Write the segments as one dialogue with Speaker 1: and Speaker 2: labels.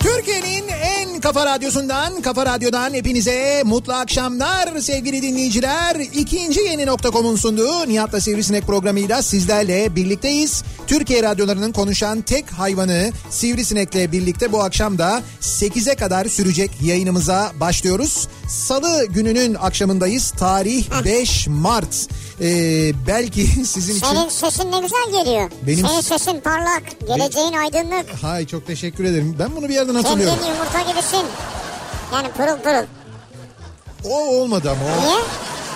Speaker 1: Türkiye'nin en kafa radyosundan, kafa radyodan hepinize mutlu akşamlar sevgili dinleyiciler. İkinci yeni nokta.com'un sunduğu Nihat'la Sivrisinek programıyla sizlerle birlikteyiz. Türkiye radyolarının konuşan tek hayvanı Sivrisinek'le birlikte bu akşam da 8'e kadar sürecek yayınımıza başlıyoruz. Salı gününün akşamındayız. Tarih 5 Mart. Ee, belki sizin için...
Speaker 2: Senin sesin ne güzel geliyor.
Speaker 1: Benim-
Speaker 2: Senin sesin parlak, geleceğin aydınlık.
Speaker 1: Hay çok teşekkür ederim. Ben bunu bir yerden hatırlıyorum.
Speaker 2: Kendin yumurta gibisin. Yani pırıl pırıl.
Speaker 1: O olmadı ama o.
Speaker 2: Niye?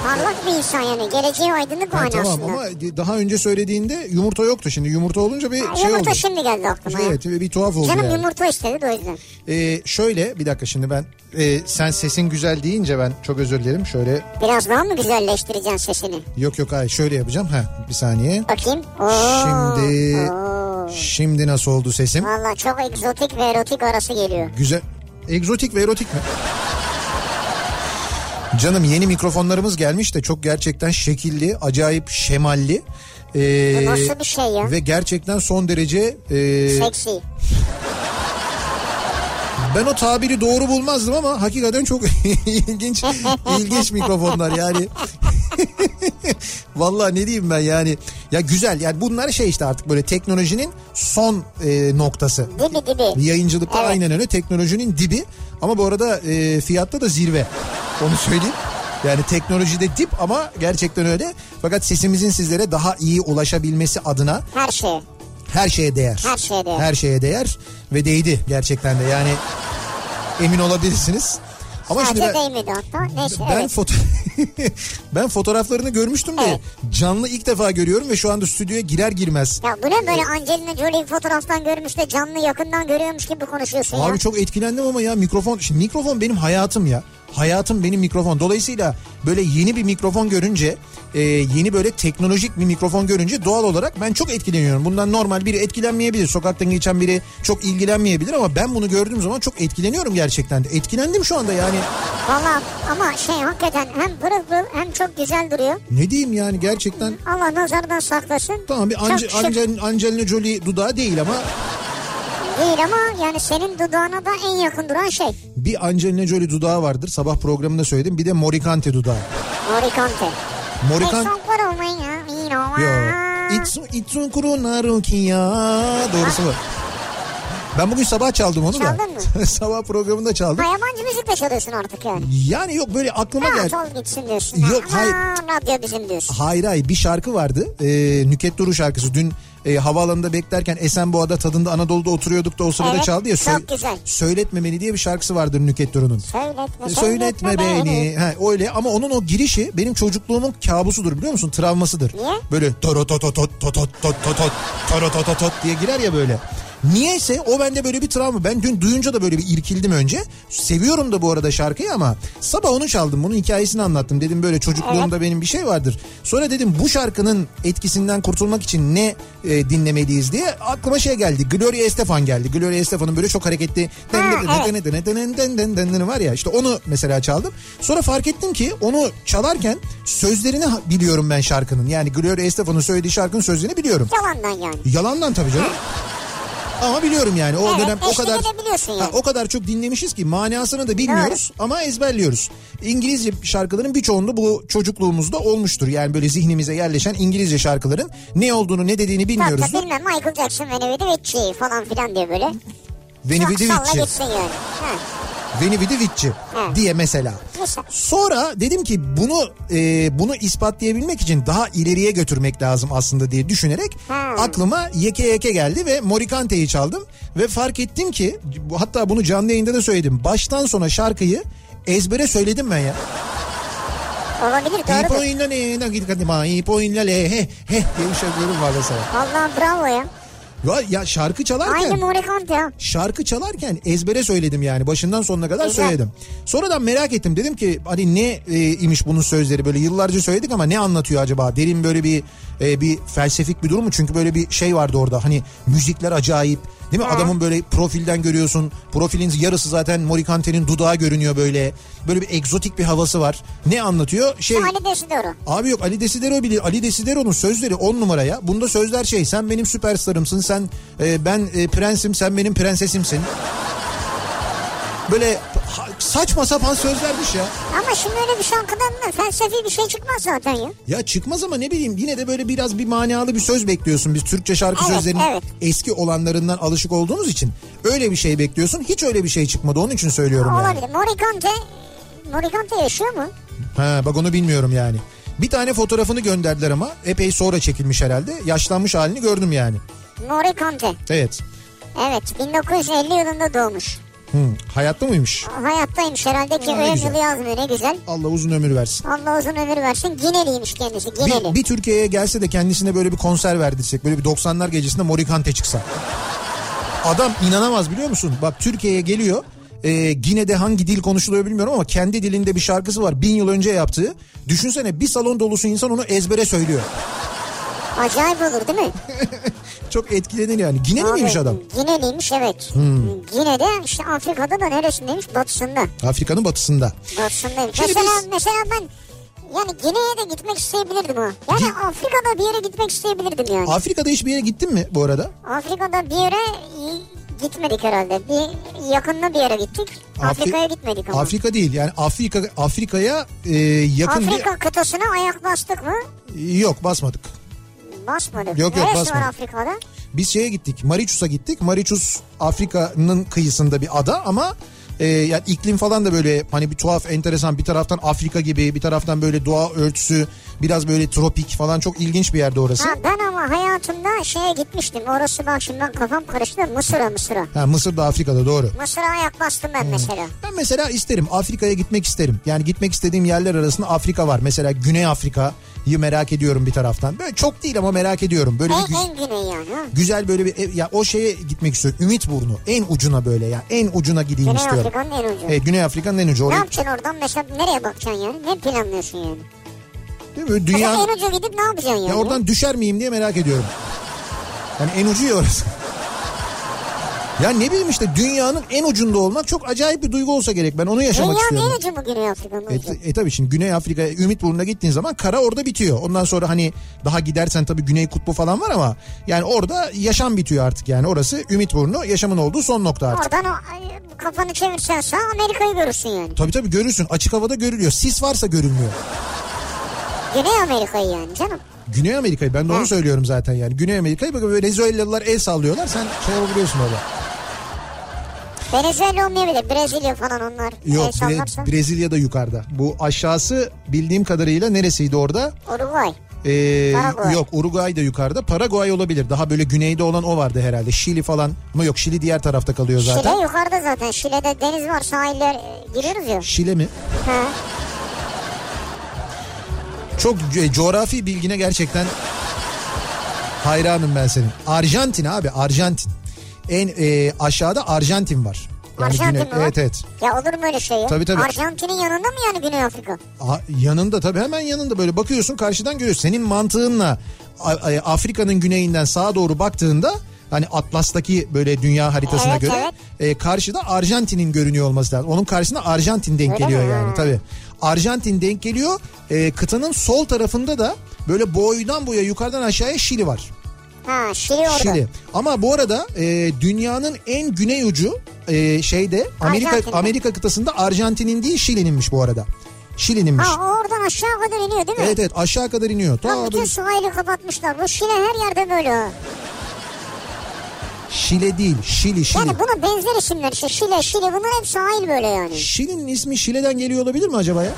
Speaker 2: Parlak bir insan yani. Geleceğin aydınlık
Speaker 1: Ha,
Speaker 2: manasında.
Speaker 1: tamam ama daha önce söylediğinde yumurta yoktu şimdi yumurta olunca bir şey
Speaker 2: yumurta
Speaker 1: oldu.
Speaker 2: şimdi geldi aklıma. ya.
Speaker 1: Evet bir, bir tuhaf oldu
Speaker 2: Canım
Speaker 1: yani.
Speaker 2: yumurta istedi de o yüzden.
Speaker 1: Ee, şöyle bir dakika şimdi ben e, sen sesin güzel deyince ben çok özür dilerim şöyle
Speaker 2: Biraz daha mı güzelleştireceksin sesini?
Speaker 1: yok yok hayır şöyle yapacağım ha bir saniye.
Speaker 2: Bakayım. Oo.
Speaker 1: Şimdi
Speaker 2: Oo.
Speaker 1: şimdi nasıl oldu sesim?
Speaker 2: Valla çok egzotik ve erotik arası geliyor.
Speaker 1: Güzel egzotik ve erotik mi? Canım yeni mikrofonlarımız gelmiş de çok gerçekten şekilli, acayip şemalli. Ee,
Speaker 2: Bu nasıl bir şey ya? Şey
Speaker 1: Ve gerçekten son derece e,
Speaker 2: Seksi.
Speaker 1: Ben o tabiri doğru bulmazdım ama hakikaten çok ilginç ilginç mikrofonlar yani. Vallahi ne diyeyim ben yani. Ya güzel yani bunlar şey işte artık böyle teknolojinin son e, noktası.
Speaker 2: Dibi dibi.
Speaker 1: Yayıncılıkta
Speaker 2: Evet.
Speaker 1: aynen öyle teknolojinin dibi ama bu arada e, fiyatta da zirve onu söyleyeyim. Yani teknolojide dip ama gerçekten öyle. Fakat sesimizin sizlere daha iyi ulaşabilmesi adına
Speaker 2: Her şey.
Speaker 1: her şeye değer.
Speaker 2: Her şeye değer.
Speaker 1: Her şeye değer ve değdi gerçekten de yani emin olabilirsiniz. Ama şimdi
Speaker 2: Sadece
Speaker 1: ben,
Speaker 2: değmedi hatta. Neyse
Speaker 1: ben,
Speaker 2: evet.
Speaker 1: foto ben fotoğraflarını görmüştüm de
Speaker 2: Evet.
Speaker 1: canlı ilk defa görüyorum ve şu anda stüdyoya girer girmez.
Speaker 2: Ya bu ne böyle Angelina Jolie'yi fotoğraftan görmüş de canlı yakından görüyormuş gibi konuşuyorsun ya.
Speaker 1: Abi çok etkilendim ama ya mikrofon şimdi mikrofon benim hayatım ya. Hayatım benim mikrofon. Dolayısıyla böyle yeni bir mikrofon görünce, e, yeni böyle teknolojik bir mikrofon görünce doğal olarak ben çok etkileniyorum. Bundan normal biri etkilenmeyebilir. Sokaktan geçen biri çok ilgilenmeyebilir ama ben bunu gördüğüm zaman çok etkileniyorum gerçekten de. Etkilendim şu anda yani.
Speaker 2: Valla ama şey hakikaten hem pırıl pırıl hem çok güzel duruyor.
Speaker 1: Ne diyeyim yani gerçekten
Speaker 2: Allah nazardan saklasın.
Speaker 1: tamam bir Ange-
Speaker 2: Çok şık
Speaker 1: Angel- Angelina Jolie dudağı değil ama
Speaker 2: değil ama yani senin dudağına da en yakın duran şey.
Speaker 1: bir Angelina Jolie dudağı vardır. Sabah programında söyledim. Bir de Morikante dudağı.
Speaker 2: Morikante.
Speaker 1: Morikante
Speaker 2: Ekson kırılmayın ya. you know,
Speaker 1: Yo.
Speaker 2: aa.
Speaker 1: Itsu, itsu kuru naruki ya. Doğrusu bu. Ben bugün sabah çaldım onu da.
Speaker 2: Çaldın mı?
Speaker 1: sabah programında çaldım.
Speaker 2: Ha, yabancı müzik de çalıyorsun artık yani.
Speaker 1: Yani yok böyle aklıma
Speaker 2: Rahat
Speaker 1: geldi.
Speaker 2: ol gitsin diyorsun. ya.
Speaker 1: Yok, hayır.
Speaker 2: Aman radyo bizim diyorsun.
Speaker 1: Hayır hayır bir şarkı vardı. Ee, Nüket Duru şarkısı. Dün e, havaalanında beklerken Esenboğa'da tadında Anadolu'da oturuyorduk da o sırada
Speaker 2: Evet,
Speaker 1: çaldı ya.
Speaker 2: çok güzel.
Speaker 1: Söyletme beni diye bir şarkısı vardır Nüket Duru'nun.
Speaker 2: Söyletme,
Speaker 1: E, Söyletme beni. Ha, öyle ama onun o girişi benim çocukluğumun kabusudur biliyor musun? Travmasıdır.
Speaker 2: Niye?
Speaker 1: Böyle tot diye girer ya böyle. Niyeyse o bende böyle bir travma. Ben dün duyunca da böyle bir irkildim önce. Seviyorum da bu arada şarkıyı ama sabah onu çaldım. Bunun hikayesini anlattım. Dedim böyle çocukluğumda benim bir şey vardır. Sonra dedim bu şarkının etkisinden kurtulmak için ne e, dinlemeliyiz diye aklıma şey geldi. Gloria Estefan geldi. Gloria Estefan'ın böyle çok hareketli
Speaker 2: evet.
Speaker 1: Dın var ya işte onu mesela çaldım. Sonra fark ettim ki onu çalarken sözlerini ha- biliyorum ben şarkının. Yani Gloria Estefan'ın söylediği şarkının sözlerini biliyorum.
Speaker 2: Yalandan yani.
Speaker 1: Yalandan tabii canım. Ama biliyorum yani o
Speaker 2: Evet,
Speaker 1: dönem o
Speaker 2: eşlik
Speaker 1: kadar
Speaker 2: edebiliyorsun yani.
Speaker 1: Ha, o kadar çok dinlemişiz ki manasını da bilmiyoruz ama ezberliyoruz. İngilizce şarkıların birçoğunda bu çocukluğumuzda olmuştur. Yani böyle zihnimize yerleşen İngilizce şarkıların ne olduğunu ne dediğini
Speaker 2: Tabii
Speaker 1: bilmiyoruz.
Speaker 2: tabii bilmem Michael Jackson ve Nevidi Vici falan filan diye böyle.
Speaker 1: Beni
Speaker 2: Salla
Speaker 1: Vidivici.
Speaker 2: gitsin yani. Ha.
Speaker 1: Veni Vidi Vici
Speaker 2: Hı.
Speaker 1: diye mesela.
Speaker 2: Mesela.
Speaker 1: Sonra dedim ki bunu e, bunu ispatlayabilmek için daha ileriye götürmek lazım aslında diye düşünerek
Speaker 2: Hı.
Speaker 1: aklıma yeke yeke geldi ve Morikante'yi çaldım ve fark ettim ki bu- hatta bunu canlı yayında da söyledim. Baştan sona şarkıyı ezbere söyledim ben ya.
Speaker 2: Olabilir doğrudur.
Speaker 1: İpoinla ne, na git kadima, ipoinla le, he, he diye bir şey şarkılarım var mesela.
Speaker 2: Valla bravo ya.
Speaker 1: Ya, ya şarkı çalarken...
Speaker 2: Aynı Morikante ya.
Speaker 1: şarkı çalarken ezbere söyledim yani başından sonuna kadar
Speaker 2: Güzel.
Speaker 1: söyledim. Sonradan merak ettim dedim ki hani ne e, imiş bunun sözleri böyle yıllarca söyledik ama ne anlatıyor acaba? Derin böyle bir e, bir felsefik bir durum mu? Çünkü böyle bir şey vardı orada hani müzikler acayip değil mi? Adamın böyle profilden görüyorsun profilin yarısı zaten Morikante'nin dudağı görünüyor böyle. Böyle bir egzotik bir havası var. Ne anlatıyor? Şey...
Speaker 2: Şu Ali Desidero.
Speaker 1: Abi yok Ali Desidero bilir. Ali Desidero'nun sözleri on numara ya. Bunda sözler şey sen benim süperstarımsın sen e, ben e, prensim sen benim prensesimsin. Böyle ha- saçma sapan sözlermiş ya.
Speaker 2: Ama şimdi öyle bir şarkıdan da felsefi bir şey çıkmaz zaten ya.
Speaker 1: Ya çıkmaz ama ne bileyim yine de böyle biraz bir manalı bir söz bekliyorsun. Biz Türkçe şarkı
Speaker 2: Evet,
Speaker 1: sözlerinin
Speaker 2: evet.
Speaker 1: eski olanlarından alışık olduğumuz için öyle bir şey bekliyorsun. Hiç öyle bir şey çıkmadı onun için söylüyorum yani.
Speaker 2: Olabilir. Morikante Morikante yaşıyor mu?
Speaker 1: Ha bak onu bilmiyorum yani. Bir tane fotoğrafını gönderdiler ama epey sonra çekilmiş herhalde. Yaşlanmış halini gördüm yani.
Speaker 2: Morikante.
Speaker 1: Evet.
Speaker 2: Evet 1950 yılında doğmuş.
Speaker 1: Hı, hayatta mıymış?
Speaker 2: Hayattaymış herhalde ki
Speaker 1: Ha, ne
Speaker 2: öyle
Speaker 1: güzel.
Speaker 2: yılı yazmıyor ne güzel.
Speaker 1: Allah uzun ömür versin.
Speaker 2: Allah uzun ömür versin. Gineliymiş kendisi Gineli.
Speaker 1: Bir, bir Türkiye'ye gelse de kendisine böyle bir konser verdirsek böyle bir 90'lar gecesinde Morikante çıksa. Adam inanamaz biliyor musun? Bak Türkiye'ye geliyor. Ee, yine de hangi dil konuşuluyor bilmiyorum ama kendi dilinde bir şarkısı var. Bin yıl önce yaptığı. Düşünsene bir salon dolusu insan onu ezbere söylüyor.
Speaker 2: Acayip olur değil mi?
Speaker 1: Çok etkilenir yani. Gine miymiş
Speaker 2: Abi,
Speaker 1: adam? Hmm.
Speaker 2: Gineliymiş evet. Gine'de işte Afrika'da da neresindeymiş? Batısında.
Speaker 1: Afrika'nın batısında.
Speaker 2: Batısındaymış.
Speaker 1: Şimdi
Speaker 2: mesela,
Speaker 1: biz-
Speaker 2: mesela ben yani Gine'ye de gitmek isteyebilirdim ha. Yani Afrika'da bir yere gitmek isteyebilirdim yani.
Speaker 1: Afrika'da hiçbir yere gittin mi bu arada?
Speaker 2: Afrika'da bir yere y- gitmedik herhalde. Bir yakında bir yere gittik.
Speaker 1: Afri-
Speaker 2: Afrika'ya gitmedik ama.
Speaker 1: Afrika değil yani Afrika Afrika'ya e, yakın
Speaker 2: Afrika kıtasına ayak bastık mı?
Speaker 1: bir... Yok basmadık.
Speaker 2: Basmadık.
Speaker 1: Yok, yok,
Speaker 2: Neresi
Speaker 1: basmadık.
Speaker 2: var Afrika'da?
Speaker 1: Biz şeye gittik Mariçus'a gittik. Mariçus Afrika'nın kıyısında bir ada ama e, yani iklim falan da böyle hani bir tuhaf enteresan bir taraftan Afrika gibi bir taraftan böyle doğa örtüsü biraz böyle tropik falan çok ilginç bir yerde orası.
Speaker 2: Ha, ben ama hayatımda şeye gitmiştim. Orası bak şimdi ben kafam karıştı. Mısır'a Mısır'a.
Speaker 1: Ha, Mısır da Afrika'da doğru.
Speaker 2: Mısır'a ayak bastım
Speaker 1: Hmm.
Speaker 2: ben mesela.
Speaker 1: Ben mesela isterim Afrika'ya gitmek isterim. Yani gitmek istediğim yerler arasında Afrika var. Mesela Güney Afrika'yı merak ediyorum bir taraftan. Böyle çok değil ama merak ediyorum. Böyle bir
Speaker 2: En,
Speaker 1: güz-
Speaker 2: en güney yani. ha.
Speaker 1: güzel böyle bir ev- ya o şeye gitmek istiyorum. Ümitburnu en ucuna böyle ya en ucuna gideyim
Speaker 2: Güney
Speaker 1: istiyorum.
Speaker 2: Afrika'nın en ucu.
Speaker 1: Evet, Güney Afrika'nın en ucu
Speaker 2: Ne
Speaker 1: oraya.
Speaker 2: yapacaksın oradan mesela nereye bakacaksın yani? Ne planlıyorsun yani?
Speaker 1: Değil mi?
Speaker 2: Mesela
Speaker 1: Dünya
Speaker 2: en ucu gidip ne yapacaksın yani?
Speaker 1: ya oradan düşer miyim diye merak ediyorum. Yani en ucu ya orası. Ya ne bileyim işte dünyanın en ucunda olmak çok acayip bir duygu olsa gerek. Ben onu yaşamak
Speaker 2: Dünyanın en
Speaker 1: istiyorum.
Speaker 2: ucu mu Güney Afrika'nın
Speaker 1: E,
Speaker 2: ucu?
Speaker 1: e tabii şimdi Güney Afrika Ümitburnu'na gittiğin zaman kara orada bitiyor. Ondan sonra hani daha gidersen tabii Güney Kutbu falan var ama yani orada yaşam bitiyor artık yani. Orası Ümitburnu yaşamın olduğu son nokta artık.
Speaker 2: Oradan o, ay, kafanı çevirsen sağ Amerika'yı görürsün yani.
Speaker 1: Tabii tabii görürsün. Açık havada görülüyor. Sis varsa görünmüyor.
Speaker 2: Güney Amerika'yı yani canım.
Speaker 1: Güney Amerika'yı ben de onu
Speaker 2: Hı.
Speaker 1: söylüyorum zaten yani. Güney Amerika'yı bakın Venezuelalılar el sallıyorlar. Sen şey yapabiliyorsun orada.
Speaker 2: Venezuela olmayabilir. Brezilya falan onlar.
Speaker 1: Yok
Speaker 2: El
Speaker 1: Bre-
Speaker 2: sallarsa.
Speaker 1: Brezilya'da yukarıda. Bu aşağısı bildiğim kadarıyla neresiydi orada?
Speaker 2: Uruguay.
Speaker 1: Ee,
Speaker 2: Paraguay.
Speaker 1: Yok Uruguay da yukarıda. Paraguay olabilir. Daha böyle güneyde olan o vardı herhalde. Şili falan. Ama yok Şili diğer tarafta kalıyor zaten.
Speaker 2: Şile yukarıda zaten. Şile'de deniz var sahiller e, giriyoruz ya.
Speaker 1: Şile mi?
Speaker 2: Ha.
Speaker 1: Çok co- coğrafi bilgine gerçekten hayranım ben senin. Arjantin abi Arjantin. En e, aşağıda Arjantin var.
Speaker 2: Arjantin mi var?
Speaker 1: Evet evet.
Speaker 2: Ya olur mu öyle şey ya?
Speaker 1: Tabii, tabii.
Speaker 2: Arjantin'in yanında mı yani Güney Afrika?
Speaker 1: A- yanında tabii hemen yanında böyle bakıyorsun karşıdan görüyorsun. Senin mantığınla A- A- Afrika'nın güneyinden sağa doğru baktığında hani Atlas'taki böyle dünya haritasına
Speaker 2: Evet,
Speaker 1: göre e, karşıda Arjantin'in görünüyor olması lazım. Onun karşısına Arjantin denk
Speaker 2: Öyle
Speaker 1: geliyor
Speaker 2: mi?
Speaker 1: yani
Speaker 2: Ha.
Speaker 1: tabii. Arjantin denk geliyor. E, kıtanın sol tarafında da böyle boydan boya yukarıdan aşağıya Şili var.
Speaker 2: Ha Şili orada.
Speaker 1: Şili. Ama bu arada e, dünyanın en güney ucu e, şeyde Amerika
Speaker 2: Arjantin'de.
Speaker 1: Amerika kıtasında Arjantin'in değil Şili'ninmiş bu arada. Şili'ninmiş.
Speaker 2: Ha o oradan aşağı kadar iniyor değil mi?
Speaker 1: Evet evet aşağı kadar iniyor. Ta
Speaker 2: Lan bütün
Speaker 1: doğru.
Speaker 2: sahili kapatmışlar. Bu Şile her yerde böyle. ha.
Speaker 1: Şile değil. Şili, Şili.
Speaker 2: Yani buna benzer isimler işte Şile, Şile bunlar hep sahil böyle yani.
Speaker 1: Şili'nin ismi Şile'den geliyor olabilir mi acaba ya?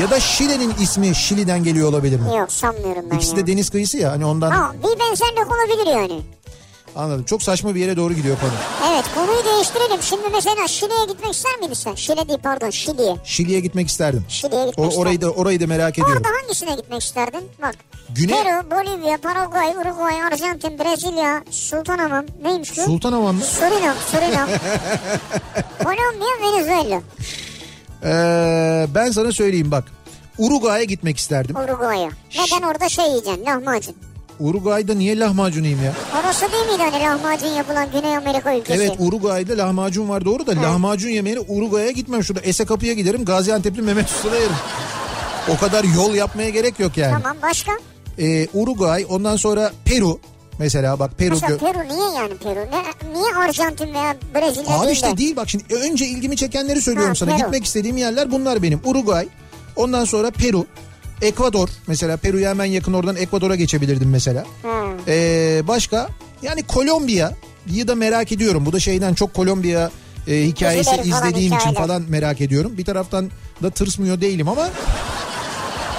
Speaker 1: Ya da Şile'nin ismi Şili'den geliyor olabilir mi?
Speaker 2: Yok sanmıyorum ben
Speaker 1: İkisi
Speaker 2: ya.
Speaker 1: de deniz kıyısı ya hani ondan
Speaker 2: Ha, bir benzerlik olabilir yani.
Speaker 1: anladım. Çok saçma bir yere doğru gidiyor konu.
Speaker 2: Evet konuyu değiştirelim. Şimdi mesela Şile'ye gitmek ister miydin sen? Şile değil pardon Şili'ye.
Speaker 1: Şili'ye gitmek isterdim.
Speaker 2: Şili'ye
Speaker 1: O,
Speaker 2: gitmek
Speaker 1: orayı da orayı da merak ediyorum.
Speaker 2: Orada hangisine gitmek isterdin? Bak.
Speaker 1: Güney-
Speaker 2: Peru, Bolivya, Paraguay, Uruguay, Arjantin, Brezilya, Sultanahmet neymiş bu?
Speaker 1: Sultanahmet mı?
Speaker 2: Surinam, Surinam. Kolombiya, Venezuela,
Speaker 1: Ee, ben sana söyleyeyim bak. Uruguay'a gitmek isterdim.
Speaker 2: Uruguay'a. Neden orada şey yiyeceksin lahmacun?
Speaker 1: Uruguay'da niye lahmacun yiyeyim ya?
Speaker 2: Orası değil miydi hani lahmacun yapılan Güney Amerika ülkesi?
Speaker 1: Evet Uruguay'da lahmacun var doğru da lahmacun yemeğine Uruguay'a gitmem. Şurada Ese Kapı'ya giderim Gaziantep'li Mehmet Usta'da yerim. O kadar yol yapmaya gerek yok yani.
Speaker 2: Tamam başka?
Speaker 1: Ee, Uruguay ondan sonra Peru. Mesela bak Peru.
Speaker 2: Mesela
Speaker 1: gö-
Speaker 2: Peru niye yani Peru? Ne- niye Arjantin veya Brezilya
Speaker 1: Abi
Speaker 2: değil
Speaker 1: işte
Speaker 2: de?
Speaker 1: değil bak şimdi önce ilgimi çekenleri söylüyorum
Speaker 2: Ha,
Speaker 1: sana.
Speaker 2: Peru.
Speaker 1: Gitmek istediğim yerler bunlar benim. Uruguay, ondan sonra Peru, Ekvador. Mesela Peru'ya hemen yakın oradan Ekvador'a geçebilirdim mesela.
Speaker 2: Ha.
Speaker 1: Ee, başka yani Kolombiya'yı da merak ediyorum. Bu da şeyden çok Kolombiya e, hikayesi
Speaker 2: Dizileri falan,
Speaker 1: izlediğim için
Speaker 2: hikayeler.
Speaker 1: falan merak ediyorum. Bir taraftan da tırsmıyor değilim ama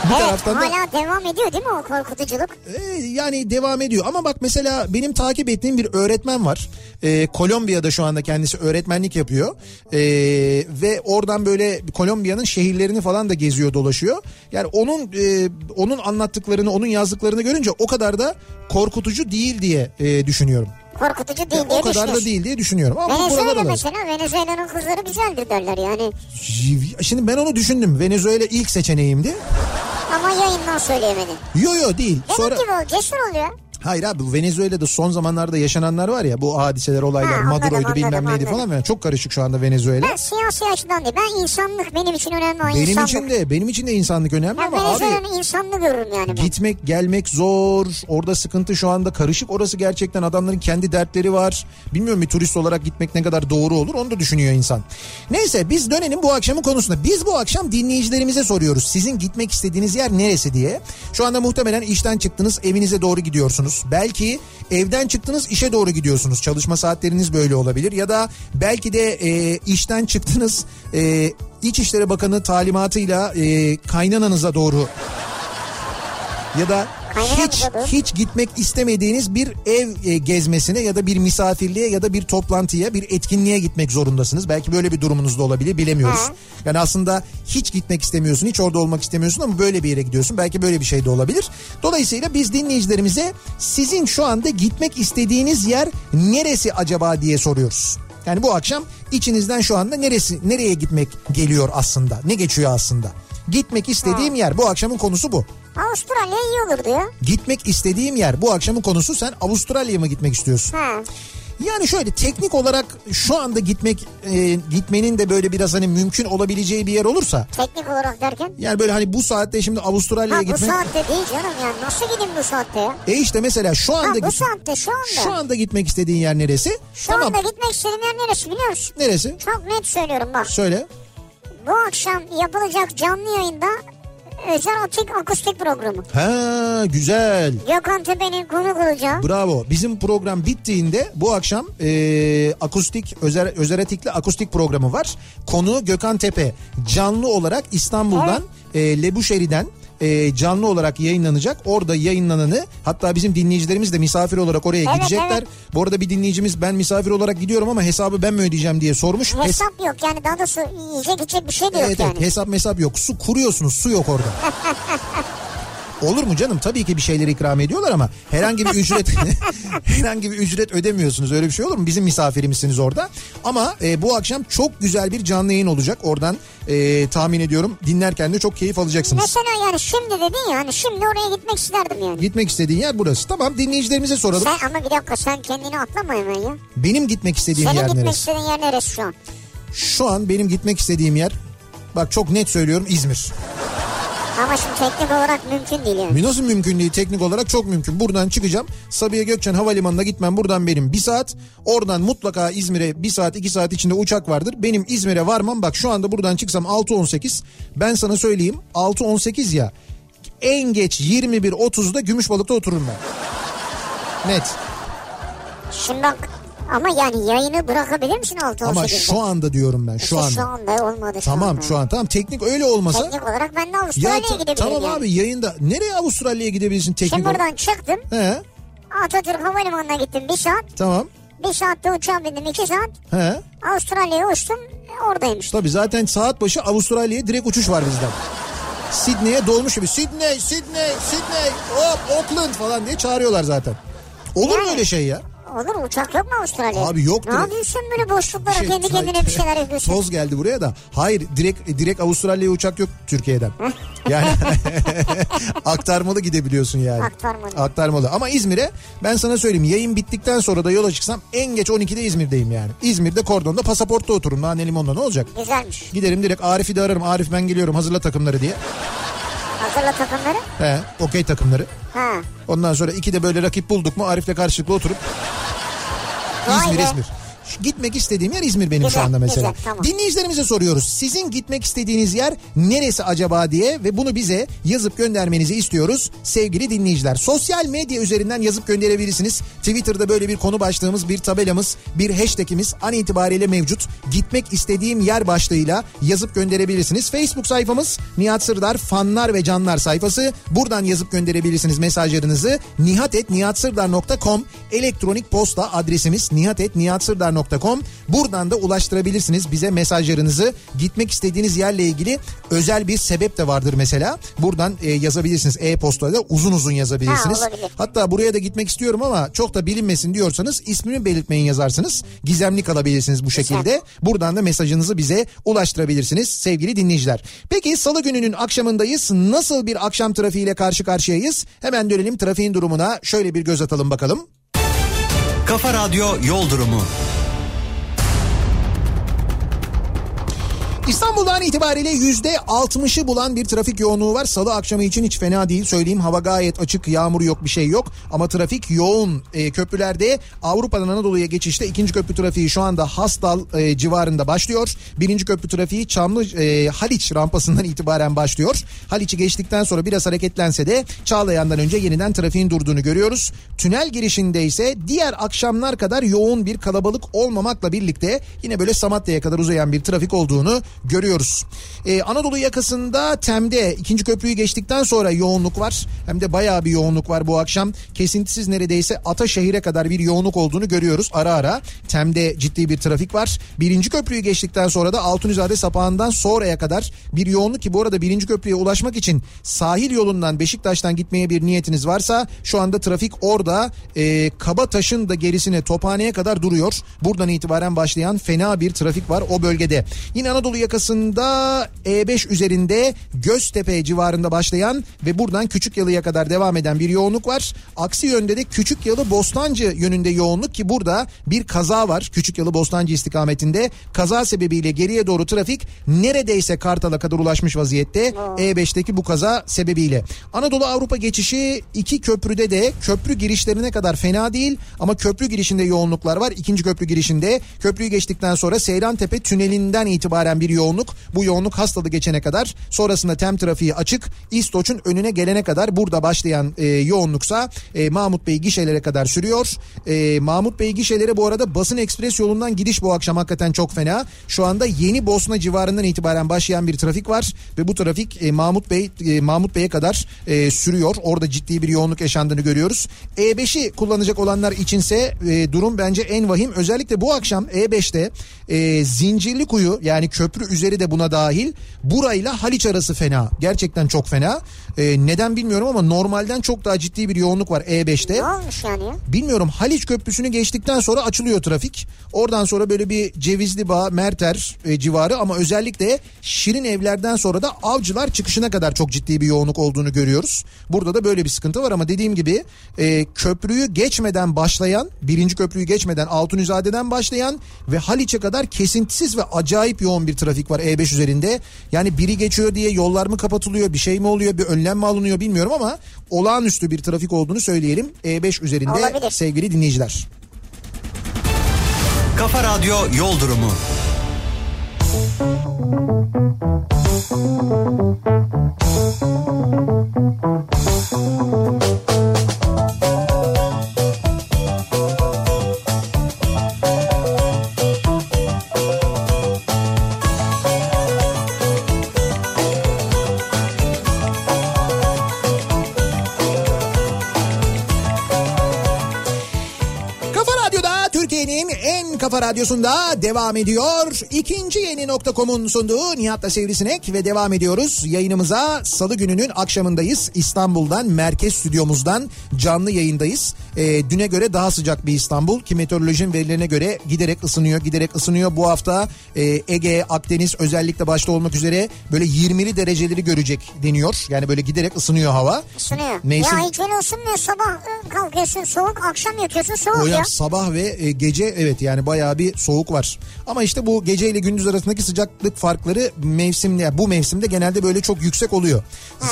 Speaker 1: bir
Speaker 2: Evet
Speaker 1: taraftan da
Speaker 2: hala devam ediyor değil mi o korkutuculuk?
Speaker 1: e, yani devam ediyor. Ama bak mesela benim takip ettiğim bir öğretmen var. E, Kolombiya'da şu anda kendisi öğretmenlik yapıyor. E, ve oradan böyle Kolombiya'nın şehirlerini falan da geziyor dolaşıyor. Yani onun e, onun anlattıklarını, onun yazdıklarını görünce o kadar da korkutucu değil diye e, düşünüyorum.
Speaker 2: Korkutucu değil
Speaker 1: Yani
Speaker 2: diye
Speaker 1: o kadar da
Speaker 2: düşünüyorsun.
Speaker 1: değil diye düşünüyorum. Ama bu buralar
Speaker 2: Venezuela
Speaker 1: olarak.
Speaker 2: mesela Venezuela'nın kızları güzeldir derler yani.
Speaker 1: Şimdi ben onu düşündüm. Venezuela ilk seçeneğimdi.
Speaker 2: Ama yayından söyleyemedin.
Speaker 1: Yo yo değil.
Speaker 2: Demek
Speaker 1: Sonra
Speaker 2: ki bu cesur oluyor.
Speaker 1: Hayır abi bu Venezuela'da son zamanlarda yaşananlar var ya bu hadiseler olaylar
Speaker 2: Ha, anladım,
Speaker 1: Maduro'ydu bilmem
Speaker 2: anladım,
Speaker 1: neydi
Speaker 2: anladım.
Speaker 1: falan filan çok karışık şu anda Venezuela.
Speaker 2: Ben siyasi açıdan değil. Ben insanlık benim için önemli olan
Speaker 1: benim
Speaker 2: insanlık.
Speaker 1: için de benim için de insanlık önemli
Speaker 2: Ben
Speaker 1: ama abi
Speaker 2: Venezuela'nın insanlığı görürüm yani ben.
Speaker 1: gitmek gelmek zor orada sıkıntı şu anda karışık orası gerçekten adamların kendi dertleri var. Bilmiyorum bir turist olarak gitmek ne kadar doğru olur onu da düşünüyor insan. Neyse biz dönelim bu akşamın konusuna. Biz bu akşam dinleyicilerimize soruyoruz sizin gitmek istediğiniz yer neresi diye. Şu anda muhtemelen işten çıktınız evinize doğru gidiyorsunuz. Belki evden çıktınız işe doğru gidiyorsunuz. Çalışma saatleriniz böyle olabilir ya da belki de e, işten çıktınız e, İçişleri Bakanı talimatıyla e, kaynananıza doğru ya da
Speaker 2: Kaynanan
Speaker 1: hiç
Speaker 2: tadı.
Speaker 1: hiç gitmek istemediğiniz bir ev e, gezmesine ya da bir misafirliğe ya da bir toplantıya bir etkinliğe gitmek zorundasınız. Belki böyle bir durumunuz da olabilir bilemiyoruz.
Speaker 2: Ha.
Speaker 1: Yani aslında hiç gitmek istemiyorsun hiç orada olmak istemiyorsun ama böyle bir yere gidiyorsun. Belki böyle bir şey de olabilir. Dolayısıyla biz dinleyicilerimize sizin şu anda gitmek istediğiniz yer neresi acaba diye soruyoruz. Yani bu akşam içinizden şu anda neresi nereye gitmek geliyor aslında ne geçiyor aslında. Gitmek istediğim yer bu akşamın konusu bu.
Speaker 2: Avustralya iyi olurdu ya.
Speaker 1: Gitmek istediğim yer bu akşamın konusu sen Avustralya'ya mı gitmek istiyorsun?
Speaker 2: Ha.
Speaker 1: Yani şöyle teknik olarak şu anda gitmek e, gitmenin de böyle biraz hani mümkün olabileceği bir yer olursa
Speaker 2: Teknik olarak derken.
Speaker 1: yani böyle hani bu saatte şimdi Avustralya'ya
Speaker 2: Ha bu
Speaker 1: gitmek
Speaker 2: saatte değil canım ya. Nasıl gideyim bu saatte ya?
Speaker 1: e işte mesela şu
Speaker 2: Ha
Speaker 1: anda
Speaker 2: bu
Speaker 1: git-
Speaker 2: saatte şu anda.
Speaker 1: şu anda gitmek istediğin yer neresi?
Speaker 2: Şu
Speaker 1: tamam.
Speaker 2: anda gitmek istediğim yer neresi biliyor musun?
Speaker 1: Neresi?
Speaker 2: Çok net söylüyorum bak.
Speaker 1: Söyle.
Speaker 2: Bu akşam yapılacak canlı yayında özel atik akustik programı.
Speaker 1: Ha güzel.
Speaker 2: Gökhan Tepe'nin konuk olacağı.
Speaker 1: Bravo. Bizim program bittiğinde bu akşam e, akustik özel özeretikli akustik programı var. Konu Gökhan Tepe canlı olarak İstanbul'dan e, Lebuşeri'den e, canlı olarak yayınlanacak. Orada yayınlananı hatta bizim dinleyicilerimiz de misafir olarak oraya
Speaker 2: Evet,
Speaker 1: gidecekler. Bu arada bir dinleyicimiz ben misafir olarak gidiyorum ama hesabı ben mi ödeyeceğim diye sormuş. Hes-
Speaker 2: Hesap yok yani daha doğrusu yiyecek içecek bir şey de yok
Speaker 1: Evet,
Speaker 2: yani.
Speaker 1: evet hesap mesap yok. Su kuruyorsunuz su yok orada. Olur mu canım? Tabii ki bir şeyler ikram ediyorlar ama herhangi bir ücret herhangi bir ücret ödemiyorsunuz. Öyle bir şey olur mu? Bizim misafirimizsiniz orada. Ama e, bu akşam çok güzel bir canlı yayın olacak. Oradan e, tahmin ediyorum dinlerken de çok keyif alacaksınız.
Speaker 2: Mesela yani şimdi dedin ya hani şimdi oraya gitmek isterdim yani.
Speaker 1: Gitmek istediğin yer burası. Tamam dinleyicilerimize soralım.
Speaker 2: Sen ama bir dakika sen kendini atlama hemen ya.
Speaker 1: Benim gitmek istediğim
Speaker 2: Senin
Speaker 1: yer
Speaker 2: gitmek
Speaker 1: neresi?
Speaker 2: istediğin yer neresi şu an?
Speaker 1: Şu an benim gitmek istediğim yer bak çok net söylüyorum İzmir.
Speaker 2: Ama şimdi teknik olarak mümkün değil yani.
Speaker 1: Minos'un mümkünlüğü teknik olarak çok mümkün. Buradan çıkacağım. Sabiha Gökçen Havalimanı'na gitmem. Buradan benim bir saat. Oradan mutlaka İzmir'e bir saat iki saat içinde uçak vardır. Benim İzmir'e varmam. Bak şu anda buradan çıksam 6.18. Ben sana söyleyeyim 6.18 ya. En geç 21.30'da Gümüşbalık'ta otururum ben. Net.
Speaker 2: Şimdi bak ama yani yayını bırakabilir misin 6 18'de?
Speaker 1: Ama şu anda diyorum ben şu
Speaker 2: İşte şu
Speaker 1: anda.
Speaker 2: anda olmadı. şu
Speaker 1: Tamam
Speaker 2: anda.
Speaker 1: şu an tamam teknik öyle olmasa.
Speaker 2: Teknik olarak ben de
Speaker 1: Ya
Speaker 2: Avustralya'ya
Speaker 1: ta-
Speaker 2: gidebilirim
Speaker 1: tamam
Speaker 2: yani.
Speaker 1: abi yayında nereye Avustralya'ya gidebilirsin teknik
Speaker 2: Şimdi
Speaker 1: olarak?
Speaker 2: buradan çıktım.
Speaker 1: He
Speaker 2: Atatürk Havalimanı'na gittim bir saat.
Speaker 1: tamam.
Speaker 2: Bir saatte uçağa bindim iki saat.
Speaker 1: He.
Speaker 2: Avustralya'ya uçtum. Oradayım işte.
Speaker 1: Tabii zaten saat başı Avustralya'ya direkt uçuş var bizden. Sydney'e dolmuş gibi. Sydney, Sydney, Sydney, hop Auckland falan diye çağırıyorlar zaten. Olur mu
Speaker 2: Yani.
Speaker 1: öyle şey ya?
Speaker 2: Olur mu? uçak yok mu Avustralya'ya?
Speaker 1: Abi yoktur.
Speaker 2: Ne yapıyorsun böyle boşluklara
Speaker 1: Bir şey-
Speaker 2: kendi kendine bir şeyler yapıyorsun.
Speaker 1: Toz geldi buraya da. Hayır direkt direkt Avustralya'ya uçak yok Türkiye'den. Yani aktarmalı gidebiliyorsun yani.
Speaker 2: Aktarmalı.
Speaker 1: Aktarmalı. Ama İzmir'e ben sana söyleyeyim yayın bittikten sonra da yola çıksam en geç 12'de İzmir'deyim yani. İzmir'de kordonda pasaportta otururum. Nane limonda ne olacak?
Speaker 2: Güzelmiş.
Speaker 1: Giderim direkt Arif'i de ararım. Arif ben geliyorum hazırla takımları diye.
Speaker 2: Hazırla takımları.
Speaker 1: He, okey takımları.
Speaker 2: Ha.
Speaker 1: Ondan sonra iki de böyle rakip bulduk mu Arif'le karşılıklı oturup
Speaker 2: Vay
Speaker 1: İzmir
Speaker 2: be.
Speaker 1: İzmir. Şu Gitmek istediğim yer İzmir benim şu
Speaker 2: Güzel,
Speaker 1: anda mesela.
Speaker 2: güzel, tamam.
Speaker 1: Dinleyicilerimize soruyoruz. Sizin gitmek istediğiniz yer neresi acaba diye ve bunu bize yazıp göndermenizi istiyoruz sevgili dinleyiciler. Sosyal medya üzerinden yazıp gönderebilirsiniz. Twitter'da böyle bir konu başlığımız, bir tabelamız, bir hashtagimiz an itibariyle mevcut. Gitmek istediğim yer başlığıyla yazıp gönderebilirsiniz. Facebook sayfamız Nihat Sırdar fanlar ve canlar sayfası. Buradan yazıp gönderebilirsiniz mesajlarınızı. nihatetnihatsırdar.com elektronik posta adresimiz nihatetnihatsırdar.com Buradan da ulaştırabilirsiniz bize mesajlarınızı. Gitmek istediğiniz yerle ilgili özel bir sebep de vardır mesela. Buradan e, yazabilirsiniz e-postayla uzun uzun yazabilirsiniz.
Speaker 2: Ha, olabilir.
Speaker 1: Hatta buraya da gitmek istiyorum ama çok da bilinmesin diyorsanız ismini belirtmeyin yazarsınız. Gizemli kalabilirsiniz bu şekilde. Buradan da mesajınızı bize ulaştırabilirsiniz sevgili dinleyiciler. Peki salı gününün akşamındayız. Nasıl bir akşam trafiğiyle karşı karşıyayız? Hemen dönelim trafiğin durumuna. Şöyle bir göz atalım bakalım.
Speaker 3: Kafa Radyo Yol Durumu.
Speaker 1: İstanbul'dan itibariyle yüzde %60'ı bulan bir trafik yoğunluğu var. Salı akşamı için hiç fena değil söyleyeyim. Hava gayet açık, yağmur yok, bir şey yok. Ama trafik yoğun Ee, köprülerde Avrupa'dan Anadolu'ya geçişte ikinci köprü trafiği şu anda Hastal e, civarında başlıyor. Birinci köprü trafiği Çamlı e, Haliç rampasından itibaren başlıyor. Haliç'i geçtikten sonra biraz hareketlense de Çağlayan'dan önce yeniden trafiğin durduğunu görüyoruz. Tünel girişinde ise diğer akşamlar kadar yoğun bir kalabalık olmamakla birlikte yine böyle Samatya'ya kadar uzayan bir trafik olduğunu görüyoruz. Ee, Anadolu yakasında Tem'de ikinci köprüyü geçtikten sonra yoğunluk var. Hem de bayağı bir yoğunluk var bu akşam. Kesintisiz neredeyse Ataşehir'e kadar bir yoğunluk olduğunu görüyoruz ara ara. Tem'de ciddi bir trafik var. Birinci köprüyü geçtikten sonra da Altunizade sapağından sonraya kadar bir yoğunluk ki bu arada birinci köprüye ulaşmak için sahil yolundan Beşiktaş'tan gitmeye bir niyetiniz varsa şu anda trafik orada e, Kabataş'ın da gerisine Tophane'ye kadar duruyor. Buradan itibaren başlayan fena bir trafik var o bölgede. Yine Anadolu yakasında E5 üzerinde Göztepe civarında başlayan ve buradan Küçükyalı'ya kadar devam eden bir yoğunluk var. Aksi yönde de Küçükyalı Bostancı yönünde yoğunluk ki burada bir kaza var. Küçükyalı Bostancı istikametinde kaza sebebiyle geriye doğru trafik neredeyse Kartal'a kadar ulaşmış vaziyette. E, E5'teki bu kaza sebebiyle. Anadolu Avrupa geçişi iki köprüde de köprü girişlerine kadar fena değil ama köprü girişinde yoğunluklar var. İkinci köprü girişinde köprüyü geçtikten sonra Seyrantepe tünelinden itibaren bir yoğunluk. Bu yoğunluk hastalığı geçene kadar sonrasında tem trafiği açık. İstoç'un önüne gelene kadar burada başlayan e, yoğunluksa e, Mahmut Bey gişelere kadar sürüyor. E, Mahmut Bey gişeleri bu arada basın ekspres yolundan gidiş bu akşam hakikaten çok fena. Şu anda Yeni Bosna civarından itibaren başlayan bir trafik var ve bu trafik e, Mahmut Bey e, Mahmut Bey'e kadar e, sürüyor. Orada ciddi bir yoğunluk yaşandığını görüyoruz. E5'i kullanacak olanlar içinse e, durum bence en vahim. Özellikle bu akşam E5'te e, Zincirlikuyu yani köprü üzeri de buna dahil. Burayla Haliç arası fena. Gerçekten çok fena. E, neden bilmiyorum ama normalden çok daha ciddi bir yoğunluk var E E5'te.
Speaker 2: Ne olmuş yani ya?
Speaker 1: Bilmiyorum Haliç Köprüsü'nü geçtikten sonra açılıyor trafik. Oradan sonra böyle bir Cevizli Bağ, Merter e, civarı ama özellikle Şirin Evler'den sonra da Avcılar çıkışına kadar çok ciddi bir yoğunluk olduğunu görüyoruz. Burada da böyle bir sıkıntı var ama dediğim gibi e, köprüyü geçmeden başlayan, birinci köprüyü geçmeden Altunizade'den başlayan ve Haliç'e kadar kesintisiz ve acayip yoğun bir trafik var E5 üzerinde. Yani biri geçiyor diye yollar mı kapatılıyor, bir şey mi oluyor, bir önlem mi alınıyor bilmiyorum ama olağanüstü bir trafik olduğunu söyleyelim E5 üzerinde de
Speaker 2: Olabilir.
Speaker 1: sevgili dinleyiciler.
Speaker 3: Kafa Radyo Yol Durumu.
Speaker 1: Kafa Radyosu'nda devam ediyor. İkinci yeni nokta.com'un sunduğu Nihat'la Sivrisinek ve devam ediyoruz. Yayınımıza salı gününün akşamındayız. İstanbul'dan merkez stüdyomuzdan canlı yayındayız. Ee, düne göre daha sıcak bir İstanbul ki meteorolojinin verilerine göre giderek ısınıyor giderek ısınıyor. Bu hafta e, Ege, Akdeniz özellikle başta olmak üzere böyle 20'li dereceleri görecek deniyor. Yani böyle giderek ısınıyor hava.
Speaker 2: Isınıyor.
Speaker 1: Mevsim-
Speaker 2: Ya hiç öyle ısınmıyor. Sabah e, kalkıyorsun soğuk, akşam yatıyorsun soğuk
Speaker 1: Hocam
Speaker 2: ya.
Speaker 1: sabah ve e, gece evet yani bayağı bir soğuk var. Ama işte bu gece ile gündüz arasındaki sıcaklık farkları mevsimde bu mevsimde genelde böyle çok yüksek oluyor.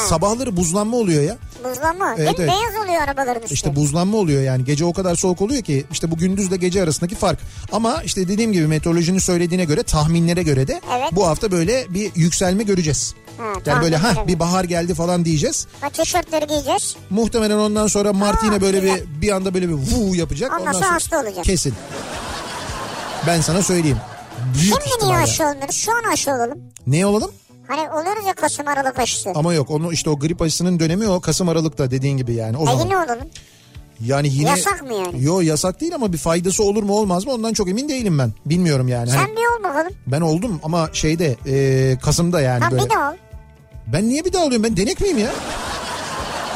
Speaker 1: Sabahları buzlanma oluyor ya.
Speaker 2: Buzlanma.
Speaker 1: Evet,
Speaker 2: Değil mi?
Speaker 1: evet.
Speaker 2: Beyaz oluyor arabaların üstü.
Speaker 1: İşte buzlanma oluyor yani gece o kadar soğuk oluyor ki işte bu gündüzle gece arasındaki fark. Ama işte dediğim gibi meteorolojinin söylediğine göre tahminlere göre de
Speaker 2: Evet.
Speaker 1: bu hafta böyle bir yükselme göreceğiz.
Speaker 2: Ha,
Speaker 1: yani böyle
Speaker 2: tahminlere
Speaker 1: ha
Speaker 2: göre."
Speaker 1: bir bahar geldi falan diyeceğiz.
Speaker 2: Bak tişörtleri giyeceğiz.
Speaker 1: Muhtemelen ondan sonra Mart
Speaker 2: Aa,
Speaker 1: yine böyle
Speaker 2: güzel.
Speaker 1: bir bir anda böyle bir vuu yapacak.
Speaker 2: Ondan sonra hasta olacak.
Speaker 1: Kesin. Ben sana söyleyeyim. Büyük
Speaker 2: Şimdi niye
Speaker 1: ihtimalle.
Speaker 2: aşı olmuyoruz? Şu an aşı olalım.
Speaker 1: Ne olalım?
Speaker 2: Hani oluyoruz ya Kasım Aralık aşısı.
Speaker 1: Ama yok onu işte o grip aşısının dönemi o Kasım Aralık'ta dediğin gibi yani o
Speaker 2: E
Speaker 1: zaman.
Speaker 2: yine olalım.
Speaker 1: Yani yine
Speaker 2: Yasak mı yani?
Speaker 1: Yo yasak değil ama bir faydası olur mu olmaz mı ondan çok emin değilim ben. Bilmiyorum yani. Hani
Speaker 2: Sen bir ol bakalım.
Speaker 1: ben oldum ama şeyde e, Kasım'da yani
Speaker 2: Ha
Speaker 1: böyle.
Speaker 2: bir de ol.
Speaker 1: Ben niye bir daha alıyorum? Ben denek miyim ya?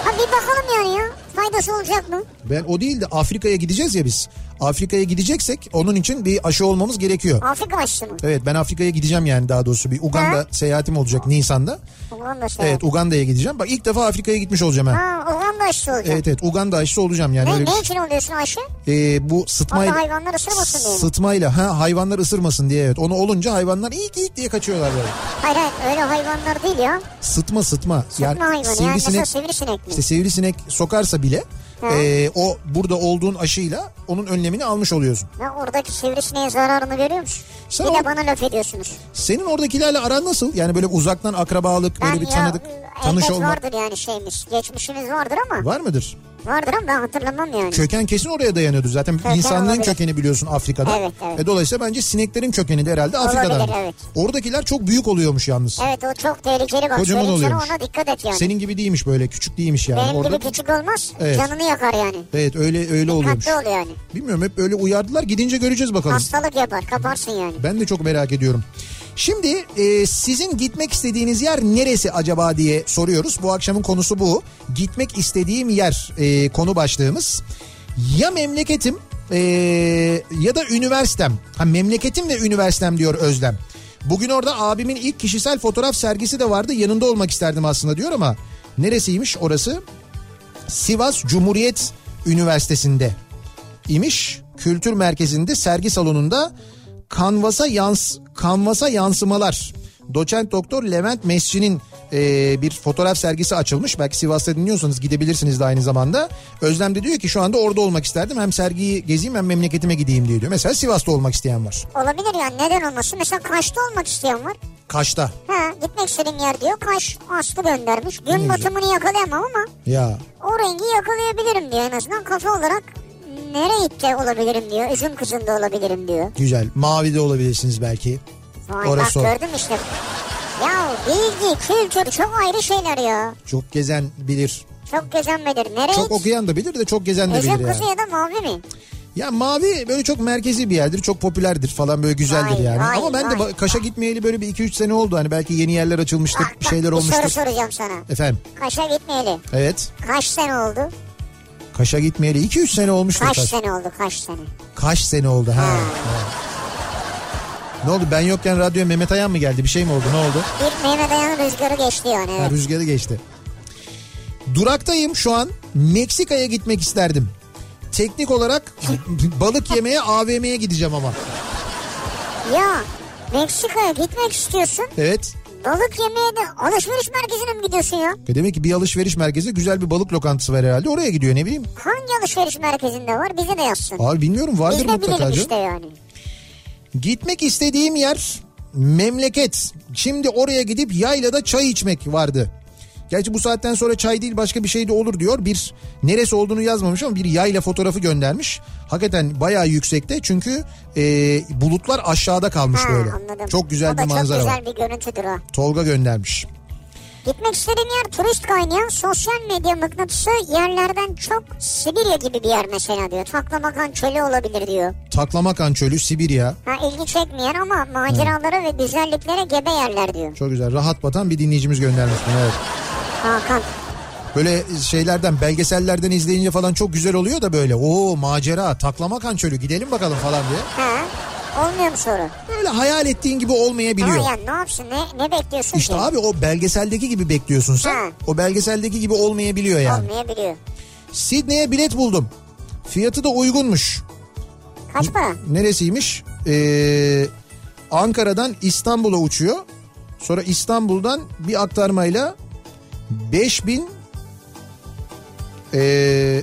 Speaker 2: Ha bir bakalım yani ya. Faydası olacak mı?
Speaker 1: Ben o değil de Afrika'ya gideceğiz ya biz. Afrika'ya gideceksek onun için bir aşı olmamız gerekiyor.
Speaker 2: Afrika aşısı mı?
Speaker 1: Evet ben Afrika'ya gideceğim yani daha doğrusu bir Uganda
Speaker 2: Ha?
Speaker 1: seyahatim olacak Nisan'da.
Speaker 2: Uganda şey.
Speaker 1: Evet Uganda'ya gideceğim. Bak ilk defa Afrika'ya gitmiş olacağım ha.
Speaker 2: Ha Uganda aşısı olacak.
Speaker 1: Evet evet Uganda aşısı olacağım yani.
Speaker 2: Ne,
Speaker 1: Öyle bir- şey.
Speaker 2: ne için oluyorsun aşı?
Speaker 1: Ee, bu
Speaker 2: Orada
Speaker 1: sıtmayla,
Speaker 2: hayvanlar ısırmasın diye. mi?
Speaker 1: sıtmayla ha, hayvanlar ısırmasın diye evet. Onu olunca hayvanlar ilk ilk diye kaçıyorlar böyle.
Speaker 2: Hayır hayır öyle hayvanlar değil ya.
Speaker 1: Sıtma sıtma.
Speaker 2: Sıtma hayvanı ya. Nasıl
Speaker 1: Hani sivrisinek-
Speaker 2: sivrisinek mi?
Speaker 1: İşte sivrisinek sokarsa bile
Speaker 2: Ha.
Speaker 1: e, o burada olduğun aşıyla onun önlemini almış oluyorsun.
Speaker 2: Ya oradaki sivrisineğin zararını görüyor musun?
Speaker 1: Sen
Speaker 2: bir
Speaker 1: o-
Speaker 2: de bana laf ediyorsunuz.
Speaker 1: Senin oradakilerle aran nasıl? Yani böyle uzaktan akrabalık, böyle
Speaker 2: Ben
Speaker 1: bir
Speaker 2: ya, e,
Speaker 1: tanıdık,
Speaker 2: elbet
Speaker 1: tanış olma
Speaker 2: vardır yani şeyimiz. Geçmişimiz vardır ama.
Speaker 1: var mıdır?
Speaker 2: Vardır ama ben hatırlamam yani.
Speaker 1: Köken kesin oraya dayanıyordu zaten.
Speaker 2: Köken
Speaker 1: İnsanlığın
Speaker 2: olabilir.
Speaker 1: kökeni biliyorsun Afrika'da.
Speaker 2: Evet, evet.
Speaker 1: E, dolayısıyla bence sineklerin kökeni de herhalde
Speaker 2: Olabilir,
Speaker 1: Afrika'dan.
Speaker 2: evet.
Speaker 1: Oradakiler çok büyük oluyormuş yalnız.
Speaker 2: Evet o çok tehlikeli bak.
Speaker 1: Kocaman
Speaker 2: Söyleyeyim
Speaker 1: oluyormuş.
Speaker 2: Sana ona dikkat et yani.
Speaker 1: Senin gibi değilmiş böyle, küçük değilmiş yani.
Speaker 2: Benim
Speaker 1: Orada...
Speaker 2: gibi küçük olmaz.
Speaker 1: Evet.
Speaker 2: Canını yakar yani.
Speaker 1: Evet öyle öyle oluyormuş.
Speaker 2: Dikkatli ol yani.
Speaker 1: Bilmiyorum hep öyle uyardılar. Gidince göreceğiz bakalım.
Speaker 2: Hastalık yapar kaparsın yani.
Speaker 1: Ben de çok merak ediyorum. Şimdi e, sizin gitmek istediğiniz yer neresi acaba diye soruyoruz. Bu akşamın konusu bu. Gitmek istediğim yer e, konu başlığımız. Ya memleketim e, ya da üniversitem. Ha memleketim ve üniversitem diyor Özlem. Bugün orada abimin ilk kişisel fotoğraf sergisi de vardı. Yanında olmak isterdim aslında diyor ama neresiymiş orası? Sivas Cumhuriyet Üniversitesi'nde imiş. Kültür merkezinde sergi salonunda kanvasa yans kanvasa yansımalar. Doçent doktor Levent Mesci'nin e, bir fotoğraf sergisi açılmış. Belki Sivas'ta dinliyorsanız gidebilirsiniz de aynı zamanda. Özlem de diyor ki şu anda orada olmak isterdim. Hem sergiyi gezeyim hem memleketime gideyim diye diyor. Mesela Sivas'ta olmak isteyen var.
Speaker 2: Olabilir yani neden olmasın? Mesela Kaş'ta olmak isteyen var.
Speaker 1: Kaş'ta.
Speaker 2: Ha gitmek istediğim yer diyor. Kaş Aslı göndermiş. Gün
Speaker 1: güzel.
Speaker 2: batımını yakalayamam ama
Speaker 1: Ya
Speaker 2: o rengi yakalayabilirim diyor en azından. Kafa olarak nereye de olabilirim diyor. Üzüm kızında olabilirim diyor.
Speaker 1: güzel. Mavi de olabilirsiniz belki.
Speaker 2: Vay
Speaker 1: Orası o.
Speaker 2: bak gördüm işte. Ya bilgi, kültür çok ayrı şeyler ya.
Speaker 1: Çok gezen bilir.
Speaker 2: Çok gezenmedir. Nereye
Speaker 1: Çok
Speaker 2: git?
Speaker 1: okuyan da bilir de çok gezen de bilir
Speaker 2: Üzüm
Speaker 1: yani.
Speaker 2: kızı ya da mavi mi?
Speaker 1: Ya mavi böyle çok merkezi bir yerdir. Çok popülerdir falan böyle güzeldir
Speaker 2: Vay,
Speaker 1: yani.
Speaker 2: vay,
Speaker 1: Ama ben de
Speaker 2: vay.
Speaker 1: ba- Kaş'a gitmeyeli böyle bir 2-3 sene oldu. Hani belki yeni yerler açılmıştır,
Speaker 2: Bak,
Speaker 1: bir
Speaker 2: bak,
Speaker 1: şeyler
Speaker 2: Bir soru
Speaker 1: olmuştur.
Speaker 2: soracağım sana.
Speaker 1: Efendim.
Speaker 2: Kaş'a gitmeyeli.
Speaker 1: Evet.
Speaker 2: Kaç sene oldu?
Speaker 1: Kaş'a gitmeyeli 2-3 sene olmuştur
Speaker 2: Kaç
Speaker 1: Kaş. Kaş,
Speaker 2: sene oldu kaç sene?
Speaker 1: sene oldu ha.
Speaker 2: Hmm.
Speaker 1: ha. Ne oldu? Ben yokken radyoya Mehmet Ayan mı geldi? Bir şey mi oldu? Ne oldu?
Speaker 2: Bir Mehmet Ayhan rüzgarı geçti yani.
Speaker 1: Ha,
Speaker 2: Evet.
Speaker 1: rüzgarı geçti. Duraktayım şu an. Meksika'ya gitmek isterdim. Teknik olarak balık yemeye AVM'ye gideceğim ama.
Speaker 2: Ya Meksika'ya gitmek istiyorsun.
Speaker 1: Evet.
Speaker 2: Balık yemeye de alışveriş merkezine mi gidiyorsun ya?
Speaker 1: E demek ki bir alışveriş merkezi güzel bir balık lokantası var herhalde. Oraya gidiyor ne bileyim.
Speaker 2: Hangi alışveriş merkezinde var? Bize de yazsın.
Speaker 1: Abi bilmiyorum vardır
Speaker 2: Biz de
Speaker 1: mutlaka.
Speaker 2: bilelim
Speaker 1: canım.
Speaker 2: işte yani.
Speaker 1: Gitmek istediğim yer memleket. Şimdi oraya gidip yaylada çay içmek vardı. Gerçi bu saatten sonra çay değil başka bir şey de olur diyor. Bir neresi olduğunu yazmamış ama bir yayla fotoğrafı göndermiş. Hakikaten bayağı yüksekte çünkü e, bulutlar aşağıda kalmış
Speaker 2: Ha,
Speaker 1: böyle.
Speaker 2: anladım.
Speaker 1: Çok güzel
Speaker 2: o
Speaker 1: bir
Speaker 2: da
Speaker 1: manzara
Speaker 2: çok
Speaker 1: var.
Speaker 2: güzel bir görüntüdür o.
Speaker 1: Tolga göndermiş.
Speaker 2: Gitmek istediğim yer turist kaynayan sosyal medya mıknatısı yerlerden çok Sibirya gibi bir yer mesela diyor. Taklamakan çölü olabilir diyor.
Speaker 1: Taklamakan çölü Sibirya.
Speaker 2: Ha, ilgi çekmeyen ama maceralara ve güzelliklere gebe yerler diyor.
Speaker 1: Çok güzel rahat batan bir dinleyicimiz göndermiş bunu evet.
Speaker 2: Hakan.
Speaker 1: Böyle şeylerden belgesellerden izleyince falan çok güzel oluyor da böyle. Oo macera taklamakan çölü gidelim bakalım falan diye.
Speaker 2: Ha, olmuyor mu soru?
Speaker 1: Böyle hayal ettiğin gibi olmayabiliyor.
Speaker 2: Ama ya ne yapsın ne, ne bekliyorsun
Speaker 1: İşte
Speaker 2: ki?
Speaker 1: abi o belgeseldeki gibi bekliyorsun
Speaker 2: Ha.
Speaker 1: sen. O belgeseldeki gibi olmayabiliyor yani.
Speaker 2: Olmayabiliyor.
Speaker 1: Sidney'e bilet buldum. Fiyatı da uygunmuş.
Speaker 2: Kaç para?
Speaker 1: Neresiymiş? Ee, Ankara'dan İstanbul'a uçuyor. Sonra İstanbul'dan bir aktarmayla 5000 ee,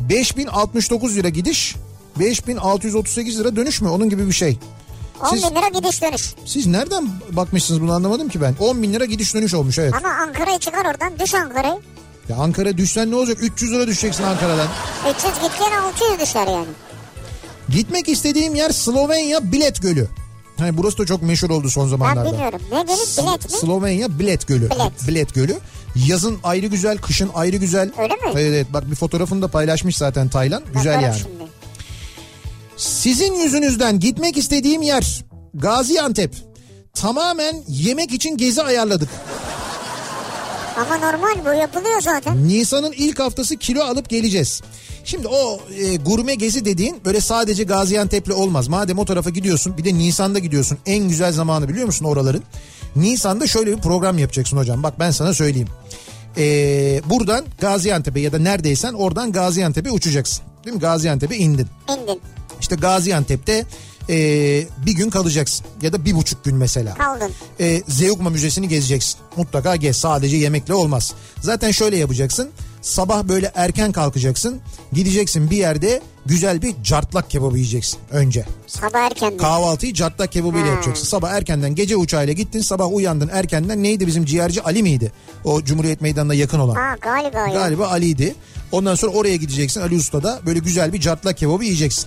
Speaker 1: 5069 lira gidiş 5638 lira dönüş mü? Onun gibi bir şey.
Speaker 2: 10
Speaker 1: Siz-
Speaker 2: bin lira gidiş dönüş.
Speaker 1: Siz nereden bakmışsınız bunu anlamadım ki ben. 10 bin lira gidiş dönüş olmuş evet.
Speaker 2: Ama Ankara'yı çıkar oradan düş Ankara'yı.
Speaker 1: Ya Ankara düşsen ne olacak? 300 lira düşeceksin Ankara'dan.
Speaker 2: 300 gitken 600 düşer yani.
Speaker 1: Gitmek istediğim yer Slovenya Bilet Gölü. Hani burası da çok meşhur oldu son
Speaker 2: Ben
Speaker 1: zamanlarda.
Speaker 2: bilmiyorum. Ne gelip bilet mi?
Speaker 1: Slovenya Bilet Gölü.
Speaker 2: Bilet.
Speaker 1: Gölü. Yazın ayrı güzel, kışın ayrı güzel.
Speaker 2: Öyle mi?
Speaker 1: Evet, evet. bak bir fotoğrafını da paylaşmış zaten Taylan. Güzel
Speaker 2: Bakarım
Speaker 1: yani.
Speaker 2: Şimdi.
Speaker 1: Sizin yüzünüzden gitmek istediğim yer Gaziantep. Tamamen yemek için gezi ayarladık.
Speaker 2: Ama normal bu yapılıyor zaten.
Speaker 1: Nisan'ın ilk haftası kilo alıp geleceğiz. Şimdi o e, gurme gezi dediğin böyle sadece Gaziantep'le olmaz. Madem o tarafa gidiyorsun bir de Nisan'da gidiyorsun. En güzel zamanı biliyor musun oraların? Nisan'da şöyle bir program yapacaksın hocam. Bak ben sana söyleyeyim. E, buradan Gaziantep'e ya da neredeysen oradan Gaziantep'e uçacaksın. Değil mi? Gaziantep'e indin.
Speaker 2: İndin.
Speaker 1: İşte Gaziantep'te e, bir gün kalacaksın ya da bir buçuk gün mesela
Speaker 2: Kaldın.
Speaker 1: e, Zeugma Müzesi'ni gezeceksin. Mutlaka gez sadece yemekle olmaz. Zaten şöyle yapacaksın. Sabah böyle erken kalkacaksın. Gideceksin bir yerde güzel bir cartlak kebabı yiyeceksin önce.
Speaker 2: Sabah erken.
Speaker 1: Kahvaltıyı cartlak kebabıyla
Speaker 2: Ha.
Speaker 1: yapacaksın. Sabah erkenden gece uçağıyla gittin sabah uyandın erkenden neydi bizim ciğerci Ali miydi? O Cumhuriyet Meydanı'na yakın olan.
Speaker 2: Ha galiba ya.
Speaker 1: Galiba Ali'ydi. Ondan sonra oraya gideceksin Ali Usta'da böyle güzel bir cartlak kebabı yiyeceksin.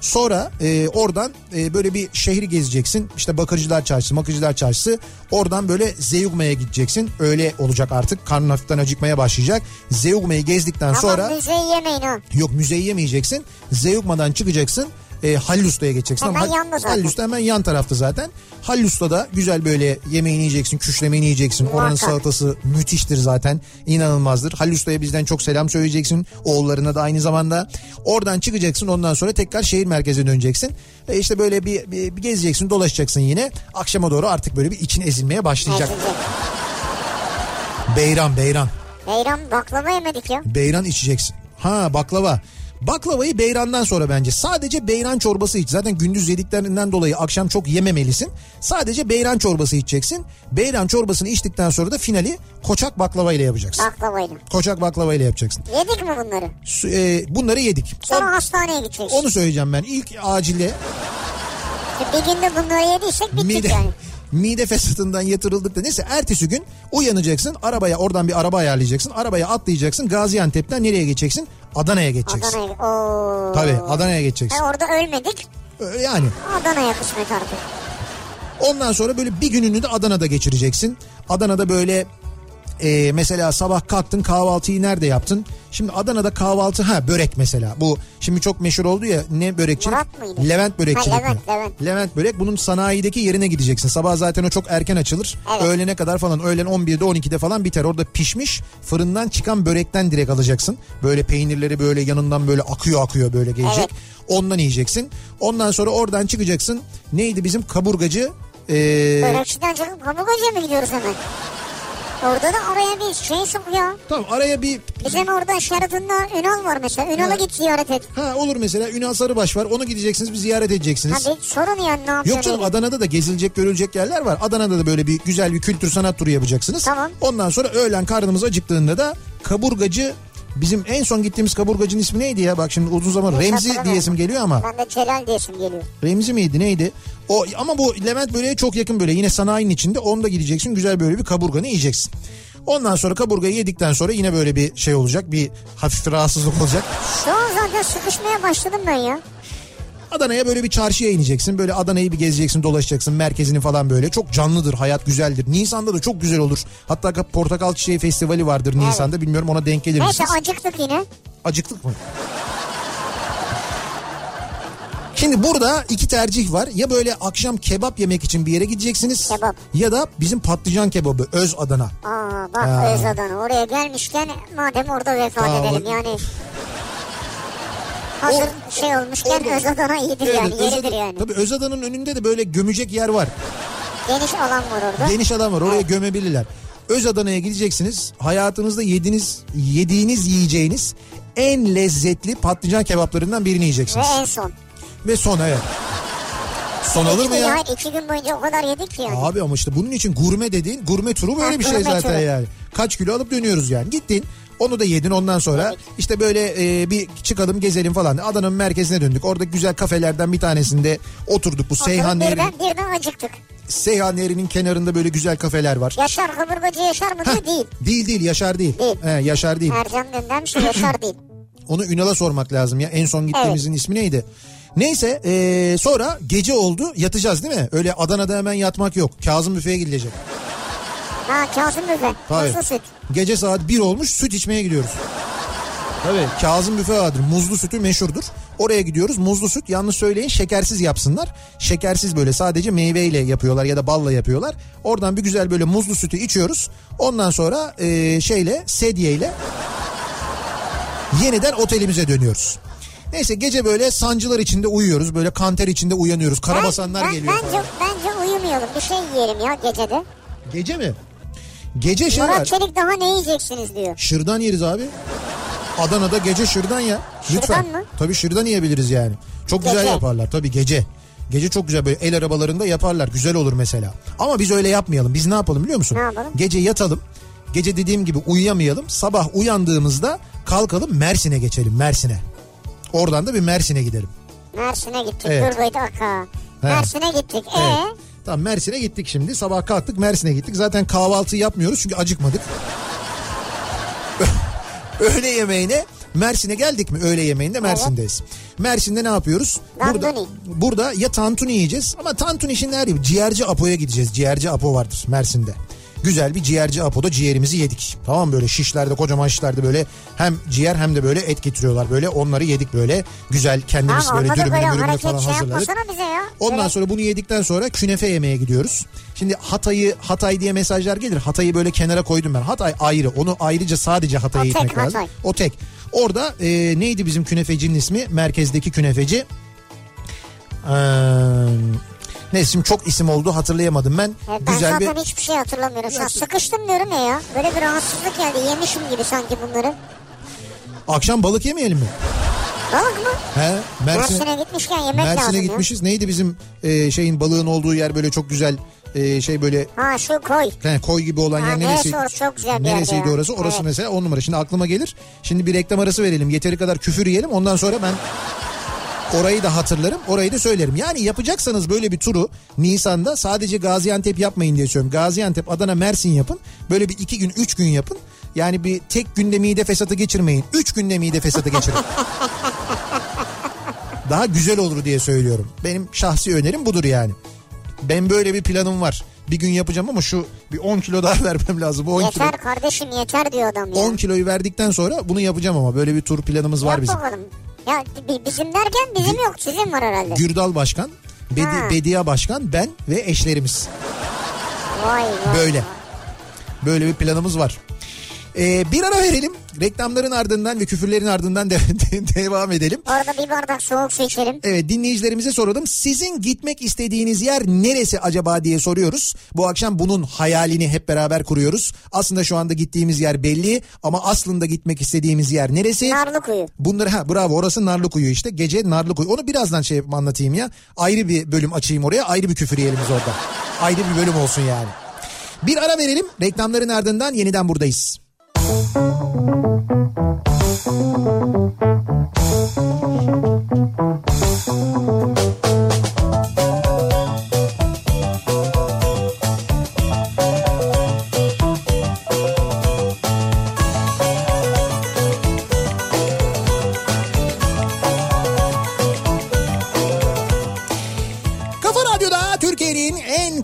Speaker 1: Sonra e, oradan e, böyle bir şehri gezeceksin. İşte Bakırcılar Çarşısı, Makırcılar Çarşısı. Oradan böyle Zeugma'ya gideceksin. Öyle olacak artık. Karnın hafiften acıkmaya başlayacak. Zeugma'yı gezdikten
Speaker 2: Ama
Speaker 1: sonra...
Speaker 2: müzeyi yemeyin ha.
Speaker 1: Yok müzeyi yemeyeceksin. Zeugma'dan çıkacaksın. E, Halil Usta'ya geçeceksin.
Speaker 2: Hemen
Speaker 1: Hal-
Speaker 2: yanda zaten.
Speaker 1: Halil Usta hemen yan tarafta zaten. Halil Usta'da güzel böyle yemeğini yiyeceksin, küşlemeni yiyeceksin. Oranın
Speaker 2: Muhakkak.
Speaker 1: salatası müthiştir zaten. İnanılmazdır. Halil Usta'ya bizden çok selam söyleyeceksin. Oğullarına da aynı zamanda. Oradan çıkacaksın ondan sonra tekrar şehir merkezine döneceksin. E işte böyle bir, bir, bir gezeceksin, dolaşacaksın yine. Akşama doğru artık böyle bir için ezilmeye başlayacak.
Speaker 2: Ezecek.
Speaker 1: Beyran, beyran.
Speaker 2: Beyran baklava yemedik ya.
Speaker 1: Beyran içeceksin. Ha baklava. Baklavayı beyrandan sonra bence. Sadece beyran çorbası iç. Zaten gündüz yediklerinden dolayı akşam çok yememelisin. Sadece beyran çorbası içeceksin. Beyran çorbasını içtikten sonra da finali koçak baklava ile yapacaksın.
Speaker 2: Baklavayla.
Speaker 1: Koçak baklava ile yapacaksın.
Speaker 2: Yedik mi bunları?
Speaker 1: Su- e, bunları yedik.
Speaker 2: Sonra hastaneye gideceğiz.
Speaker 1: Onu söyleyeceğim ben. İlk acile
Speaker 2: Bir günde bunları yediysek bittik
Speaker 1: mide
Speaker 2: yani.
Speaker 1: mide fesatından yatırıldık da neyse ertesi gün uyanacaksın arabaya oradan bir araba ayarlayacaksın arabaya atlayacaksın Gaziantep'ten nereye geçeceksin Adana'ya geçeceksin.
Speaker 2: Adana'ya. Oo.
Speaker 1: Tabii Adana'ya geçeceksin.
Speaker 2: E, orada ölmedik.
Speaker 1: Ee, Yani
Speaker 2: Adana'ya kısmet artık.
Speaker 1: ondan sonra böyle bir gününü de Adana'da geçireceksin. Adana'da böyle e, mesela sabah kalktın kahvaltıyı nerede yaptın? Şimdi Adana'da kahvaltı ha börek mesela. Bu şimdi çok meşhur oldu ya ne börekçilik?
Speaker 2: Murat mıydı?
Speaker 1: Levent börekçilik.
Speaker 2: Ha, Levent,
Speaker 1: mi?
Speaker 2: Levent.
Speaker 1: Levent börek bunun sanayideki yerine gideceksin. Sabah zaten o çok erken açılır.
Speaker 2: Evet.
Speaker 1: Öğlene kadar falan öğlen 11'de 12'de falan biter. Orada pişmiş fırından çıkan börekten direkt alacaksın. Böyle peynirleri böyle yanından böyle akıyor akıyor böyle gelecek.
Speaker 2: Evet.
Speaker 1: Ondan yiyeceksin. Ondan sonra oradan çıkacaksın. Neydi bizim kaburgacı? Ee,
Speaker 2: Börekçiden çıkıp Pamukkale'ye mi gidiyoruz hemen? Orada da araya bir şey sok ya.
Speaker 1: Tamam araya bir
Speaker 2: Bizim orada Sheraton'da Ünal var mesela. Ünal'a git ziyaret et.
Speaker 1: ha olur mesela Ünal Sarıbaş var. Onu gideceksiniz bir ziyaret edeceksiniz.
Speaker 2: Abi sorun ya ne yapacağız?
Speaker 1: Yok canım Adana'da da gezilecek görülecek yerler var. Adana'da da böyle bir güzel bir kültür sanat turu yapacaksınız.
Speaker 2: Tamam.
Speaker 1: Ondan sonra öğlen karnımız acıktığında da kaburgacı bizim en son gittiğimiz kaburgacının ismi neydi ya? Bak şimdi uzun zaman
Speaker 2: Neyse,
Speaker 1: Remzi
Speaker 2: hatırlamıyorum.
Speaker 1: diyesim geliyor ama.
Speaker 2: Ben de Celal diyesim geliyor.
Speaker 1: Remzi miydi neydi? O ama bu Levent böreğe çok yakın böyle yine sanayinin içinde onda gideceksin güzel böyle bir kaburganı yiyeceksin. Ondan sonra kaburgayı yedikten sonra yine böyle bir şey olacak bir hafif rahatsızlık olacak.
Speaker 2: Şu an zaten sıkışmaya başladım ben ya.
Speaker 1: Adana'ya böyle bir çarşıya ineceksin. Böyle Adana'yı bir gezeceksin dolaşacaksın merkezini falan böyle. Çok canlıdır hayat güzeldir. Nisan'da da çok güzel olur. Hatta Portakal Çiçeği Festivali vardır Nisan'da. Bilmiyorum ona denk gelir
Speaker 2: Neyse
Speaker 1: misiniz?
Speaker 2: acıktık yine.
Speaker 1: Acıktık mı? Şimdi burada iki tercih var. Ya böyle akşam kebap yemek için bir yere gideceksiniz.
Speaker 2: Kebap.
Speaker 1: Ya da bizim patlıcan kebabı Öz Adana.
Speaker 2: Aa bak
Speaker 1: Ha.
Speaker 2: Öz Adana oraya gelmişken madem orada vefat
Speaker 1: Aa,
Speaker 2: edelim
Speaker 1: o-
Speaker 2: yani. Hazır şey olmuşken Öz Adana iyidir yani
Speaker 1: Öz
Speaker 2: yeridir
Speaker 1: Adana-
Speaker 2: yani.
Speaker 1: Tabii Öz Adana'nın önünde de böyle gömecek yer var.
Speaker 2: Geniş alan var orada.
Speaker 1: Geniş alan var oraya gömebilirler. Öz Adana'ya gideceksiniz. Hayatınızda yediğiniz, yediğiniz yiyeceğiniz en lezzetli patlıcan kebaplarından birini
Speaker 2: Ve
Speaker 1: yiyeceksiniz.
Speaker 2: en son.
Speaker 1: Ve son evet. Son olur mu
Speaker 2: İki-
Speaker 1: ya?
Speaker 2: hayır, iki gün boyunca o kadar yedik ki yani.
Speaker 1: Abi ama işte bunun için gurme dediğin gurme turu böyle
Speaker 2: Ha,
Speaker 1: bir şey
Speaker 2: gurme
Speaker 1: zaten
Speaker 2: turu.
Speaker 1: yani. Kaç kilo alıp dönüyoruz yani. Gittin onu da yedin ondan sonra işte böyle e, bir çıkalım gezelim falan. Adana'nın merkezine döndük. Orada güzel kafelerden bir tanesinde oturduk. Bu
Speaker 2: Oturup
Speaker 1: Seyhan Nehri,
Speaker 2: birden, birden acıktık.
Speaker 1: Seyhan Nehri'nin kenarında böyle güzel kafeler var.
Speaker 2: Yaşar kaburgacı Yaşar mı diyor değil.
Speaker 1: Değil değil Yaşar değil.
Speaker 2: Değil.
Speaker 1: He, yaşar değil.
Speaker 2: Ercan göndermiş de Yaşar değil.
Speaker 1: Onu Ünal'a sormak lazım ya. En son gittiğimizin ismi neydi? Neyse eee, sonra gece oldu yatacağız değil mi? Öyle Adana'da hemen yatmak yok. Kazım büfeye gidilecek.
Speaker 2: Ha Kazım Büfe.
Speaker 1: Hayır.
Speaker 2: Nasıl süt?
Speaker 1: Gece saat 1 olmuş süt içmeye gidiyoruz. Tabii Kazım büfe vardır. Muzlu sütü meşhurdur. Oraya gidiyoruz. Muzlu süt yalnız söyleyin şekersiz yapsınlar. Şekersiz böyle sadece meyveyle yapıyorlar ya da balla yapıyorlar. Oradan bir güzel böyle muzlu sütü içiyoruz. Ondan sonra eee, şeyle sedyeyle yeniden otelimize dönüyoruz. Neyse gece böyle sancılar içinde uyuyoruz. Böyle kanter içinde uyanıyoruz. Karabasanlar
Speaker 2: ben,
Speaker 1: geliyor.
Speaker 2: Bence, bence uyumayalım bir şey yiyelim ya gecede.
Speaker 1: Gece mi? Gece şey var.
Speaker 2: Murat Çelik daha ne yiyeceksiniz diyor.
Speaker 1: Şırdan yeriz abi. Adana'da gece şırdan ya. Lütfen.
Speaker 2: Şırdan mı?
Speaker 1: Tabii şırdan yiyebiliriz yani. Çok güzel
Speaker 2: Gece.
Speaker 1: yaparlar tabii gece. Gece çok güzel böyle el arabalarında yaparlar. Güzel olur mesela. Ama biz öyle yapmayalım. Biz ne yapalım biliyor musun?
Speaker 2: Ne yapalım?
Speaker 1: Gece yatalım. Gece dediğim gibi uyuyamayalım. Sabah uyandığımızda kalkalım Mersin'e geçelim Mersin'e. Oradan da bir Mersin'e gidelim.
Speaker 2: Mersin'e gittik.
Speaker 1: Evet.
Speaker 2: Evet. Durgay'da aka.
Speaker 1: He.
Speaker 2: Mersin'e gittik. E
Speaker 1: Evet. Tamam Mersin'e gittik şimdi. Sabah kalktık Mersin'e gittik. Zaten kahvaltı yapmıyoruz çünkü acıkmadık. Öğle yemeğine Mersin'e geldik mi? Öğle yemeğinde Mersin'deyiz. Mersin'de ne yapıyoruz? Burada,
Speaker 2: Tantuni.
Speaker 1: burada ya tantuni yiyeceğiz ama tantuni şimdi her gibi ciğerci Apo'ya gideceğiz. Ciğerci Apo vardır Mersin'de. Güzel bir ciğerci Apo'da ciğerimizi yedik. Tamam mı? böyle şişlerde kocaman şişlerde böyle hem ciğer hem de böyle et getiriyorlar. Böyle onları yedik böyle güzel kendimiz
Speaker 2: tamam
Speaker 1: böyle
Speaker 2: onda da Ee? böyle
Speaker 1: dürümünü mürümünü
Speaker 2: hareket
Speaker 1: falan
Speaker 2: şey
Speaker 1: hazırladık.
Speaker 2: yapmasana bize ya.
Speaker 1: Ondan
Speaker 2: Böyle-
Speaker 1: sonra bunu yedikten sonra künefe yemeye gidiyoruz. Şimdi Hatay'ı Hatay diye mesajlar gelir. Hatay'ı böyle kenara koydum ben. Hatay ayrı. Onu ayrıca sadece Hatay'a
Speaker 2: O tek
Speaker 1: gitmek lazım.
Speaker 2: Hatay.
Speaker 1: O tek. Orada e, neydi bizim künefecinin ismi? Merkezdeki künefeci. Ee, neyse şimdi çok isim oldu hatırlayamadım ben.
Speaker 2: Evet, E, ben
Speaker 1: Güzel bir
Speaker 2: zaten hiçbir şey hatırlamıyorum. Şu an
Speaker 1: Biraz-
Speaker 2: sıkıştım diyorum ya ya. Böyle bir rahatsızlık geldi. Yemişim gibi sanki bunları.
Speaker 1: akşam balık yemeyelim mi?
Speaker 2: Balık mı?
Speaker 1: He? Mersin'e,
Speaker 2: Mersin'e gitmişken yemek lazım
Speaker 1: Mersin'e
Speaker 2: ya.
Speaker 1: gitmişiz. Neydi bizim e, şeyin balığın olduğu yer böyle çok güzel e, şey böyle
Speaker 2: Ha şu koy.
Speaker 1: He, koy gibi olan
Speaker 2: Ha,
Speaker 1: yer
Speaker 2: neresi
Speaker 1: neresi?
Speaker 2: orası? Çok güzel bir yer
Speaker 1: Neresiydi
Speaker 2: ya.
Speaker 1: orası? Orası
Speaker 2: Evet.
Speaker 1: mesela on numara. Şimdi aklıma gelir. Şimdi bir reklam arası verelim. Yeteri kadar küfür yiyelim. Ondan sonra ben orayı da hatırlarım. Orayı da söylerim. Yani yapacaksanız böyle bir turu Nisan'da sadece Gaziantep yapmayın diye söylüyorum. Gaziantep, Adana, Mersin yapın. Böyle bir iki gün, üç gün yapın. Yani bir tek günde mide fesatı geçirmeyin. Üç günde mide fesatı geçirin. Daha güzel olur diye söylüyorum. Benim şahsi önerim budur yani. Ben böyle bir planım var. Bir gün yapacağım ama şu bir 10 kilo daha vermem lazım. Bu 10 kilo.
Speaker 2: Yeter kardeşim yeter diyor adam ya.
Speaker 1: 10 kiloyu verdikten sonra bunu yapacağım ama böyle bir tur planımız var
Speaker 2: Yap
Speaker 1: bizim.
Speaker 2: bakalım. Ya bi- bizim derken bizim yok sizin var herhalde.
Speaker 1: Gürdal Başkan, Bedi,
Speaker 2: Ha.
Speaker 1: Bediye Başkan, ben ve eşlerimiz.
Speaker 2: Vay vay.
Speaker 1: Böyle. Böyle bir planımız var. Ee, bir ara verelim. Reklamların ardından ve küfürlerin ardından de- de- devam edelim.
Speaker 2: Orada bir bardak soğuk su içelim.
Speaker 1: Evet dinleyicilerimize soralım. Sizin gitmek istediğiniz yer neresi acaba diye soruyoruz. Bu akşam bunun hayalini hep beraber kuruyoruz. Aslında şu anda gittiğimiz yer belli ama aslında gitmek istediğimiz yer neresi?
Speaker 2: Narlıkuyu.
Speaker 1: Bunları ha bravo orası Narlıkuyu işte. Gece Narlıkuyu. Onu birazdan şey yapayım, anlatayım ya. Ayrı bir bölüm açayım oraya. Ayrı bir küfür yiyelim biz orada. Ayrı bir bölüm olsun yani. Bir ara verelim. Reklamların ardından yeniden buradayız.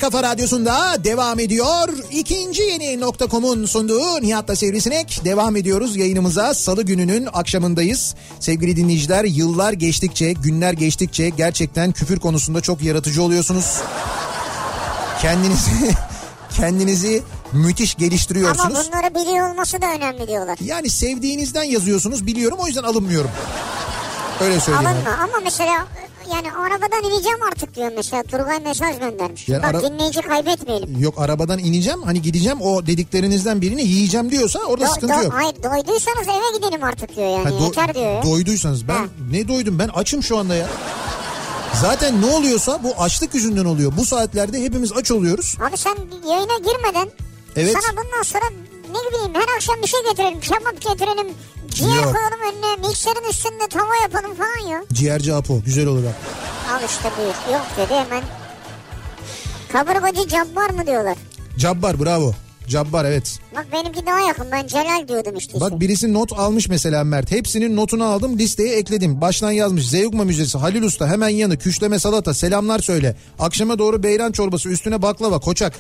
Speaker 1: Kafa Radyosu'nda devam ediyor. İkinci yeni nokta.com'un sunduğu Nihat'la Sivrisinek. Devam ediyoruz yayınımıza. Salı gününün akşamındayız. Sevgili dinleyiciler yıllar geçtikçe, günler geçtikçe gerçekten küfür konusunda çok yaratıcı oluyorsunuz. Kendinizi kendinizi müthiş
Speaker 2: Ama
Speaker 1: geliştiriyorsunuz.
Speaker 2: bunları biliyor olması da önemli diyorlar.
Speaker 1: Yani sevdiğinizden yazıyorsunuz biliyorum o yüzden alınmıyorum. Öyle söyleyeyim. ben.
Speaker 2: Alınma ama mesela yani arabadan ineceğim artık diyor mesela Turgay mesaj göndermiş.
Speaker 1: Yani
Speaker 2: Bak
Speaker 1: ara-
Speaker 2: dinleyici kaybetmeyelim.
Speaker 1: Yok arabadan ineceğim hani gideceğim o dediklerinizden birini yiyeceğim diyorsa orada
Speaker 2: Do-
Speaker 1: sıkıntı
Speaker 2: do-
Speaker 1: yok.
Speaker 2: Hayır doyduysanız eve gidelim artık diyor yani
Speaker 1: Ha, do-
Speaker 2: yeter diyor ya.
Speaker 1: Doyduysanız ben
Speaker 2: Ha.
Speaker 1: ne doydum ben açım şu anda ya. Zaten ne oluyorsa bu açlık yüzünden oluyor. Bu saatlerde hepimiz aç oluyoruz.
Speaker 2: Abi sen yayına girmeden
Speaker 1: Evet.
Speaker 2: sana bundan sonra ne bileyim her akşam bir şey getirelim. Kebap getirelim. Ciğer
Speaker 1: Yok.
Speaker 2: koyalım önüne. Mikserin üstünde tava yapalım falan ya.
Speaker 1: Ciğerci Apo güzel olur bak.
Speaker 2: Al işte bu Yok dedi hemen. Kaburgacı cabbar mı diyorlar.
Speaker 1: Cabbar bravo. Cabbar evet.
Speaker 2: Bak benimki daha yakın. Ben Celal diyordum işte.
Speaker 1: Bak
Speaker 2: işte.
Speaker 1: birisi not almış mesela Mert. Hepsinin notunu aldım listeye ekledim. Baştan yazmış. Zeugma Müzesi, Halil Usta hemen yanı, küşleme salata, selamlar söyle. Akşama doğru beyran çorbası, üstüne baklava, koçak.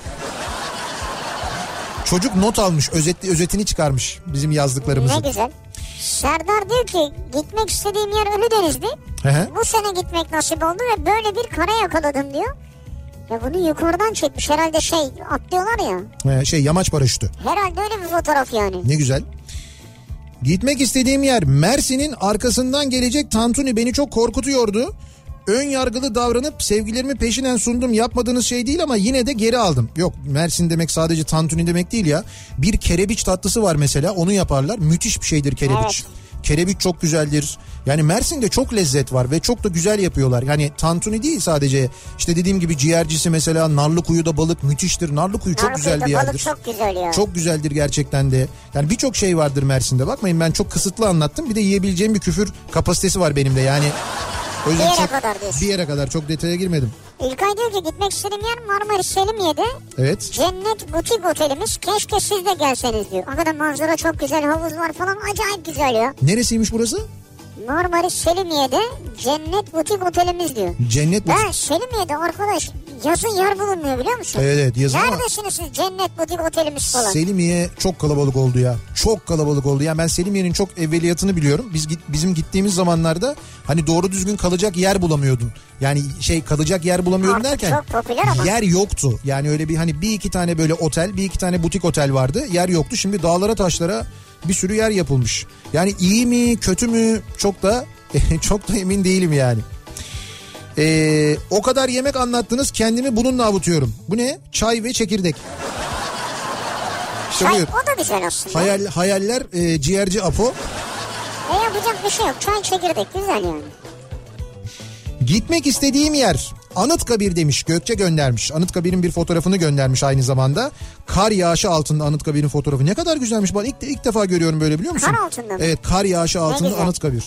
Speaker 1: Çocuk not almış, özet, özetini çıkarmış bizim
Speaker 2: Ne
Speaker 1: yazdıklarımızın.
Speaker 2: güzel. Serdar diyor ki gitmek istediğim yer Ölüdeniz'di.
Speaker 1: Hı hı.
Speaker 2: Bu sene gitmek nasip oldu ve böyle bir kara yakaladım diyor. Ya bunu yukarıdan çekmiş herhalde şey atlıyorlar ya.
Speaker 1: Ee, şey yamaç paraşütü.
Speaker 2: Herhalde öyle bir fotoğraf yani.
Speaker 1: Ne güzel. Gitmek istediğim yer Mersin'in arkasından gelecek Tantuni beni çok korkutuyordu. Ön yargılı davranıp sevgilerimi peşinen sundum. Yapmadığınız şey değil ama yine de geri aldım. Yok Mersin demek sadece Tantuni demek değil ya. Bir kerebiç tatlısı var mesela onu yaparlar. Müthiş bir şeydir kerebiç. Kerebiç çok güzeldir. Yani Mersin'de çok lezzet var ve çok da güzel yapıyorlar. Yani tantuni değil sadece işte dediğim gibi ciğercisi mesela Narlıkuyu'da balık müthiştir. Narlıkuyu çok güzel
Speaker 2: Narlıkuyu'da
Speaker 1: bir yerdir.
Speaker 2: Balık çok güzel ya.
Speaker 1: Çok güzeldir gerçekten de. Yani birçok şey vardır Mersin'de. Bakmayın ben çok kısıtlı anlattım. Bir de yiyebileceğim bir küfür kapasitesi var benim de. Yani o yüzden
Speaker 2: Bir yere
Speaker 1: çok-
Speaker 2: kadar diyorsun.
Speaker 1: bir yere kadar çok detaya girmedim.
Speaker 2: İlkay diyor ki gitmek istediğim yer Marmaris Selimiye'de.
Speaker 1: Evet.
Speaker 2: Cennet Butik Otelimiz. Keşke siz de gelseniz diyor. Hakikaten manzara çok güzel. Havuz var falan. Acayip güzel ya.
Speaker 1: Neresiymiş burası?
Speaker 2: Marmaris Selimiye'de Cennet Butik Otelimiz diyor.
Speaker 1: Cennet mi?
Speaker 2: Ya Selimiye'de arkadaş yazın yer bulunmuyor biliyor musun?
Speaker 1: Evet, evet, yazın ama-
Speaker 2: Neredesiniz siz Cennet Butik Otelimiz falan?
Speaker 1: Selimiye çok kalabalık oldu ya. Çok kalabalık oldu. Yani ben Selimiye'nin çok evveliyatını biliyorum. Biz git- bizim gittiğimiz zamanlarda hani doğru düzgün kalacak yer bulamıyordun. Yani şey kalacak yer bulamıyordun
Speaker 2: Artık
Speaker 1: derken
Speaker 2: çok popüler ama.
Speaker 1: yer yoktu. Yani öyle bir hani bir iki tane böyle otel, bir iki tane butik otel vardı. Yer yoktu. Şimdi dağlara, taşlara bir sürü yer yapılmış. Yani iyi mi, kötü mü çok da çok da emin değilim yani. Ee, o kadar yemek anlattınız kendimi bununla avutuyorum. Bu ne? Çay ve çekirdek. İşte
Speaker 2: Çay,
Speaker 1: buyur.
Speaker 2: o da güzel aslında.
Speaker 1: Hayal, hayaller e, ciğerci Apo.
Speaker 2: E yapacak bir şey yok. Çay çekirdek güzel yani.
Speaker 1: Gitmek istediğim yer Anıtkabir demiş Gökçe göndermiş. Anıtkabir'in bir fotoğrafını göndermiş aynı zamanda. Kar yağışı altında Anıtkabir'in fotoğrafı. Ne kadar güzelmiş. Ben ilk, ilk defa görüyorum böyle biliyor musun?
Speaker 2: Kar altında mı?
Speaker 1: Evet kar yağışı altında
Speaker 2: güzel.
Speaker 1: Anıtkabir.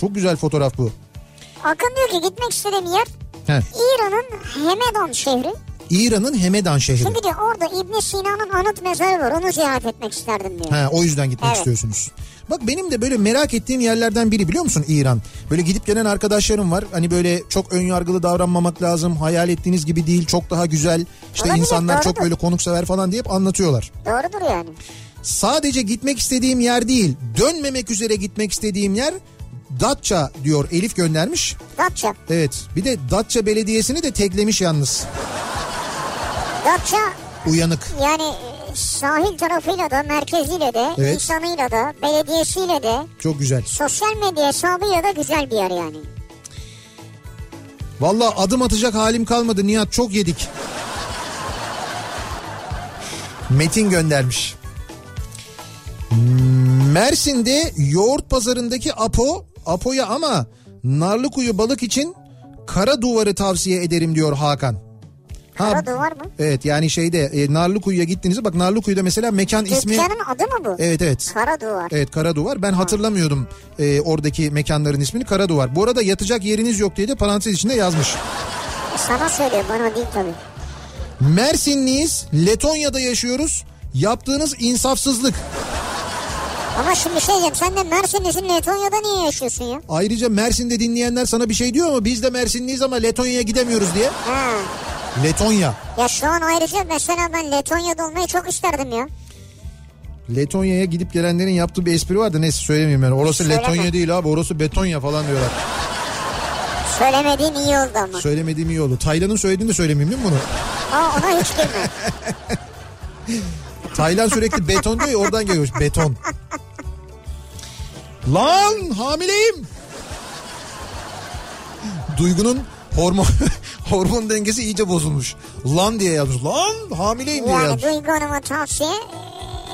Speaker 1: Çok güzel fotoğraf bu.
Speaker 2: Akın diyor ki gitmek istediğim yer
Speaker 1: He.
Speaker 2: İran'ın Hemedon şehri.
Speaker 1: İran'ın Hemedan şehri.
Speaker 2: Şimdi diyor orada ibn Sina'nın anıt mezarı var. Onu ziyaret etmek isterdim diyor.
Speaker 1: Ha, o yüzden gitmek
Speaker 2: Evet.
Speaker 1: istiyorsunuz. Bak benim de böyle merak ettiğim yerlerden biri biliyor musun İran? Böyle gidip gelen arkadaşlarım var. Hani böyle çok ön yargılı davranmamak lazım. Hayal ettiğiniz gibi değil. Çok daha güzel. İşte
Speaker 2: Olabilir,
Speaker 1: insanlar çok
Speaker 2: doğrudur.
Speaker 1: böyle konuksever falan diye hep anlatıyorlar.
Speaker 2: Doğrudur yani.
Speaker 1: Sadece gitmek istediğim yer değil. Dönmemek üzere gitmek istediğim yer Datça diyor Elif göndermiş.
Speaker 2: Datça.
Speaker 1: Evet. Bir de Datça Belediyesi'ni de teklemiş yalnız.
Speaker 2: Datça
Speaker 1: Uyanık.
Speaker 2: yani e, sahil tarafıyla da merkeziyle de
Speaker 1: Evet.
Speaker 2: insanıyla da belediyesiyle de
Speaker 1: Çok güzel.
Speaker 2: sosyal medya hesabıyla da güzel bir yer yani.
Speaker 1: Valla adım atacak halim kalmadı Nihat çok yedik. Metin göndermiş. Mersin'de yoğurt pazarındaki Apo, Apo'ya ama Narlıkuyu balık için kara duvarı tavsiye ederim diyor Hakan. Ha,
Speaker 2: Kara duvar mı?
Speaker 1: Evet yani şeyde e, Narlıkuyu'ya gittiğinizde bak Narlıkuyu'da mesela mekan ismi...
Speaker 2: Dükkanın adı mı bu?
Speaker 1: Evet evet.
Speaker 2: Kara duvar.
Speaker 1: Evet Kara Duvar. Ben hatırlamıyordum e, oradaki mekanların ismini Kara Duvar. Bu arada yatacak yeriniz yok diye de parantez içinde yazmış.
Speaker 2: Sana söylüyor bana değil tabii.
Speaker 1: Mersinliyiz, Letonya'da yaşıyoruz. Yaptığınız insafsızlık.
Speaker 2: Ama şimdi bir şey diyeceğim sen de Mersin'desin Letonya'da niye yaşıyorsun ya?
Speaker 1: Ayrıca Mersin'de dinleyenler sana bir şey diyor ama biz de Mersinliyiz ama Letonya'ya gidemiyoruz diye.
Speaker 2: Ha.
Speaker 1: Letonya.
Speaker 2: Ya şu an ayrıca mesela ben Letonya'da olmayı çok isterdim ya.
Speaker 1: Letonya'ya gidip gelenlerin yaptığı bir espri vardı. Neyse söylemeyeyim yani. Orası
Speaker 2: Söyleme.
Speaker 1: Letonya değil abi. Orası Betonya falan diyorlar.
Speaker 2: Söylemediğin iyi oldu ama.
Speaker 1: Söylemediğim iyi oldu. Taylan'ın söylediğini de söylemeyeyim değil mi bunu?
Speaker 2: Aa, ona hiç girme.
Speaker 1: Taylan sürekli beton diyor ya oradan geliyor. Beton. Lan hamileyim. Duygu'nun hormon hormon dengesi iyice bozulmuş. Lan diye yazmış. Lan hamileyim diye
Speaker 2: Yani
Speaker 1: yazmış.
Speaker 2: Duygu Hanım'a tavsiye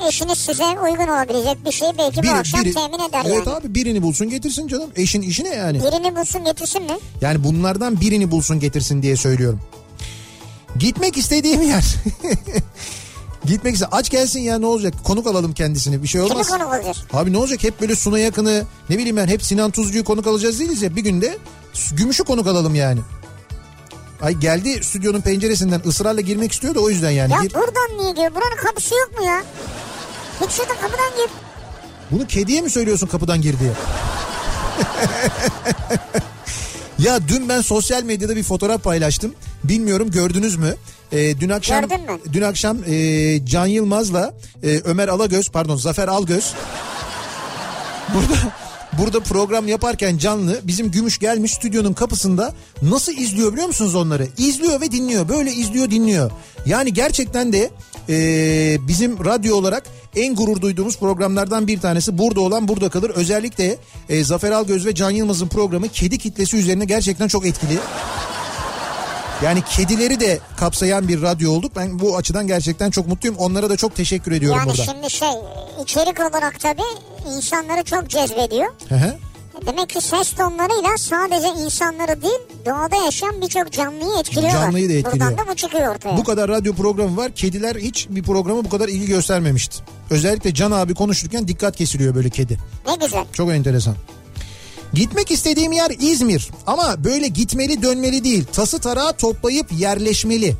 Speaker 2: e, eşiniz size uygun olabilecek bir şeyi belki bu akşam temin eder
Speaker 1: evet
Speaker 2: yani.
Speaker 1: abi birini bulsun getirsin canım. Eşin işi ne yani?
Speaker 2: Birini bulsun getirsin mi?
Speaker 1: Yani bunlardan birini bulsun getirsin diye söylüyorum. Gitmek istediğim yer. Gitmek iste aç gelsin ya ne olacak? Konuk alalım kendisini. Bir şey
Speaker 2: Kimi
Speaker 1: olmaz.
Speaker 2: konuk olacağız?
Speaker 1: Abi ne olacak hep böyle Suna Yakın'ı ne bileyim ben hep Sinan Tuzcu'yu konuk alacağız değiliz ya bir günde Gümüş'ü konuk alalım yani. Ay geldi stüdyonun penceresinden ısrarla girmek istiyor da o yüzden yani.
Speaker 2: Ya
Speaker 1: Gir-
Speaker 2: buradan niye gir? Buranın kapısı yok mu ya? Git şuradan kapıdan gir.
Speaker 1: Bunu kediye mi söylüyorsun kapıdan gir diye? ya dün ben sosyal medyada bir fotoğraf paylaştım. Bilmiyorum gördünüz mü? Ee, dün akşam
Speaker 2: Gördün mü?
Speaker 1: dün akşam e, Can Yılmaz'la e, Ömer Alagöz pardon Zafer Algöz burada burada program yaparken canlı bizim Gümüş gelmiş stüdyonun kapısında nasıl izliyor biliyor musunuz onları? İzliyor ve dinliyor. Böyle izliyor dinliyor. Yani gerçekten de e, bizim radyo olarak en gurur duyduğumuz programlardan bir tanesi burada olan burada kalır. Özellikle e, Zafer Algöz ve Can Yılmaz'ın programı kedi kitlesi üzerine gerçekten çok etkili. Yani kedileri de kapsayan bir radyo olduk. Ben bu açıdan gerçekten çok mutluyum. Onlara da çok teşekkür ediyorum
Speaker 2: Yani
Speaker 1: burada.
Speaker 2: şimdi şey içerik olarak tabii insanları çok cezbediyor.
Speaker 1: Hı hı.
Speaker 2: Demek ki ses tonlarıyla sadece insanları değil doğada yaşayan birçok canlıyı etkiliyorlar.
Speaker 1: Canlıyı da etkiliyor.
Speaker 2: Buradan da bu çıkıyor ortaya.
Speaker 1: Bu kadar radyo programı var. Kediler hiç bir programa bu kadar ilgi göstermemişti. Özellikle Can abi konuşurken dikkat kesiliyor böyle kedi.
Speaker 2: Ne güzel.
Speaker 1: Çok enteresan. Gitmek istediğim yer İzmir ama böyle gitmeli dönmeli değil. Tası tarağı toplayıp yerleşmeli.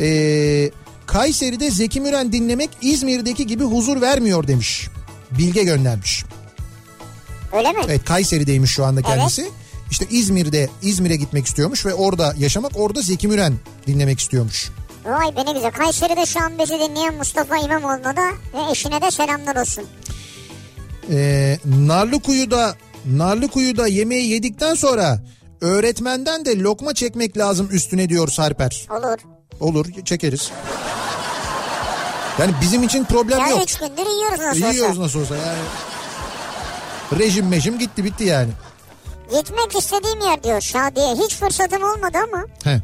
Speaker 1: Ee, Kayseri'de Zeki Müren dinlemek İzmir'deki gibi huzur vermiyor demiş. Bilge göndermiş.
Speaker 2: Öyle mi?
Speaker 1: Evet Kayseri'deymiş şu anda
Speaker 2: Evet.
Speaker 1: kendisi. İşte İzmir'de İzmir'e gitmek istiyormuş ve orada yaşamak orada Zeki Müren dinlemek istiyormuş.
Speaker 2: Vay be ne güzel. Kayseri'de şu an bizi dinleyen Mustafa İmamoğlu'na da ve eşine de selamlar olsun.
Speaker 1: Ee, Narlıkuyu'da Narlıkuyu'da yemeği yedikten sonra öğretmenden de lokma çekmek lazım üstüne diyor Sarper.
Speaker 2: Olur.
Speaker 1: Olur çekeriz. Yani bizim için problem
Speaker 2: Ya
Speaker 1: yok.
Speaker 2: üç gündür yiyoruz nasıl olsa.
Speaker 1: Yiyoruz nasıl olsa yani. Rejim mejim gitti bitti yani.
Speaker 2: Gitmek istediğim yer diyor Şadiye. Hiç fırsatım olmadı ama
Speaker 1: Heh.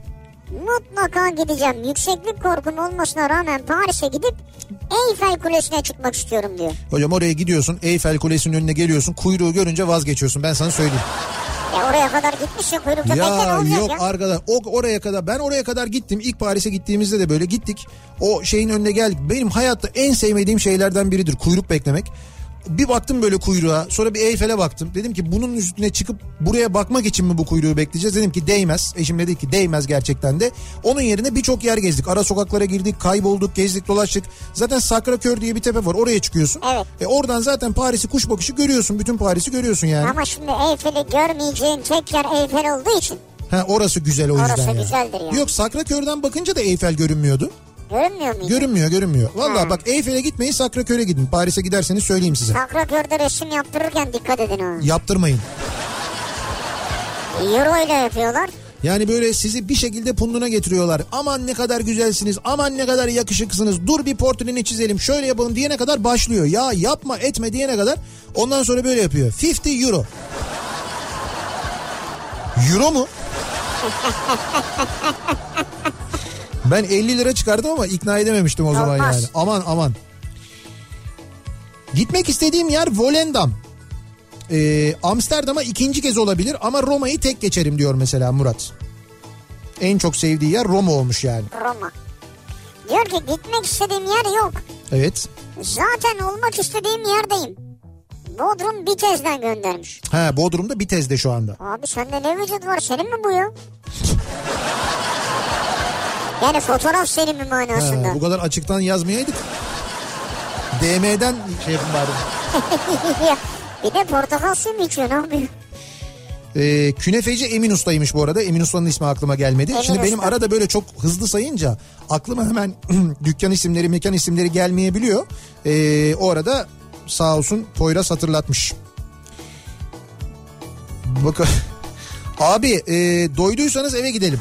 Speaker 2: mutlaka gideceğim. Yükseklik korkum olmasına rağmen Paris'e gidip Eyfel Kulesi'ne çıkmak istiyorum diyor.
Speaker 1: Hocam oraya gidiyorsun Eyfel Kulesi'nin önüne geliyorsun kuyruğu görünce vazgeçiyorsun ben sana söyleyeyim.
Speaker 2: Ya oraya kadar gitmişsin kuyrukta bekle ne
Speaker 1: Ya
Speaker 2: olacak
Speaker 1: yok
Speaker 2: ya?
Speaker 1: arkadaş o oraya kadar ben oraya kadar gittim. İlk Paris'e gittiğimizde de böyle gittik. O şeyin önüne geldik. Benim hayatta en sevmediğim şeylerden biridir kuyruk beklemek. Bir baktım böyle kuyruğa sonra bir Eyfel'e baktım. Dedim ki bunun üstüne çıkıp buraya bakmak için mi bu kuyruğu bekleyeceğiz? Dedim ki değmez. Eşim dedi ki değmez gerçekten de. Onun yerine birçok yer gezdik. Ara sokaklara girdik, kaybolduk, gezdik, dolaştık. Zaten Sacré-Cœur diye bir tepe var. Oraya çıkıyorsun.
Speaker 2: Evet.
Speaker 1: E oradan zaten Paris'i kuş bakışı görüyorsun. Bütün Paris'i görüyorsun yani.
Speaker 2: Ama şimdi Eyfel'i görmeyeceğin tek yer Eyfel olduğu için
Speaker 1: Ha orası güzel o
Speaker 2: Orası
Speaker 1: yüzden. ya.
Speaker 2: güzeldir ya.
Speaker 1: Yok Sakrakör'den bakınca da Eyfel görünmüyordu.
Speaker 2: görünmüyor muydu?
Speaker 1: Görünmüyor görünmüyor. Valla
Speaker 2: Ha.
Speaker 1: bak Eyfel'e gitmeyin Sakrakör'e gidin. Paris'e giderseniz söyleyeyim size.
Speaker 2: Sacré-Cœur'de resim yaptırırken dikkat edin ona.
Speaker 1: Yaptırmayın.
Speaker 2: Euro ile yapıyorlar.
Speaker 1: Yani böyle sizi bir şekilde punduna getiriyorlar. Aman ne kadar güzelsiniz. Aman ne kadar yakışıklısınız. Dur bir portreni çizelim. Şöyle yapalım diyene kadar başlıyor. Ya yapma etme diyene kadar. Ondan sonra böyle yapıyor. 50 euro. Euro mu? Ben 50 lira çıkardım ama ikna edememiştim o zaman
Speaker 2: Olmaz.
Speaker 1: yani. Aman aman. Gitmek istediğim yer Volendam. Ee, Amsterdam'a ikinci kez olabilir ama Roma'yı tek geçerim diyor mesela Murat. En çok sevdiği yer Roma olmuş yani.
Speaker 2: Roma. Diyor ki gitmek istediğim yer yok.
Speaker 1: Evet.
Speaker 2: Zaten olmak istediğim yerdeyim. Bodrum Bitez'den göndermiş.
Speaker 1: Ha Bodrum'da Bitez'de şu anda.
Speaker 2: Abi sende ne vücut var senin mi bu ya? Yani fotoğraf senin mi
Speaker 1: Ha,
Speaker 2: manasında?
Speaker 1: bu kadar açıktan yazmayaydık. DM'den şey yapın bari.
Speaker 2: Ya, bir de portakal suyu mu içiyorsun abi?
Speaker 1: Ee, künefeci Emin Usta'ymış bu arada. Emin Usta'nın ismi aklıma gelmedi.
Speaker 2: Emin
Speaker 1: Şimdi benim
Speaker 2: Usta.
Speaker 1: arada böyle çok hızlı sayınca aklıma hemen dükkan isimleri, mekan isimleri gelmeyebiliyor. Ee, o arada sağ olsun Poyraz hatırlatmış. Bakın. Abi e, doyduysanız eve gidelim.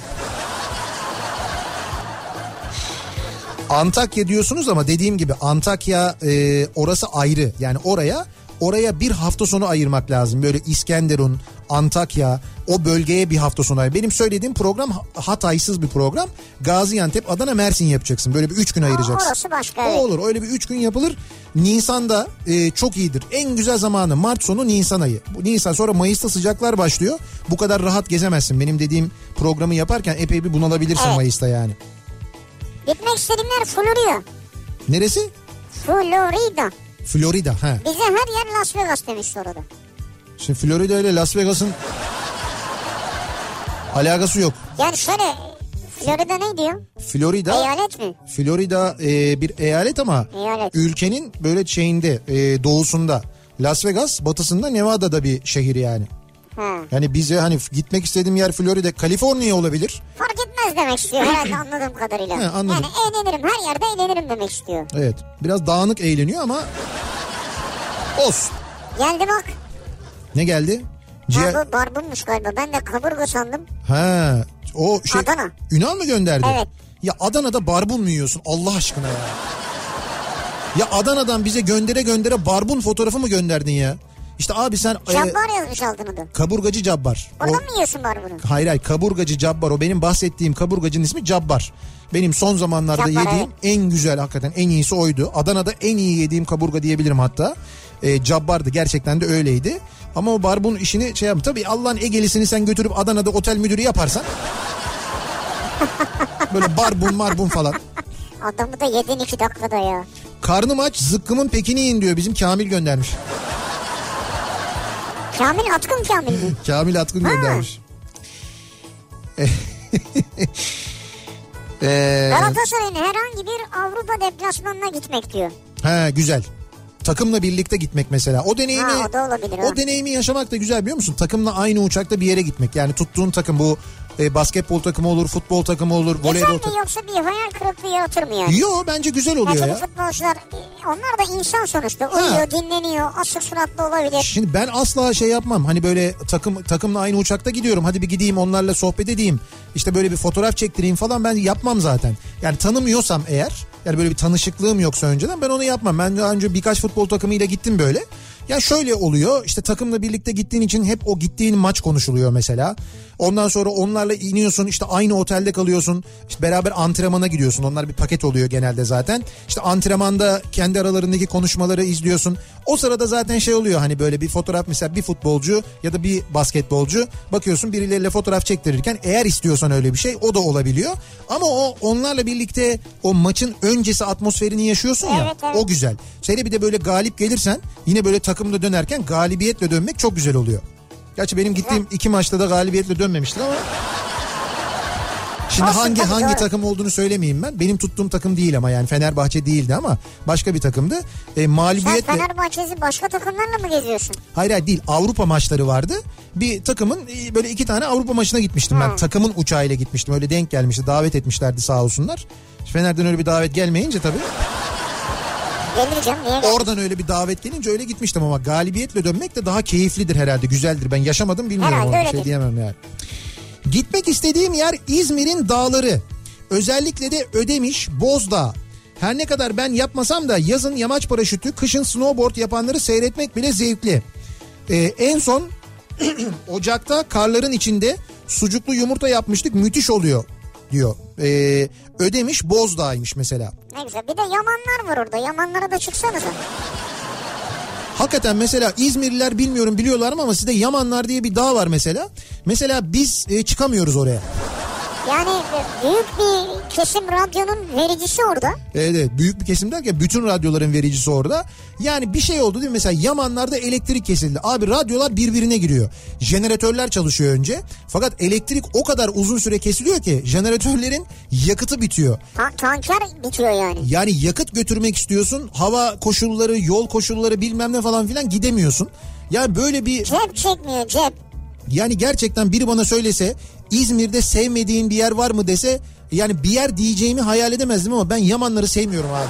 Speaker 1: Antakya diyorsunuz ama dediğim gibi Antakya e, orası ayrı. Yani oraya oraya bir hafta sonu ayırmak lazım. Böyle İskenderun, Antakya o bölgeye bir hafta sonu ayır. Benim söylediğim program Ha- Hatay'sız bir program. Gaziantep, Adana, Mersin yapacaksın. Böyle bir üç gün ayıracaksın.
Speaker 2: orası başka,
Speaker 1: O
Speaker 2: evet.
Speaker 1: olur. Öyle bir üç gün yapılır. Nisan'da e, çok iyidir. En güzel zamanı Mart sonu Nisan ayı. Bu Nisan sonra Mayıs'ta sıcaklar başlıyor. Bu kadar rahat gezemezsin. Benim dediğim programı yaparken epey bir bunalabilirsin
Speaker 2: Evet.
Speaker 1: Mayıs'ta yani.
Speaker 2: Gitmek istediğimler Florida.
Speaker 1: Neresi?
Speaker 2: Florida.
Speaker 1: Florida. Ha.
Speaker 2: Bize her yer Las Vegas demiş orada.
Speaker 1: Şimdi Florida ile Las Vegas'ın alakası yok.
Speaker 2: Yani şöyle Florida ne diyor?
Speaker 1: Florida
Speaker 2: Eyalet mi?
Speaker 1: Florida e, bir eyalet ama
Speaker 2: Eyalet.
Speaker 1: ülkenin böyle şeyinde e, doğusunda Las Vegas batısında Nevada'da bir şehir yani.
Speaker 2: He.
Speaker 1: Yani bize hani f- gitmek istediğim yer Florida, Kaliforniya olabilir.
Speaker 2: Fark etmez demek istiyor herhalde anladığım kadarıyla.
Speaker 1: He, anladım.
Speaker 2: Yani eğlenirim her yerde eğlenirim demek istiyor.
Speaker 1: Evet biraz dağınık eğleniyor ama olsun.
Speaker 2: Geldi bak.
Speaker 1: Ne geldi? Ciğer...
Speaker 2: Ha, bu barbunmuş galiba. Ben de kaburga sandım.
Speaker 1: Ha, o şey
Speaker 2: Adana.
Speaker 1: Ünal mı gönderdi?
Speaker 2: Evet.
Speaker 1: Ya Adana'da barbun mu yiyorsun Allah aşkına ya? Ya Adana'dan bize göndere göndere barbun fotoğrafı mı gönderdin ya? İşte abi sen e,
Speaker 2: Cabbar yazmış altını da.
Speaker 1: kaburgacı cabbar. O,
Speaker 2: Orada mı yiyorsun barbunu?
Speaker 1: hayır hayır kaburgacı cabbar o benim bahsettiğim kaburgacının ismi cabbar. Benim son zamanlarda
Speaker 2: Cabbar,
Speaker 1: yediğim en güzel hakikaten en iyisi oydu. Adana'da en iyi yediğim kaburga diyebilirim hatta. E, cabbardı gerçekten de öyleydi. Ama o barbun işini şey yap. Tabii Allah'ın Ege'lisini sen götürüp Adana'da otel müdürü yaparsan. böyle barbun marbun falan.
Speaker 2: Adamı da yedin iki dakikada ya.
Speaker 1: Karnım aç zıkkımın pekini yiyin diyor bizim Kamil göndermiş.
Speaker 2: Kamil atkın Kamil mi?
Speaker 1: Kamil Atkın göndermiş. Eh. Ee,
Speaker 2: Galatasaray'ın herhangi bir Avrupa deplasmanına gitmek diyor.
Speaker 1: ha güzel. Takımla birlikte gitmek mesela. O deneyimi
Speaker 2: Ha, o da olabilir,
Speaker 1: o
Speaker 2: evet.
Speaker 1: deneyimi yaşamak da güzel biliyor musun? Takımla aynı uçakta bir yere gitmek. Yani tuttuğun takım bu e, basketbol takımı olur, futbol takımı olur,
Speaker 2: Güzel
Speaker 1: voleybol
Speaker 2: mi
Speaker 1: takımı.
Speaker 2: yoksa bir hayal kırıklığı yaratır mı yani?
Speaker 1: Yo bence güzel oluyor
Speaker 2: Mesela
Speaker 1: ya.
Speaker 2: futbolcular onlar da insan sonuçta. Uyuyor, dinleniyor, asık suratlı olabilir.
Speaker 1: Şimdi ben asla şey yapmam. Hani böyle takım takımla aynı uçakta gidiyorum. Hadi bir gideyim onlarla sohbet edeyim. İşte böyle bir fotoğraf çektireyim falan ben yapmam zaten. Yani tanımıyorsam eğer yani böyle bir tanışıklığım yoksa önceden ben onu yapmam. Ben daha önce birkaç futbol takımıyla gittim böyle. Ya şöyle oluyor işte takımla birlikte gittiğin için hep o gittiğin maç konuşuluyor mesela. Ondan sonra onlarla iniyorsun işte aynı otelde kalıyorsun. İşte beraber antrenmana gidiyorsun. Onlar bir paket oluyor genelde zaten. İşte antrenmanda kendi aralarındaki konuşmaları izliyorsun. O sırada zaten şey oluyor hani böyle bir fotoğraf mesela bir futbolcu ya da bir basketbolcu bakıyorsun birileriyle fotoğraf çektirirken eğer istiyorsan öyle bir şey o da olabiliyor. Ama o onlarla birlikte o maçın öncesi atmosferini yaşıyorsun ya
Speaker 2: Evet, evet.
Speaker 1: o güzel. Seni bir de böyle galip gelirsen yine böyle takımda dönerken galibiyetle dönmek çok güzel oluyor. Gerçi benim gittiğim iki maçta da galibiyetle dönmemiştir ama. Şimdi
Speaker 2: Olsun,
Speaker 1: hangi
Speaker 2: tabii,
Speaker 1: hangi
Speaker 2: doğru.
Speaker 1: takım olduğunu söylemeyeyim ben. Benim tuttuğum takım değil ama yani Fenerbahçe değildi ama başka bir takımdı. E,
Speaker 2: Sen
Speaker 1: mağlubiyetle
Speaker 2: Fenerbahçe'si başka takımlarla mı geziyorsun?
Speaker 1: hayır hayır değil Avrupa maçları vardı. Bir takımın e, böyle iki tane Avrupa maçına gitmiştim ben. Takımın uçağıyla gitmiştim. Öyle denk gelmişti. Davet etmişlerdi sağ olsunlar. Fener'den öyle bir davet gelmeyince tabii.
Speaker 2: Gelireceğim niye? gel-
Speaker 1: Oradan öyle bir davet gelince öyle gitmiştim ama galibiyetle dönmek de daha keyiflidir herhalde. Güzeldir. Ben yaşamadım bilmiyorum
Speaker 2: Herhalde
Speaker 1: ama bir
Speaker 2: öyle
Speaker 1: şey
Speaker 2: değil.
Speaker 1: diyemem yani. Gitmek istediğim yer İzmir'in dağları. Özellikle de Ödemiş, Bozdağ. Her ne kadar ben yapmasam da yazın yamaç paraşütü, kışın snowboard yapanları seyretmek bile zevkli. Ee, en son Ocak'ta karların içinde sucuklu yumurta yapmıştık. Müthiş oluyor diyor. Ee, ödemiş Bozdağ'ymış mesela.
Speaker 2: Ne güzel. Bir de Yamanlar var orada. Yamanlara da çıksanıza.
Speaker 1: Hakikaten mesela İzmirliler bilmiyorum biliyorlar mı ama sizde Yamanlar diye bir dağ var mesela. Mesela biz e, çıkamıyoruz oraya.
Speaker 2: Yani e, büyük bir kesim radyonun vericisi orada.
Speaker 1: Evet, evet E, büyük bir kesim derken bütün radyoların vericisi orada. Yani bir şey oldu değil mi? Mesela Yamanlar'da elektrik kesildi. Abi radyolar birbirine giriyor. Jeneratörler çalışıyor önce. Fakat elektrik o kadar uzun süre kesiliyor ki jeneratörlerin yakıtı bitiyor.
Speaker 2: Ta- tanker bitiyor yani.
Speaker 1: Yani yakıt götürmek istiyorsun. Hava koşulları, yol koşulları bilmem ne falan filan gidemiyorsun. Ya böyle bir
Speaker 2: Cep çekmiyor cep.
Speaker 1: Yani gerçekten biri bana söylese İzmir'de sevmediğin bir yer var mı dese yani bir yer diyeceğimi hayal edemezdim ama ben Yamanları sevmiyorum abi.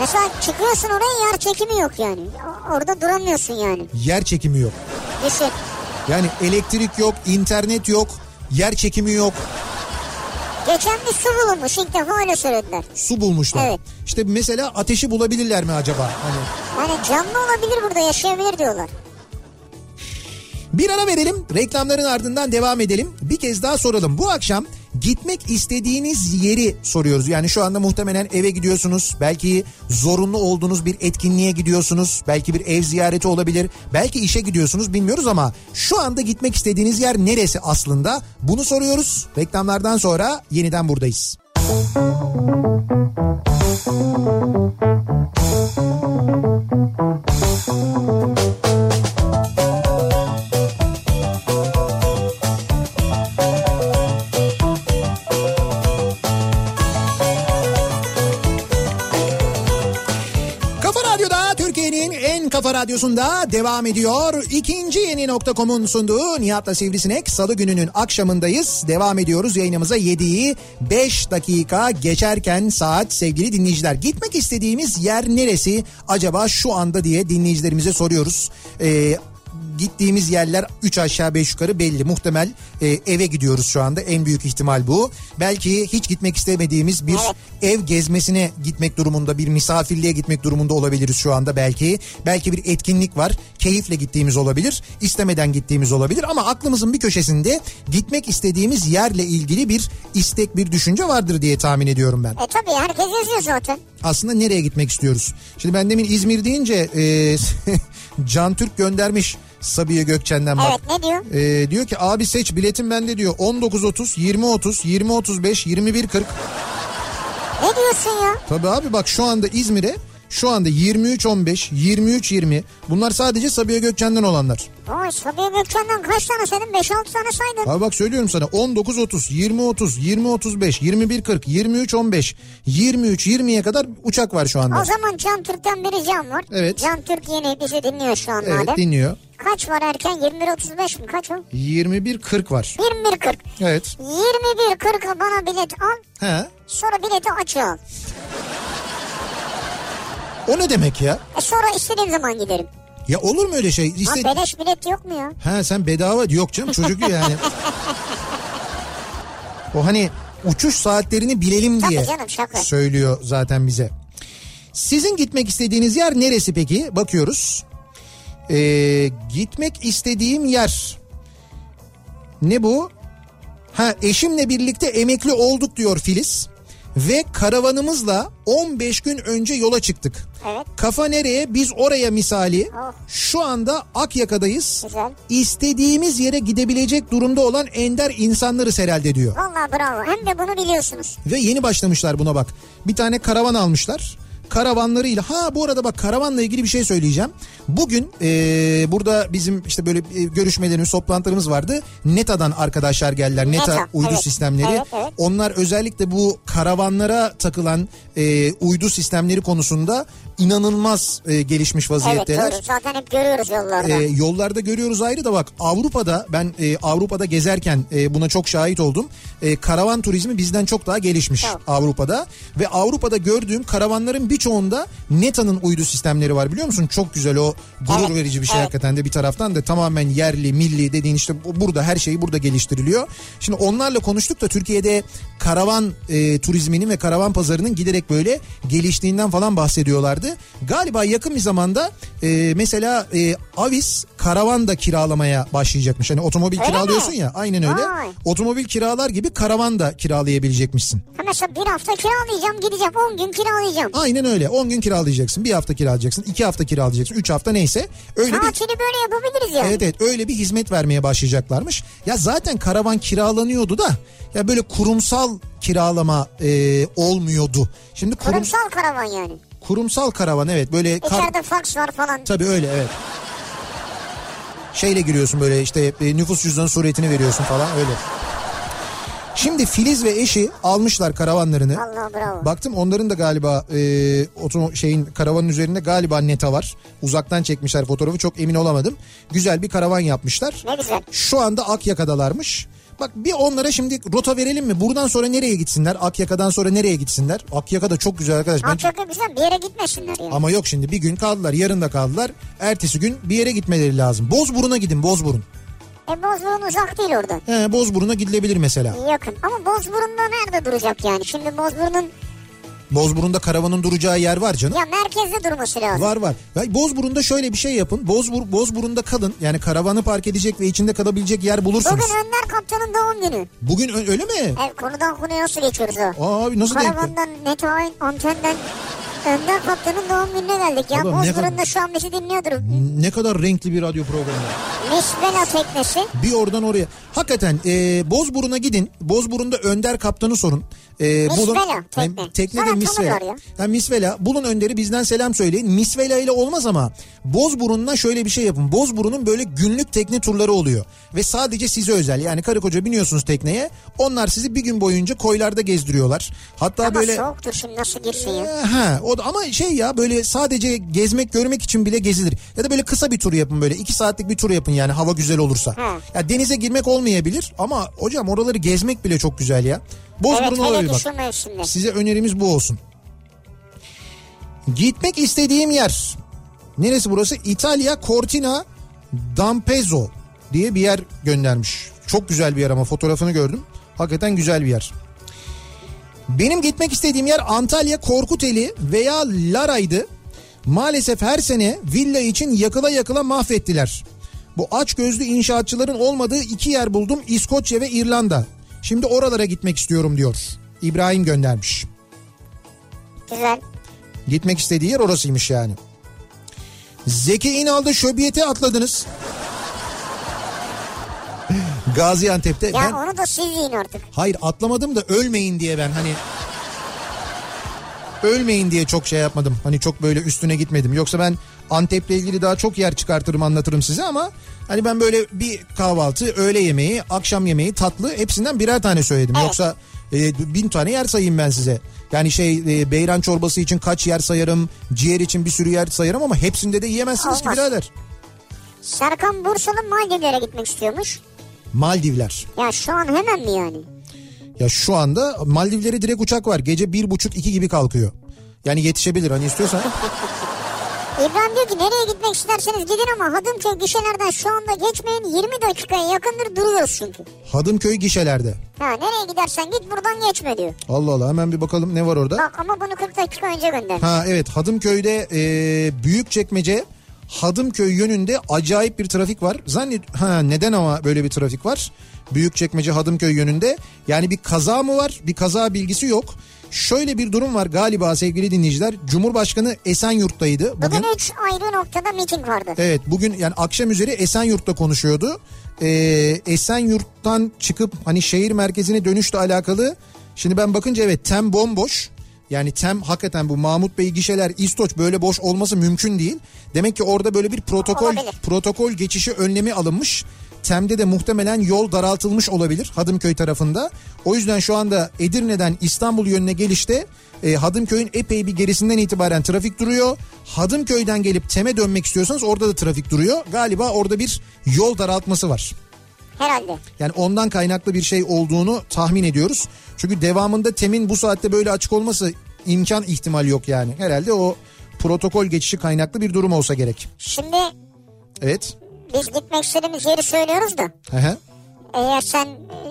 Speaker 2: Mesela çıkıyorsun oraya yer çekimi yok yani. O- Orada duramıyorsun yani.
Speaker 1: Yer çekimi yok.
Speaker 2: Düşün.
Speaker 1: Yani elektrik yok, internet yok, yer çekimi yok.
Speaker 2: Geçen bir su bulunmuş ilk defa öyle söylediler.
Speaker 1: Su bulmuşlar.
Speaker 2: Evet.
Speaker 1: İşte mesela ateşi bulabilirler mi acaba? Hani
Speaker 2: Yani canlı olabilir burada yaşayabilir diyorlar.
Speaker 1: Bir ara verelim. Reklamların ardından devam edelim. Bir kez daha soralım. Bu akşam gitmek istediğiniz yeri soruyoruz. Yani şu anda muhtemelen eve gidiyorsunuz. Belki zorunlu olduğunuz bir etkinliğe gidiyorsunuz. Belki bir ev ziyareti olabilir. Belki işe gidiyorsunuz bilmiyoruz ama şu anda gitmek istediğiniz yer neresi aslında? Bunu soruyoruz. Reklamlardan sonra yeniden buradayız. Kafa Radyo'da Türkiye'nin en kafa radyosunda devam ediyor. İkinci yeni nokta.com'un sunduğu Nihat'la Sivrisinek salı gününün akşamındayız. Devam ediyoruz yayınımıza 7'yi 5 dakika geçerken saat sevgili dinleyiciler. Gitmek istediğimiz yer neresi acaba şu anda diye dinleyicilerimize soruyoruz. Ee, gittiğimiz yerler 3 aşağı 5 yukarı belli. Muhtemel e, eve gidiyoruz şu anda. En büyük ihtimal bu. Belki hiç gitmek istemediğimiz bir ev gezmesine gitmek durumunda, bir misafirliğe gitmek durumunda olabiliriz şu anda belki. Belki bir etkinlik var. Keyifle gittiğimiz olabilir, istemeden gittiğimiz olabilir ama aklımızın bir köşesinde gitmek istediğimiz yerle ilgili bir istek, bir düşünce vardır diye tahmin ediyorum ben
Speaker 2: E tabii herkes yazıyor zaten.
Speaker 1: aslında nereye gitmek istiyoruz? Şimdi ben demin İzmir deyince e, Can Türk göndermiş Sabiha Gökçen'den bak.
Speaker 2: Evet ne diyor?
Speaker 1: E, diyor ki abi seç biletim bende diyor 19.30, 20.30, 20.35, 21.40.
Speaker 2: Ne diyorsun ya?
Speaker 1: Tabii abi bak şu anda İzmir'e şu anda 23.15, 23.20 bunlar sadece Sabiha Gökçen'den olanlar.
Speaker 2: Vay Sabiha Gökçen'den kaç tane senin? 5-6 tane saydın.
Speaker 1: Abi bak söylüyorum sana 19.30, 20.30, 20.35, 21.40, 23.15, 23.20'ye kadar uçak var şu anda.
Speaker 2: O zaman Can Türk'ten bir ricam var.
Speaker 1: Evet.
Speaker 2: Can Türk yeni bizi dinliyor şu an
Speaker 1: Evet
Speaker 2: madem.
Speaker 1: dinliyor.
Speaker 2: Kaç var erken? 21.35 mi? Kaç o?
Speaker 1: 21.40 var.
Speaker 2: 21.40.
Speaker 1: Evet.
Speaker 2: 21.40'a bana bilet al.
Speaker 1: He.
Speaker 2: Sonra bileti açığa al.
Speaker 1: O ne demek ya?
Speaker 2: E sonra istediğim zaman giderim.
Speaker 1: Ya olur mu öyle şey?
Speaker 2: Lan
Speaker 1: İste...
Speaker 2: beleş bilet yok mu ya?
Speaker 1: Ha sen bedava yok canım çocuk yani. o hani uçuş saatlerini bilelim
Speaker 2: Tabii
Speaker 1: diye
Speaker 2: canım, şaka.
Speaker 1: söylüyor zaten bize. Sizin gitmek istediğiniz yer neresi peki? Bakıyoruz. Ee, gitmek istediğim yer. Ne bu? Ha eşimle birlikte emekli olduk diyor Filiz. Ve karavanımızla 15 gün önce yola çıktık.
Speaker 2: Evet.
Speaker 1: Kafa nereye biz oraya misali.
Speaker 2: Oh.
Speaker 1: Şu anda Akyaka'dayız.
Speaker 2: Güzel.
Speaker 1: İstediğimiz yere gidebilecek durumda olan ender insanlarız herhalde diyor.
Speaker 2: Vallahi bravo. Hem de bunu biliyorsunuz.
Speaker 1: Ve yeni başlamışlar buna bak. Bir tane karavan almışlar. Karavanlarıyla ha bu arada bak karavanla ilgili bir şey söyleyeceğim. Bugün eee, burada bizim işte böyle e, görüşmelerimiz, toplantılarımız vardı. NETA'dan arkadaşlar geldiler. NETA,
Speaker 2: Neta,
Speaker 1: uydu
Speaker 2: evet.
Speaker 1: sistemleri.
Speaker 2: Evet, evet.
Speaker 1: Onlar özellikle bu karavanlara takılan e, uydu sistemleri konusunda inanılmaz e, gelişmiş
Speaker 2: Evet
Speaker 1: vaziyetteler.
Speaker 2: doğru. Zaten hep görüyoruz yollarda.
Speaker 1: E, yollarda görüyoruz ayrı da bak Avrupa'da ben e, Avrupa'da gezerken e, buna çok şahit oldum. E, karavan turizmi bizden çok daha gelişmiş
Speaker 2: Çok.
Speaker 1: Avrupa'da ve Avrupa'da gördüğüm karavanların birçoğunda NETA'nın uydu sistemleri var biliyor musun? Çok güzel o gurur
Speaker 2: Evet,
Speaker 1: verici bir şey
Speaker 2: evet.
Speaker 1: hakikaten de bir taraftan da tamamen yerli milli dediğin işte bu- burada her şeyi burada geliştiriliyor. Şimdi onlarla konuştuk da Türkiye'de karavan e, turizminin ve karavan pazarının giderek böyle geliştiğinden falan bahsediyorlardı. Galiba yakın bir zamanda e, mesela e, Avis karavan da kiralamaya başlayacakmış. Hani otomobil
Speaker 2: Öyle
Speaker 1: kiralıyorsun
Speaker 2: mi?
Speaker 1: ya aynen öyle.
Speaker 2: Vay.
Speaker 1: Otomobil kiralar gibi karavan da kiralayabilecekmişsin.
Speaker 2: Ha mesela bir hafta kiralayacağım gideceğim. 10 gün kiralayacağım.
Speaker 1: Aynen öyle 10 gün kiralayacaksın, bir hafta kiralayacaksın, iki hafta kiralayacaksın, üç hafta neyse. Öyle bir
Speaker 2: Tatili böyle yapabiliriz yani.
Speaker 1: Evet evet öyle bir hizmet vermeye başlayacaklarmış. Ya zaten karavan kiralanıyordu da ya böyle kurumsal kiralama e, olmuyordu. Şimdi kurum-
Speaker 2: Kurumsal karavan yani.
Speaker 1: kurumsal karavan evet böyle kar-
Speaker 2: İçeride faks var falan.
Speaker 1: tabii öyle evet. Şeyle giriyorsun böyle işte e, nüfus cüzdanı suretini veriyorsun falan öyle. Şimdi Filiz ve eşi almışlar karavanlarını.
Speaker 2: Allah bravo.
Speaker 1: Baktım onların da galiba e, otomo- şeyin karavanın üzerinde galiba neta var. Uzaktan çekmişler fotoğrafı çok emin olamadım. Güzel bir karavan yapmışlar.
Speaker 2: Ne güzel.
Speaker 1: Şu anda Akyaka'dalarmış. Bak bir onlara şimdi rota verelim mi? Buradan sonra nereye gitsinler? Akyaka'dan sonra nereye gitsinler? Akyaka da çok güzel arkadaş. Ben
Speaker 2: Antakya güzel bir yere gitmesinler yani.
Speaker 1: ama yok şimdi bir gün kaldılar yarın da kaldılar. Ertesi gün bir yere gitmeleri lazım. Bozburun'a gidin Bozburun.
Speaker 2: E Bozburun uzak değil oradan.
Speaker 1: He, Bozburun'a gidilebilir mesela.
Speaker 2: Yakın. Ama Bozburun'da nerede duracak yani? Şimdi Bozburun'un
Speaker 1: Bozburun'da karavanın duracağı yer var canım.
Speaker 2: ya merkezde durması lazım.
Speaker 1: Var var. Ya Bozburun'da şöyle bir şey yapın. Bozbur, Bozburun'da kalın. Yani karavanı park edecek ve içinde kalabilecek yer bulursunuz.
Speaker 2: Bugün Önder Kaptan'ın doğum günü.
Speaker 1: Bugün, ö- öyle mi?
Speaker 2: Evet konudan konuya nasıl geçiyoruz o?
Speaker 1: Abi nasıl denk geldi?
Speaker 2: Karavandan, Neto'nun, Anten'den Önder Kaptan'ın doğum gününe geldik ya.
Speaker 1: Adam ne kadar-
Speaker 2: Bozburun'da şu an bizi dinliyordur.
Speaker 1: Ne kadar renkli bir radyo programı.
Speaker 2: Misbela teknesi.
Speaker 1: Bir oradan oraya. Hakikaten e, Bozburun'a gidin. Bozburun'da Önder Kaptan'ı sorun. E,
Speaker 2: Misvela, tekne.
Speaker 1: Hayır, tekne de
Speaker 2: Zaten
Speaker 1: Misvela.
Speaker 2: tanırlar ya.
Speaker 1: Ha, Misvela. Bulun Önder'i bizden selam söyleyin. Misvela ile olmaz ama Bozburun'la şöyle bir şey yapın. Bozburun'un böyle günlük tekne turları oluyor. Ve sadece size özel. Yani karı koca biniyorsunuz tekneye. Onlar sizi bir gün boyunca koylarda gezdiriyorlar. Hatta
Speaker 2: Ama
Speaker 1: böyle...
Speaker 2: soğuktur şimdi nasıl girsin ya.
Speaker 1: Ee, Ha, o da, ama şey ya böyle sadece gezmek görmek için bile gezilir. Ya da böyle kısa bir tur yapın böyle iki saatlik bir tur yapın yani hava güzel olursa.
Speaker 2: Hı.
Speaker 1: Ya denize girmek olmayabilir ama hocam oraları gezmek bile çok güzel ya. Bozburun
Speaker 2: Evet hele
Speaker 1: olabilir bak.
Speaker 2: düşün mevsimde.
Speaker 1: Size önerimiz bu olsun. Gitmek istediğim yer. Neresi burası? İtalya Cortina d'Ampezzo diye bir yer göndermiş. Çok güzel bir yer ama fotoğrafını gördüm. Hakikaten güzel bir yer. Benim gitmek istediğim yer Antalya Korkuteli veya Lara'ydı. Maalesef her sene villa için yakıla yakıla mahvettiler. Bu aç gözlü inşaatçıların olmadığı iki yer buldum İskoçya ve İrlanda. Şimdi oralara gitmek istiyorum diyor. İbrahim göndermiş.
Speaker 2: Güzel.
Speaker 1: Gitmek istediği yer orasıymış yani. Zeki İnal'da şöbiyete atladınız. Gaziantep'te.
Speaker 2: Ya
Speaker 1: ben...
Speaker 2: onu da siz yiyin artık.
Speaker 1: Hayır atlamadım da ölmeyin diye ben hani ölmeyin diye çok şey yapmadım. Hani çok böyle üstüne gitmedim. Yoksa ben Antep'le ilgili daha çok yer çıkartırım anlatırım size ama hani ben böyle bir kahvaltı, öğle yemeği, akşam yemeği, tatlı hepsinden birer tane söyledim.
Speaker 2: Evet.
Speaker 1: Yoksa e, bin tane yer sayayım ben size. Yani şey e, beyran çorbası için kaç yer sayarım, ciğer için bir sürü yer sayarım ama hepsinde de yiyemezsiniz ki
Speaker 2: Olmaz.
Speaker 1: birader.
Speaker 2: Serkan Bursalı Maldivlere gitmek istiyormuş.
Speaker 1: Maldivler.
Speaker 2: Ya şu an hemen mi yani?
Speaker 1: Ya şu anda Maldivlere direkt uçak var. Gece bir buçuk iki gibi kalkıyor. Yani yetişebilir hani istiyorsan.
Speaker 2: İbrahim diyor ki nereye gitmek isterseniz gidin ama Hadımköy gişelerden şu anda geçmeyin 20 dakikaya yakındır duruyoruz çünkü.
Speaker 1: Hadımköy gişelerde.
Speaker 2: Ha nereye gidersen git buradan geçme diyor.
Speaker 1: Allah Allah hemen bir bakalım ne var orada.
Speaker 2: Bak ama bunu 40 dakika önce gönder.
Speaker 1: Ha evet Hadımköy'de e, Büyükçekmece Hadımköy yönünde acayip bir trafik var. Zannet ha neden ama böyle bir trafik var? Büyükçekmece Hadımköy yönünde yani bir kaza mı var? Bir kaza bilgisi yok. Şöyle bir durum var galiba sevgili dinleyiciler. Cumhurbaşkanı Esenyurt'taydı bugün.
Speaker 2: Bugün 3 ayrı noktada miting vardı.
Speaker 1: Evet bugün yani akşam üzeri Esenyurt'ta konuşuyordu. Ee, Esenyurt'tan çıkıp hani şehir merkezine dönüşle alakalı. Şimdi ben bakınca evet tem bomboş. Yani tem hakikaten bu Mahmut Bey gişeler İstoç böyle boş olması mümkün değil. Demek ki orada böyle bir protokol
Speaker 2: Olabilir.
Speaker 1: protokol geçişi önlemi alınmış. Tem'de de muhtemelen yol daraltılmış olabilir Hadımköy tarafında. O yüzden şu anda Edirne'den İstanbul yönüne gelişte e, Hadımköy'ün epey bir gerisinden itibaren trafik duruyor. Hadımköy'den gelip Tem'e dönmek istiyorsanız orada da trafik duruyor. Galiba orada bir yol daraltması var. E-
Speaker 2: Herhalde.
Speaker 1: Yani ondan kaynaklı bir şey olduğunu tahmin ediyoruz. Çünkü devamında Tem'in bu saatte böyle açık olması imkan ihtimal yok yani. Herhalde o protokol geçişi kaynaklı bir durum olsa gerek.
Speaker 2: Şimdi
Speaker 1: Evet.
Speaker 2: biz gitmek istediğimiz yeri söylüyoruz da.
Speaker 1: Hı hı.
Speaker 2: Eğer sen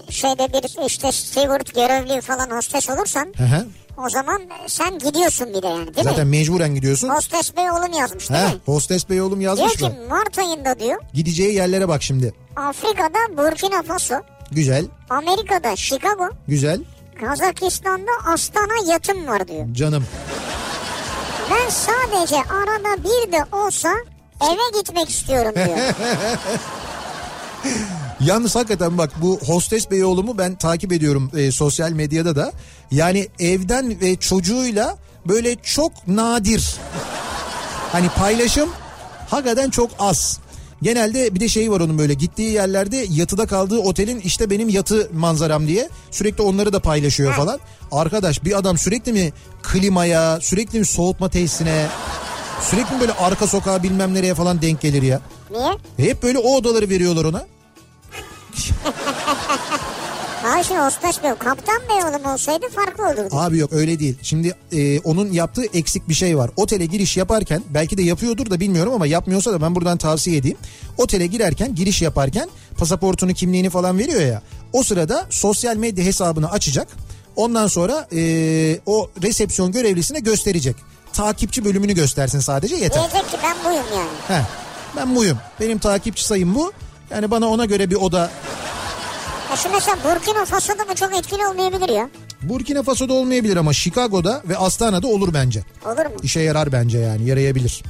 Speaker 2: e, şeyde bir işte steward görevli falan hostes olursan
Speaker 1: Hı hı.
Speaker 2: o zaman e, sen gidiyorsun bir de yani değil
Speaker 1: Zaten
Speaker 2: mi?
Speaker 1: mecburen gidiyorsun.
Speaker 2: Hostes bey oğlum yazmış değil
Speaker 1: He,
Speaker 2: mi?
Speaker 1: hostes bey oğlum
Speaker 2: Diyor
Speaker 1: yazmış
Speaker 2: ki
Speaker 1: mı?
Speaker 2: Mart ayında diyor
Speaker 1: Gideceği yerlere bak şimdi.
Speaker 2: Afrika'da Burkina Faso,
Speaker 1: Güzel,
Speaker 2: Amerika'da Chicago,
Speaker 1: güzel
Speaker 2: Kazakistan'da Astana yatım var diyor.
Speaker 1: canım.
Speaker 2: Ben sadece arada bir de olsa eve gitmek istiyorum diyor.
Speaker 1: Yalnız hakikaten bak bu hostes bey oğlumu ben takip ediyorum e, sosyal medyada da. Yani evden ve çocuğuyla böyle çok nadir. Hani paylaşım hakikaten çok az. Genelde bir de şey var onun böyle gittiği yerlerde yatıda kaldığı otelin işte benim yatı manzaram diye sürekli onları da paylaşıyor falan. Arkadaş bir adam sürekli mi klimaya, sürekli mi soğutma tesisine, sürekli mi böyle arka sokağa bilmem nereye falan denk gelir ya.
Speaker 2: Niye?
Speaker 1: Hep böyle o odaları veriyorlar ona.
Speaker 2: Hayır şimdi Ostaş Bey, Kaptan Bey oğlum olsaydı farklı olurdu.
Speaker 1: Abi yok öyle değil. Şimdi e, onun yaptığı eksik bir şey var. Otele giriş yaparken belki de yapıyordur da bilmiyorum ama yapmıyorsa da ben buradan tavsiye edeyim. Otele girerken giriş yaparken pasaportunu kimliğini falan veriyor ya. O sırada sosyal medya hesabını açacak. Ondan sonra e, o resepsiyon görevlisine gösterecek. Takipçi bölümünü göstersin sadece yeter.
Speaker 2: Diyecek ki ben buyum yani.
Speaker 1: Heh, ben buyum. Benim takipçi sayım bu. Yani bana ona göre bir oda
Speaker 2: Ya şimdi mesela Burkina Faso'da mı çok etkili olmayabilir ya.
Speaker 1: Burkina Faso'da olmayabilir ama Chicago'da ve Astana'da olur bence.
Speaker 2: Olur mu?
Speaker 1: İşe yarar bence yani yarayabilir.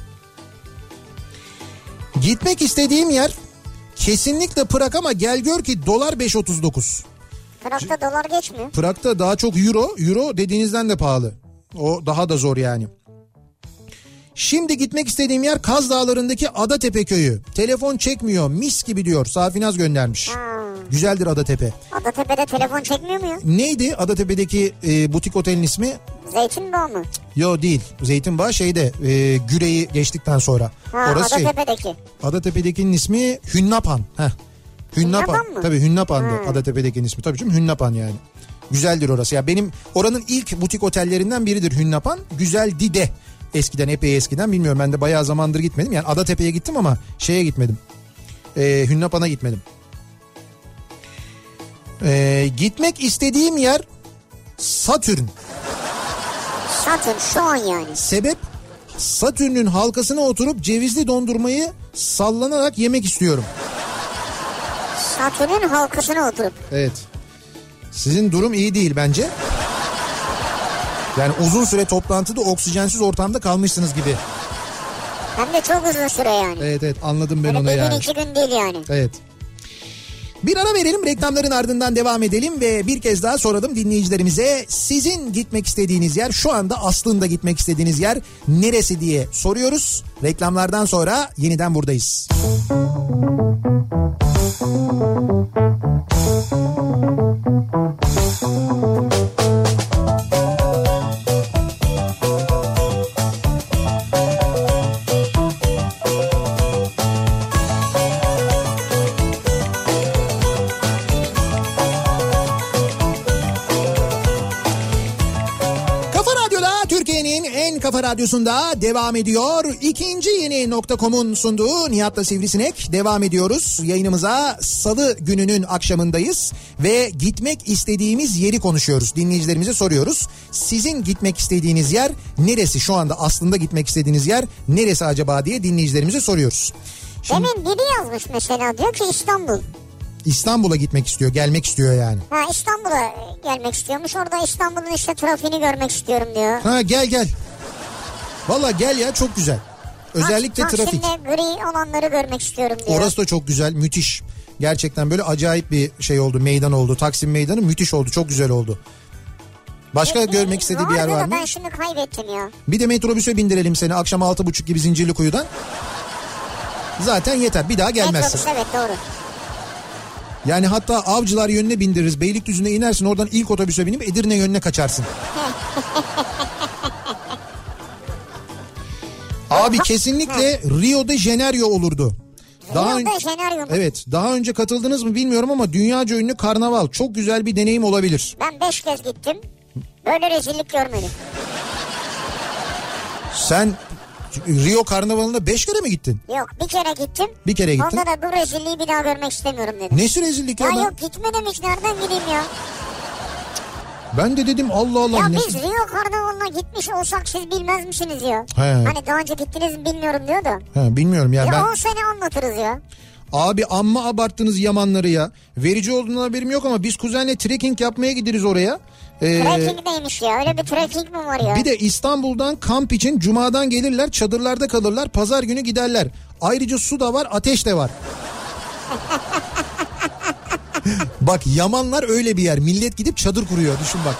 Speaker 1: Gitmek istediğim yer kesinlikle Prag ama gel gör ki dolar 5.39.
Speaker 2: Trakta dolar geçmiyor.
Speaker 1: Prag'da daha çok euro. Euro dediğinizden de pahalı. O daha da zor yani. Şimdi gitmek istediğim yer Kaz Dağları'ndaki Adatepe köyü. Telefon çekmiyor mis gibi diyor. Safinaz göndermiş. Güzeldir Adatepe.
Speaker 2: Adatepe'de telefon çekmiyor mu ya?
Speaker 1: Neydi Adatepe'deki e, butik otelin ismi?
Speaker 2: Zeytindağı mı?
Speaker 1: Yo değil. Zeytinbağı şeyde e, Güre'yi geçtikten sonra.
Speaker 2: Ha,
Speaker 1: Orası şey.
Speaker 2: Adatepe'deki.
Speaker 1: Adatepe'dekinin ismi Hünnapan. Heh. Hünnapan.
Speaker 2: Hünnapan mı?
Speaker 1: Tabii Hünnapan'dı Adatepe'dekinin ismi. Tabii canım Hünnapan yani. Güzeldir orası. Ya benim oranın ilk butik otellerinden biridir Hünnapan. Güzel Dide. Eskiden epey eskiden bilmiyorum ben de bayağı zamandır gitmedim. Yani Adatepe'ye gittim ama şeye gitmedim. Ee, Hünnapan'a gitmedim. Ee, gitmek istediğim yer Satürn.
Speaker 2: Satın şu an yani.
Speaker 1: Sebep Satürn'ün halkasına oturup cevizli dondurmayı sallanarak yemek istiyorum.
Speaker 2: Satürn'ün halkasına oturup.
Speaker 1: Evet. Sizin durum iyi değil bence. Yani uzun süre toplantıda oksijensiz ortamda kalmışsınız gibi.
Speaker 2: Hem de çok uzun süre yani.
Speaker 1: Evet evet anladım ben
Speaker 2: Hani
Speaker 1: onu
Speaker 2: bir gün
Speaker 1: yani.
Speaker 2: iki gün değil yani.
Speaker 1: Evet. Bir ara verelim reklamların ardından devam edelim ve bir kez daha soralım dinleyicilerimize sizin gitmek istediğiniz yer şu anda aslında gitmek istediğiniz yer neresi diye soruyoruz. Reklamlardan sonra yeniden buradayız. Kafa Radyo'da Türkiye'nin en kafa radyosunda devam ediyor. İkinci yeni nokta.com'un sunduğu Nihat'la Sivrisinek devam ediyoruz. Yayınımıza salı gününün akşamındayız ve gitmek istediğimiz yeri konuşuyoruz. Dinleyicilerimize soruyoruz. Sizin gitmek istediğiniz yer neresi? Şu anda aslında gitmek istediğiniz yer neresi acaba diye dinleyicilerimize soruyoruz. Şimdi
Speaker 2: Demin biri yazmış mesela diyor ki İstanbul.
Speaker 1: İstanbul'a gitmek istiyor, gelmek istiyor yani.
Speaker 2: Ha İstanbul'a e, gelmek istiyormuş. Orada İstanbul'un işte trafiğini görmek istiyorum diyor.
Speaker 1: Ha gel gel. Valla gel ya çok güzel. Özellikle
Speaker 2: Tak-
Speaker 1: trafik.
Speaker 2: Taksim'de gri olanları görmek istiyorum diyor.
Speaker 1: Orası da çok güzel, müthiş. Gerçekten böyle acayip bir şey oldu, meydan oldu. Taksim Meydanı müthiş oldu, çok güzel oldu. Başka
Speaker 2: Bir-
Speaker 1: görmek istediği bir yer
Speaker 2: vardı da
Speaker 1: var mı?
Speaker 2: Ben şimdi kaybettim ya.
Speaker 1: Bir de metrobüse bindirelim seni akşam altı buçuk gibi Zincirlikuyu'dan. Zaten yeter, bir daha gelmezsin.
Speaker 2: Metrobüs evet doğru.
Speaker 1: Yani hatta avcılar yönüne bindiririz. Beylikdüzü'ne inersin oradan ilk otobüse binip Edirne yönüne kaçarsın. Abi kesinlikle Rio de Janeiro olurdu. Daha
Speaker 2: Rio de
Speaker 1: ön-
Speaker 2: Janeiro mu?
Speaker 1: Evet daha önce katıldınız mı bilmiyorum ama dünyaca ünlü karnaval çok güzel bir deneyim olabilir.
Speaker 2: Ben beş kez gittim. Böyle rezillik görmedim.
Speaker 1: Sen Rio karnavalına 5 kere mi gittin?
Speaker 2: Yok bir kere gittim.
Speaker 1: Bir kere gittin.
Speaker 2: Onda da bu rezilliği bir daha görmek istemiyorum dedim.
Speaker 1: Ne rezillik ya,
Speaker 2: Ya
Speaker 1: ben,
Speaker 2: yok gitme demiş nereden gideyim ya?
Speaker 1: ben de dedim Allah Allah.
Speaker 2: Ya
Speaker 1: ne-
Speaker 2: biz Rio Karnavalı'na gitmiş olsak siz bilmez misiniz ya?
Speaker 1: He.
Speaker 2: Hani daha önce gittiniz mi bilmiyorum diyor da.
Speaker 1: Ha, bilmiyorum ya,
Speaker 2: Ya
Speaker 1: ben.
Speaker 2: o sene anlatırız ya.
Speaker 1: Abi amma abarttınız yamanları ya. Verici olduğundan haberim yok ama biz kuzenle trekking yapmaya gideriz oraya. Ee,
Speaker 2: Trekking neymiş ya? Öyle bir trekking mi var ya?
Speaker 1: bir de İstanbul'dan kamp için cumadan gelirler çadırlarda kalırlar pazar günü giderler. Ayrıca su da var ateş de var. bak yamanlar öyle bir yer millet gidip çadır kuruyor düşün bak.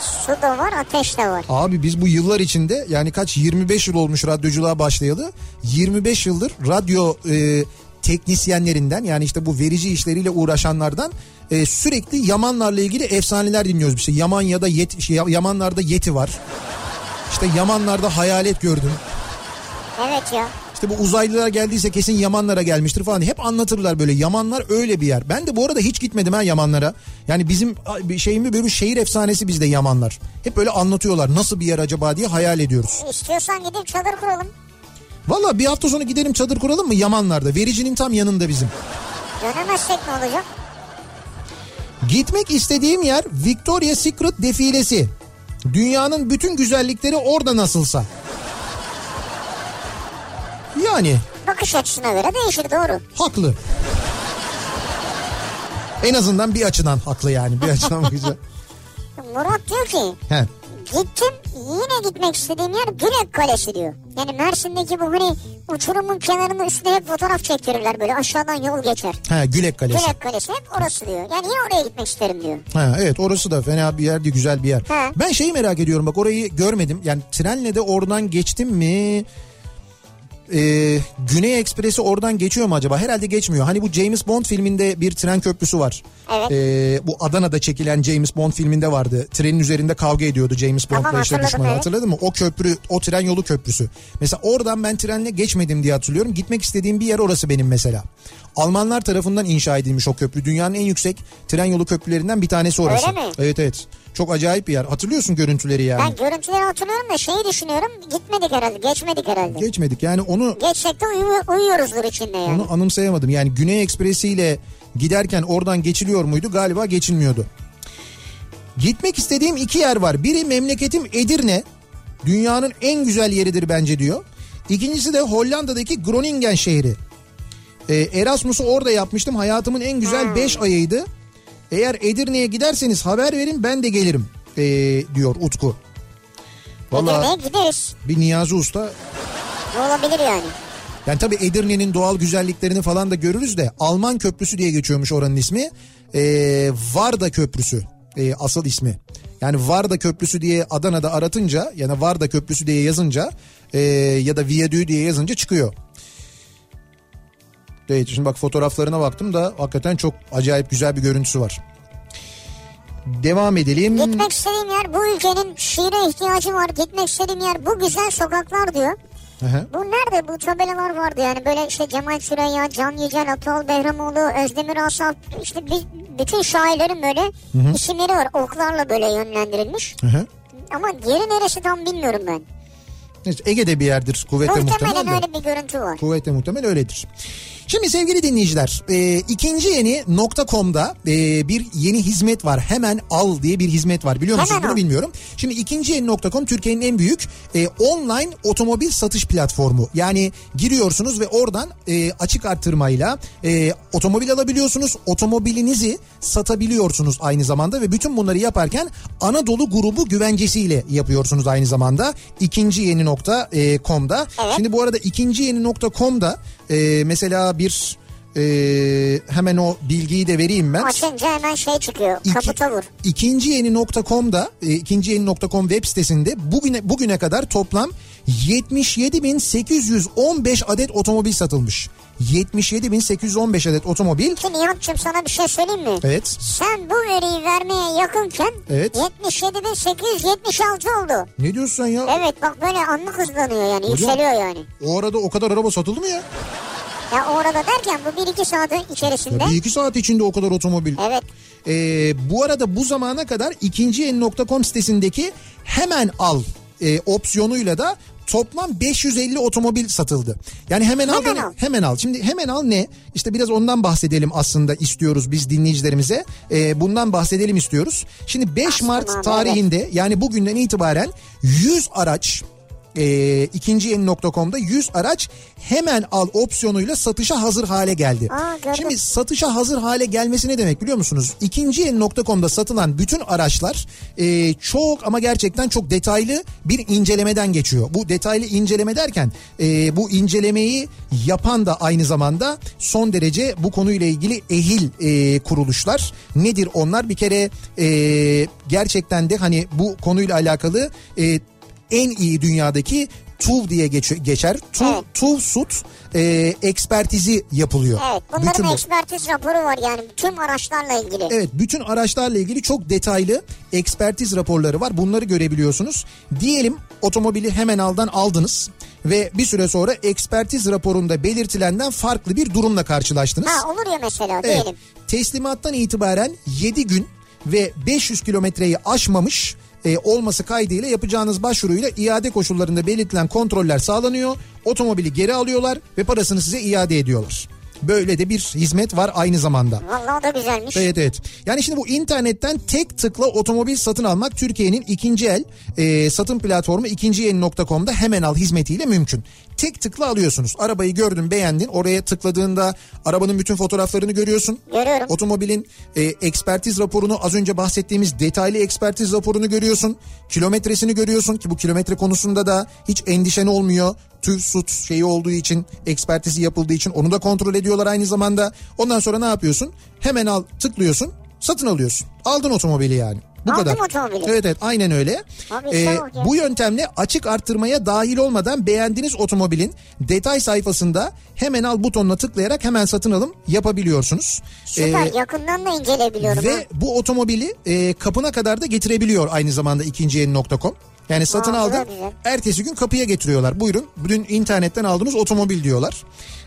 Speaker 2: Su da var ateş de var.
Speaker 1: Abi biz bu yıllar içinde yani kaç 25 yıl olmuş radyoculuğa başlayalı. 25 yıldır radyo e, teknisyenlerinden yani işte bu verici işleriyle uğraşanlardan e, sürekli Yamanlarla ilgili efsaneler dinliyoruz. Bir şey. Yaman ya da yet, şey, Yamanlarda yeti var. İşte Yamanlarda hayalet gördüm.
Speaker 2: Evet ya.
Speaker 1: İşte bu uzaylılar geldiyse kesin Yamanlara gelmiştir falan. Hep anlatırlar böyle. Yamanlar öyle bir yer. Ben de bu arada hiç gitmedim ha Yamanlara. Yani bizim şeyimi böyle bir şehir efsanesi bizde Yamanlar. Hep böyle anlatıyorlar nasıl bir yer acaba diye hayal ediyoruz.
Speaker 2: İstiyorsan gidip çadır kuralım.
Speaker 1: Valla bir hafta sonra gidelim çadır kuralım mı Yamanlarda? Vericinin tam yanında bizim.
Speaker 2: Dönemezsek ne olacak?
Speaker 1: Gitmek istediğim yer Victoria Secret defilesi. Dünyanın bütün güzellikleri orada nasılsa. Yani
Speaker 2: Bakış açısına göre değişir doğru.
Speaker 1: haklı. En azından bir açıdan haklı yani. Bir açıdan bakacağım.
Speaker 2: Murat diyor ki
Speaker 1: He.
Speaker 2: gittim yine gitmek istediğim yer Gülek Kalesi diyor. Yani Mersin'deki bu hani uçurumun kenarının üstüne hep fotoğraf çektirirler böyle aşağıdan yol geçer.
Speaker 1: He, Gülek Kalesi.
Speaker 2: Gülek Kalesi hep orası diyor. Yani yine oraya gitmek isterim diyor.
Speaker 1: Ha, evet orası da fena bir yer değil güzel bir yer.
Speaker 2: He.
Speaker 1: Ben şeyi merak ediyorum bak orayı görmedim. Yani trenle de oradan geçtim mi? Ee, Güney Ekspresi oradan geçiyor mu acaba? Herhalde geçmiyor. Hani bu James Bond filminde bir tren köprüsü var.
Speaker 2: Evet.
Speaker 1: Ee, bu Adana'da çekilen James Bond filminde vardı. Trenin üzerinde kavga ediyordu James Bond'la
Speaker 2: Tamam,
Speaker 1: işte
Speaker 2: hatırladım,
Speaker 1: düşmanı.
Speaker 2: evet.
Speaker 1: Hatırladın mı? O köprü, o tren yolu köprüsü. Mesela oradan ben trenle geçmedim diye hatırlıyorum. Gitmek istediğim bir yer orası benim mesela. Almanlar tarafından inşa edilmiş o köprü. Dünyanın en yüksek tren yolu köprülerinden bir tanesi orası.
Speaker 2: Öyle mi?
Speaker 1: Evet evet. Çok acayip bir yer. Hatırlıyorsun görüntüleri yani.
Speaker 2: Ben görüntüleri hatırlıyorum da şeyi düşünüyorum gitmedik herhalde geçmedik herhalde.
Speaker 1: Geçmedik yani onu
Speaker 2: Geçsek de uyu- uyuyoruzdur içinde yani.
Speaker 1: onu anımsayamadım. Yani Güney Ekspresi ile giderken oradan geçiliyor muydu? Galiba geçilmiyordu. Gitmek istediğim iki yer var. Biri memleketim Edirne. Dünyanın en güzel yeridir bence diyor. İkincisi de Hollanda'daki Groningen şehri. Ee, Erasmus'u orada yapmıştım. Hayatımın en güzel 5 ayıydı. Eğer Edirne'ye giderseniz haber verin ben de gelirim ee, diyor Utku. Vallahi
Speaker 2: Edirne'ye gideriz.
Speaker 1: bir Niyazi Usta
Speaker 2: Ne olabilir yani?
Speaker 1: yani tabii Edirne'nin doğal güzelliklerini falan da görürüz de Alman Köprüsü diye geçiyormuş oranın ismi. Ee, Varda Köprüsü ee, asıl ismi. Yani Varda Köprüsü diye Adana'da aratınca yani Varda Köprüsü diye yazınca ee, ya da Viyadüğü diye yazınca çıkıyor. Evet şimdi bak fotoğraflarına baktım da hakikaten çok acayip güzel bir görüntüsü var. Devam edelim.
Speaker 2: Gitmek istediğim yer bu ülkenin şiire ihtiyacı var. Gitmek istediğim yer bu güzel sokaklar diyor.
Speaker 1: Hı hı.
Speaker 2: Bu nerede bu tabelalar vardı yani böyle işte Cemal Süreyya, Can Yücel, Atol Behramoğlu, Özdemir Asaf işte bi- bütün şairlerin böyle isimleri var oklarla böyle yönlendirilmiş.
Speaker 1: Hı hı.
Speaker 2: Ama yeri neresi tam bilmiyorum ben.
Speaker 1: Neyse, Ege'de bir yerdir kuvvetle muhtemelen
Speaker 2: Muhtemelen
Speaker 1: de.
Speaker 2: öyle bir görüntü var.
Speaker 1: Kuvvetle muhtemel öyledir. Şimdi sevgili dinleyiciler e, ikinci yeni .com'da e, bir yeni hizmet var. Hemen al diye bir hizmet var biliyor musunuz
Speaker 2: Hemen
Speaker 1: bunu
Speaker 2: al.
Speaker 1: bilmiyorum. Şimdi ikinci yeni .com Türkiye'nin en büyük e, online otomobil satış platformu. Yani giriyorsunuz ve oradan e, açık arttırmayla e, otomobil alabiliyorsunuz. Otomobilinizi satabiliyorsunuz aynı zamanda ve bütün bunları yaparken Anadolu grubu güvencesiyle yapıyorsunuz aynı zamanda. İkinci yeni .com'da.
Speaker 2: Evet.
Speaker 1: Şimdi bu arada ikinci yeni nokta.com'da e, mesela bir e, hemen o bilgiyi de vereyim ben.
Speaker 2: Açınca hemen şey çıkıyor
Speaker 1: İki-
Speaker 2: kaputa vur.
Speaker 1: İkinci yeni nokta.com'da e, ikinci yeni nokta.com web sitesinde bugüne, bugüne kadar toplam 77.815 adet otomobil satılmış. 77.815 adet otomobil.
Speaker 2: Ki Nihat'cığım sana bir şey söyleyeyim mi?
Speaker 1: Evet.
Speaker 2: Sen bu veriyi vermeye yakınken
Speaker 1: Evet.
Speaker 2: 77.876 oldu.
Speaker 1: Ne diyorsun sen ya?
Speaker 2: Evet bak böyle anlık hızlanıyor yani yükseliyor yani.
Speaker 1: O arada o kadar araba satıldı mı ya?
Speaker 2: Ya orada derken bu 1-2 saatin içerisinde.
Speaker 1: ya bir iki saat içinde o kadar otomobil.
Speaker 2: Evet.
Speaker 1: Ee, bu arada bu zamana kadar ikinci yeni.com sitesindeki hemen al e, opsiyonuyla da toplam 550 otomobil satıldı. Yani hemen al
Speaker 2: Hemen
Speaker 1: da ne-
Speaker 2: al.
Speaker 1: hemen al. Şimdi hemen al ne? İşte biraz ondan bahsedelim aslında istiyoruz biz dinleyicilerimize. Ee, bundan bahsedelim istiyoruz. Şimdi 5
Speaker 2: Aslında
Speaker 1: Mart
Speaker 2: evet.
Speaker 1: tarihinde yani bugünden itibaren 100 araç e, e, ikinciyeni.com'da 100 araç hemen al opsiyonuyla satışa hazır hale geldi.
Speaker 2: Aa, gördüm.
Speaker 1: Şimdi satışa hazır hale gelmesi ne demek biliyor musunuz? İkinciyeni.com'da satılan bütün araçlar e, çok ama gerçekten çok detaylı bir incelemeden geçiyor. Bu detaylı inceleme derken e, bu incelemeyi yapan da aynı zamanda son derece bu konuyla ilgili ehil e, kuruluşlar. Nedir onlar? Bir kere e, gerçekten de hani bu konuyla alakalı e, en iyi dünyadaki TUV diye geç- geçer. TUV,
Speaker 2: Evet.
Speaker 1: TUV sut e, ekspertizi yapılıyor.
Speaker 2: Evet bunların
Speaker 1: Bütün bu-
Speaker 2: ekspertiz raporu var yani tüm araçlarla ilgili.
Speaker 1: Evet bütün araçlarla ilgili çok detaylı ekspertiz raporları var. Bunları görebiliyorsunuz. Diyelim otomobili hemen aldan aldınız ve bir süre sonra ekspertiz raporunda belirtilenden farklı bir durumla karşılaştınız.
Speaker 2: Ha olur ya mesela
Speaker 1: Evet.
Speaker 2: diyelim.
Speaker 1: Teslimattan itibaren 7 gün ve 500 kilometreyi aşmamış e, olması kaydıyla yapacağınız başvuruyla iade koşullarında belirtilen kontroller sağlanıyor. Otomobili geri alıyorlar ve parasını size iade ediyorlar. Böyle de bir hizmet var aynı zamanda.
Speaker 2: Vallahi o da güzelmiş.
Speaker 1: Evet evet. Yani şimdi bu internetten tek tıkla otomobil satın almak Türkiye'nin ikinci el e, satın platformu ikinciyeni.com'da hemen al hizmetiyle mümkün. Tek tıkla alıyorsunuz. Arabayı gördün beğendin oraya tıkladığında arabanın bütün fotoğraflarını görüyorsun.
Speaker 2: Görüyorum.
Speaker 1: Otomobilin e, ekspertiz raporunu az önce bahsettiğimiz detaylı ekspertiz raporunu görüyorsun. Kilometresini görüyorsun ki bu kilometre konusunda da hiç endişen olmuyor. TÜV SUT şeyi olduğu için ekspertizi yapıldığı için onu da kontrol ediyorlar aynı zamanda. Ondan sonra ne yapıyorsun? Hemen al tıklıyorsun satın alıyorsun. Aldın otomobili yani. Bu
Speaker 2: Aldım
Speaker 1: kadar.
Speaker 2: otomobili.
Speaker 1: Evet evet aynen öyle. E,
Speaker 2: Abi işe bak ya.
Speaker 1: bu yöntemle açık arttırmaya dahil olmadan beğendiğiniz otomobilin detay sayfasında hemen al butonuna tıklayarak hemen satın alım yapabiliyorsunuz.
Speaker 2: Süper
Speaker 1: Ee,
Speaker 2: yakından da inceleyebiliyorum. ha.
Speaker 1: ve bu otomobili e, kapına kadar da getirebiliyor aynı zamanda ikinciyeni.com. Yani satın
Speaker 2: Aa, bu da
Speaker 1: aldın
Speaker 2: güzel.
Speaker 1: ertesi gün kapıya getiriyorlar. Buyurun bugün internetten aldığınız otomobil diyorlar.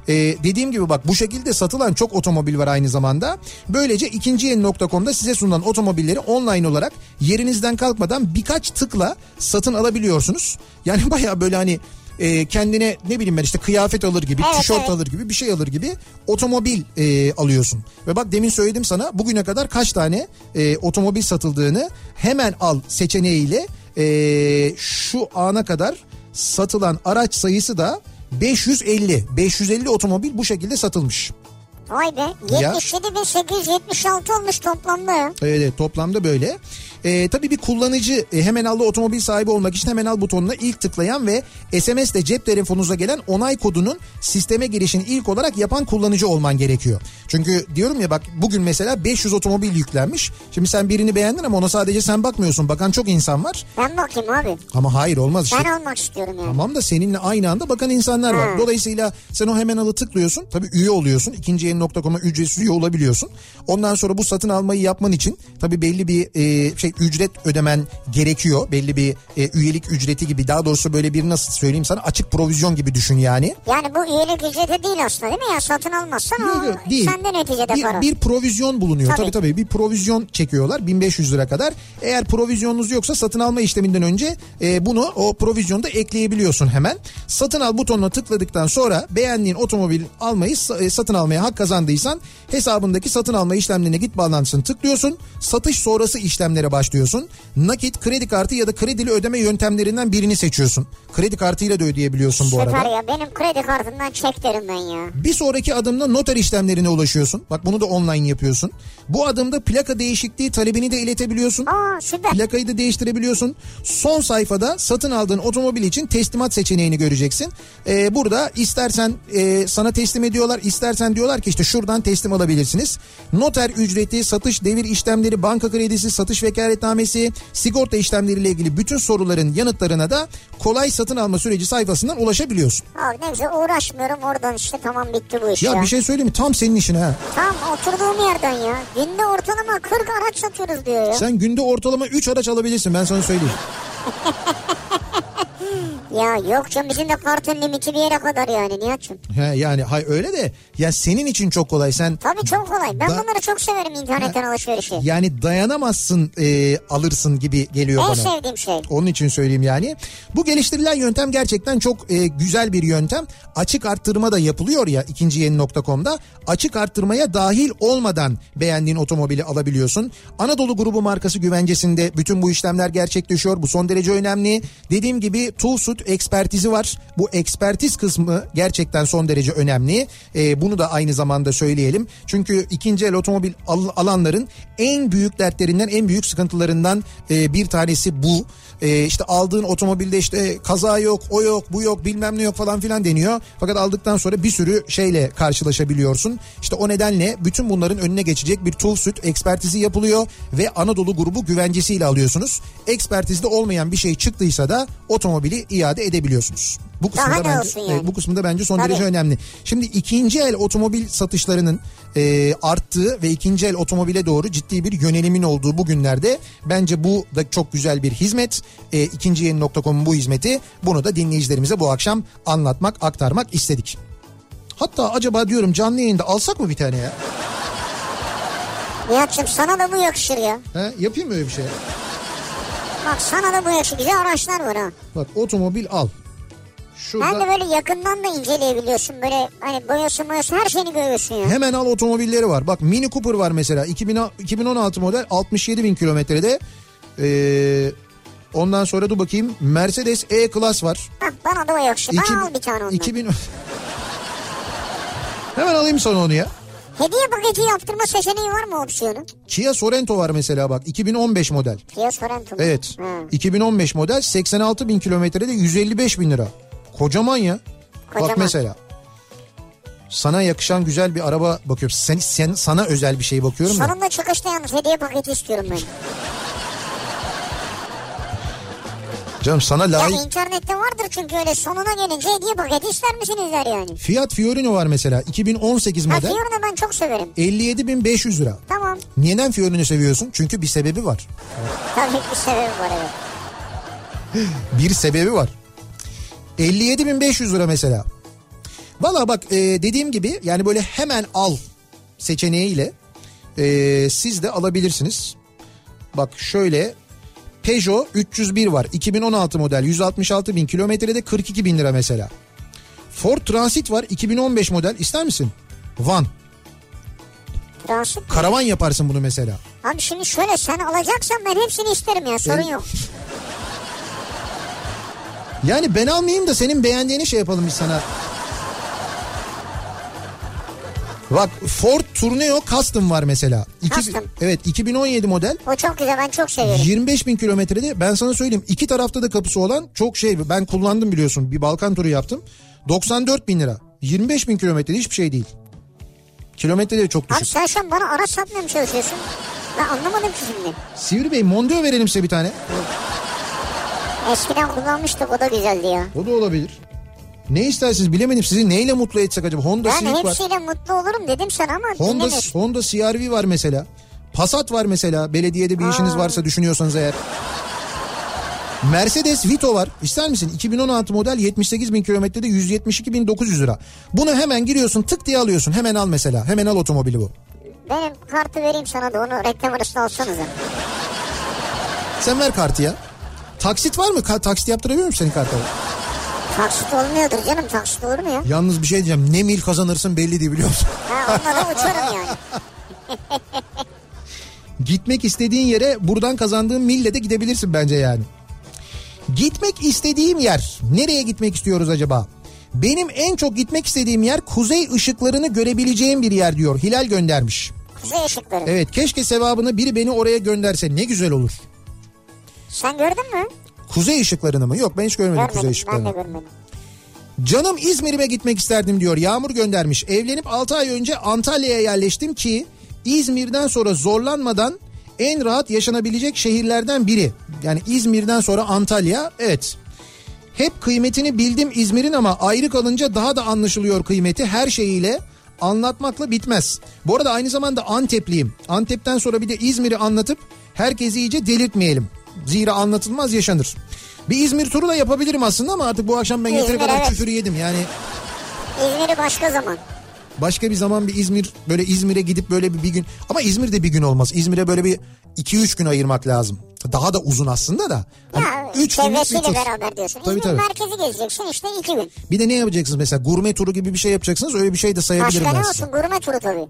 Speaker 1: Ee, dediğim gibi bak bu şekilde satılan çok otomobil var aynı zamanda. Böylece ikinciyeni.com'da size sunulan otomobilleri online olarak yerinizden kalkmadan birkaç tıkla satın alabiliyorsunuz. Yani baya böyle hani e, kendine ne bileyim ben işte kıyafet alır gibi,
Speaker 2: Evet,
Speaker 1: tişört
Speaker 2: evet.
Speaker 1: alır gibi bir şey alır gibi otomobil e, alıyorsun. Ve bak demin söyledim sana bugüne kadar kaç tane e, otomobil satıldığını hemen al seçeneğiyle e, şu ana kadar satılan araç sayısı da 550. 550 otomobil bu şekilde satılmış.
Speaker 2: Vay be
Speaker 1: Ya.
Speaker 2: 77.876 olmuş toplamda ya.
Speaker 1: Evet toplamda böyle. Ee, tabii bir kullanıcı e, hemen allı otomobil sahibi olmak için hemen al butonuna ilk tıklayan ve SMS ile cep telefonunuza gelen onay kodunun sisteme girişini ilk olarak yapan kullanıcı olman gerekiyor. Çünkü diyorum ya bak bugün mesela 500 otomobil yüklenmiş. Şimdi sen birini beğendin ama ona sadece sen bakmıyorsun. Bakan çok insan var.
Speaker 2: Ben bakayım abi.
Speaker 1: Ama hayır olmaz işte.
Speaker 2: Ben almak istiyorum yani.
Speaker 1: Tamam da seninle aynı anda bakan insanlar var.
Speaker 2: Ha.
Speaker 1: Dolayısıyla sen o hemen alı tıklıyorsun. Tabii üye oluyorsun. İkinci yeni.com'a ücretsiz üye olabiliyorsun. Ondan sonra bu satın almayı yapman için tabii belli bir e, şey ücret ödemen gerekiyor. Belli bir e, üyelik ücreti gibi daha doğrusu böyle bir nasıl söyleyeyim sana açık provizyon gibi düşün yani.
Speaker 2: Yani bu üyelik ücreti değil aslında değil mi ya? Satın almazsan
Speaker 1: Yok,
Speaker 2: o
Speaker 1: yok, değil.
Speaker 2: senden neticede
Speaker 1: bir,
Speaker 2: para.
Speaker 1: bir provizyon bulunuyor. Tabii.
Speaker 2: Tabii.
Speaker 1: tabii bir provizyon çekiyorlar 1500 lira kadar. Eğer provizyonunuz yoksa satın alma işleminden önce e, bunu o provizyonda ekleyebiliyorsun hemen. Satın al butonuna tıkladıktan sonra beğendiğin otomobil almayı sa- e, satın almaya hak kazandıysan hesabındaki satın alma işlemlerine git bağlantısını tıklıyorsun. Satış sonrası işlemlere başlıyorsun. Nakit, kredi kartı ya da kredili ödeme yöntemlerinden birini seçiyorsun. Kredi kartıyla da ödeyebiliyorsun bu arada.
Speaker 2: Süper ya benim kredi kartımdan çek derim ben ya.
Speaker 1: Bir sonraki adımda noter işlemlerine ulaşıyorsun. Bak bunu da online yapıyorsun. Bu adımda plaka değişikliği talebini de iletebiliyorsun.
Speaker 2: Aa süper.
Speaker 1: Plakayı da değiştirebiliyorsun. Son sayfada satın aldığın otomobil için teslimat seçeneğini göreceksin. Ee, burada istersen e, sana teslim ediyorlar, istersen diyorlar ki işte şuradan teslim alabilirsiniz. Noter ücreti, satış devir işlemleri, banka kredisi, satış vekaletnamesi, sigorta işlemleriyle ilgili bütün soruların yanıtlarına da kolay satın alma süreci sayfasından ulaşabiliyorsun.
Speaker 2: Abi ne güzel uğraşmıyorum oradan işte tamam bitti bu iş ya.
Speaker 1: Ya bir şey söyleyeyim mi? Tam senin işin ha.
Speaker 2: Tam oturduğum yerden ya. Günde ortalama 40 araç satıyoruz diyor ya.
Speaker 1: Sen günde ortalama 3 araç alabilirsin ben sana söyleyeyim.
Speaker 2: Ya yok canım bizim de kartın limiti bir yere kadar yani Nihat'cığım.
Speaker 1: He, yani hay öyle de ya senin için çok kolay sen
Speaker 2: Tabii çok kolay. Ben
Speaker 1: Da-
Speaker 2: bunları çok severim internetten alışverişi.
Speaker 1: yani dayanamazsın e, alırsın gibi geliyor
Speaker 2: en
Speaker 1: bana.
Speaker 2: sevdiğim şey.
Speaker 1: Onun için söyleyeyim yani. Bu geliştirilen yöntem gerçekten çok e, güzel bir yöntem. Açık arttırma da yapılıyor ya ikinci yeni.com'da. Açık arttırmaya dahil olmadan beğendiğin otomobili alabiliyorsun. Anadolu grubu markası güvencesinde bütün bu işlemler gerçekleşiyor. Bu son derece önemli. Dediğim gibi Toolsut ekspertizi var. Bu ekspertiz kısmı gerçekten son derece önemli. Ee, bunu da aynı zamanda söyleyelim. Çünkü ikinci el otomobil al- alanların en büyük dertlerinden, en büyük sıkıntılarından e, bir tanesi bu. E, işte aldığın otomobilde işte kaza yok, o yok, bu yok, bilmem ne yok falan filan deniyor. Fakat aldıktan sonra bir sürü şeyle karşılaşabiliyorsun. İşte o nedenle bütün bunların önüne geçecek bir tuğ süt ekspertizi yapılıyor ve Anadolu grubu güvencesiyle alıyorsunuz. Ekspertizde olmayan bir şey çıktıysa da otomobili iade edebiliyorsunuz. Bu
Speaker 2: Daha
Speaker 1: kısımda
Speaker 2: ne
Speaker 1: bence
Speaker 2: olsun yani?
Speaker 1: e, bu kısımda bence son
Speaker 2: Tabii.
Speaker 1: derece önemli. Şimdi ikinci el otomobil satışlarının e, arttığı ve ikinci el otomobile doğru ciddi bir yönelimin olduğu bu günlerde bence bu da çok güzel bir hizmet. E, ikinciyeni.com'un bu hizmeti bunu da dinleyicilerimize bu akşam anlatmak, aktarmak istedik. Hatta acaba diyorum canlı yayında alsak mı bir tane ya?
Speaker 2: Nihat'cığım sana da bu yakışır ya.
Speaker 1: He, yapayım mı öyle bir şey?
Speaker 2: Bak sana da bu yakışır. Güzel araçlar var ha.
Speaker 1: Bak otomobil al.
Speaker 2: Hem de
Speaker 1: Şurada
Speaker 2: böyle yakından da inceleyebiliyorsun. Böyle hani boyası boyası her şeyini görüyorsun ya.
Speaker 1: hemen al otomobilleri var. Bak Mini Cooper var mesela 2000, 2016 model 67 bin kilometrede. Ee, ondan sonra dur bakayım Mercedes E-Class var.
Speaker 2: Hah, bana da o yakışır.
Speaker 1: İki-
Speaker 2: Bana al bir tane ondan.
Speaker 1: 2000 Hemen alayım sana onu ya.
Speaker 2: Hediye paketi yaptırma seçeneği var mı opsiyonu?
Speaker 1: Kia Sorento var mesela bak 2015 model.
Speaker 2: Kia Sorento. mu?
Speaker 1: Evet.
Speaker 2: Hı.
Speaker 1: 2015 model 86 bin kilometrede 155 bin lira. Kocaman ya. Bak
Speaker 2: Kocaman.
Speaker 1: mesela. Sana yakışan güzel bir araba bakıyorum. Sen, sen sana özel bir şey bakıyorum da.
Speaker 2: Sonunda çıkışta yalnız hediye paketi istiyorum ben.
Speaker 1: Canım sana
Speaker 2: Yani
Speaker 1: layık.
Speaker 2: internette vardır çünkü öyle sonuna gelince hediye paketi ister misiniz der yani.
Speaker 1: Fiat Fiorino var mesela 2018
Speaker 2: Ha
Speaker 1: model.
Speaker 2: Fiora'nı ben çok severim.
Speaker 1: 57.500 lira.
Speaker 2: Tamam.
Speaker 1: Neden Fiorino'yu seviyorsun? Çünkü bir sebebi var.
Speaker 2: Tabii bir sebebi var evet.
Speaker 1: Bir sebebi var. 57.500 lira mesela. Valla bak e, dediğim gibi yani böyle hemen al seçeneğiyle e, siz de alabilirsiniz. Bak şöyle Peugeot 301 var. 2016 model 166 bin kilometrede 42 bin lira mesela. Ford Transit var 2015 model ister misin? Van.
Speaker 2: Transit.
Speaker 1: Karavan yaparsın bunu mesela.
Speaker 2: Abi şimdi şöyle sen alacaksan ben hepsini isterim ya sorun
Speaker 1: Ben-
Speaker 2: yok.
Speaker 1: Yani ben almayayım da senin beğendiğini şey yapalım biz sana. Bak Ford Tourneo Custom var mesela. İki-
Speaker 2: Custom.
Speaker 1: Evet 2017 model.
Speaker 2: O çok güzel ben çok seviyorum.
Speaker 1: 25 bin kilometrede ben sana söyleyeyim iki tarafta da kapısı olan çok şey ben kullandım biliyorsun bir Balkan turu yaptım 94 bin lira 25 bin kilometrede hiçbir şey değil kilometre de çok
Speaker 2: Abi
Speaker 1: düşük
Speaker 2: sen şu an bana araç satmaya mı çalışıyorsun? Ben anlamadım ki şimdi.
Speaker 1: Sivri Bey Mondeo verelim size bir tane
Speaker 2: Eskiden kullanmıştık o da güzeldi ya.
Speaker 1: o da olabilir ne istersiniz bilemedim sizi neyle mutlu etsek acaba Honda
Speaker 2: Ben
Speaker 1: Civic var
Speaker 2: hepsiyle mutlu olurum dedim sana ama
Speaker 1: Honda,
Speaker 2: dinlemedin.
Speaker 1: Honda CR-V var mesela. Passat var mesela. Belediyede bir işiniz varsa düşünüyorsanız eğer. Mercedes Vito var. İster misin? 2016 model 78 bin kilometrede 172 bin 900 lira. Bunu hemen giriyorsun tık diye alıyorsun. Hemen al mesela. Hemen al otomobili bu.
Speaker 2: Benim kartı vereyim sana da onu reklam arasında alsanıza.
Speaker 1: Sen ver kartı ya. Taksit var mı? Ka- taksit yaptırabiliyor muyum senin kartına?
Speaker 2: Taksit olmuyordur canım taksit olur mu ya?
Speaker 1: Yalnız bir şey diyeceğim. Ne mil kazanırsın belli değil biliyor musun?
Speaker 2: Ha, onunla da uçarım yani.
Speaker 1: Gitmek istediğin yere buradan kazandığın mille de gidebilirsin bence yani. Gitmek istediğim yer. Nereye gitmek istiyoruz acaba? Benim en çok gitmek istediğim yer kuzey ışıklarını görebileceğim bir yer diyor. Hilal göndermiş.
Speaker 2: Kuzey ışıkları.
Speaker 1: Evet keşke sevabını biri beni oraya gönderse ne güzel olur.
Speaker 2: Sen gördün mü?
Speaker 1: Kuzey ışıklarını mı? Yok ben hiç görmedim kuzey
Speaker 2: Görmedim ben de
Speaker 1: ışıklarını.
Speaker 2: görmedim.
Speaker 1: Canım İzmir'ime gitmek isterdim diyor. Yağmur göndermiş. Evlenip 6 ay önce Antalya'ya yerleştim ki İzmir'den sonra zorlanmadan en rahat yaşanabilecek şehirlerden biri. Yani İzmir'den sonra Antalya evet. Hep kıymetini bildim İzmir'in ama ayrı kalınca daha da anlaşılıyor kıymeti her şeyiyle anlatmakla bitmez. Bu arada aynı zamanda Antepliyim. Antep'ten sonra bir de İzmir'i anlatıp herkesi iyice delirtmeyelim. Zira anlatılmaz yaşanır. Bir İzmir turu da yapabilirim aslında ama artık bu akşam ben yeteri
Speaker 2: İzmir,
Speaker 1: kadar
Speaker 2: evet.
Speaker 1: küfür yedim. Yani
Speaker 2: İzmir'i başka zaman.
Speaker 1: başka bir zaman bir İzmir böyle İzmir'e gidip böyle bir, bir gün ama İzmir'de bir gün olmaz. İzmir'e böyle bir 2-3 gün ayırmak lazım. Daha da uzun aslında da.
Speaker 2: Ya
Speaker 1: Hani üç günlük bir
Speaker 2: çevresiyle
Speaker 1: tur.
Speaker 2: beraber diyorsun.
Speaker 1: Tabii,
Speaker 2: İzmir
Speaker 1: tabii.
Speaker 2: merkezi gezeceksin işte iki gün.
Speaker 1: Bir de ne yapacaksınız mesela gurme turu gibi bir şey yapacaksınız öyle bir şey de sayabilirim
Speaker 2: Başka ne
Speaker 1: ben size.
Speaker 2: olsun gurme turu tabii.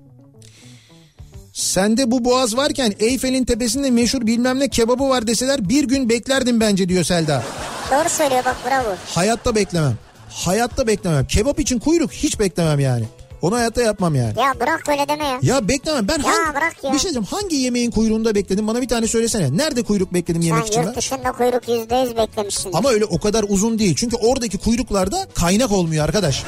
Speaker 1: Sende bu boğaz varken Eyfel'in tepesinde meşhur bilmem ne kebabı var deseler bir gün beklerdim bence diyor Selda.
Speaker 2: Doğru söylüyor bak bravo.
Speaker 1: Hayatta beklemem. Hayatta beklemem. Kebap için kuyruk hiç beklemem yani. Onu hayatta yapmam yani.
Speaker 2: Ya bırak böyle deme ya.
Speaker 1: Ya beklemem. Ben hangi,
Speaker 2: bırak ya.
Speaker 1: bir şey diyeceğim. Hangi yemeğin kuyruğunda bekledim? Bana bir tane söylesene. Nerede kuyruk bekledim yemek
Speaker 2: Sen
Speaker 1: için ben?
Speaker 2: yurt dışında kuyruk yüzde yüz beklemişsin.
Speaker 1: Ama öyle o kadar uzun değil. Çünkü oradaki kuyruklarda kaynak olmuyor arkadaş.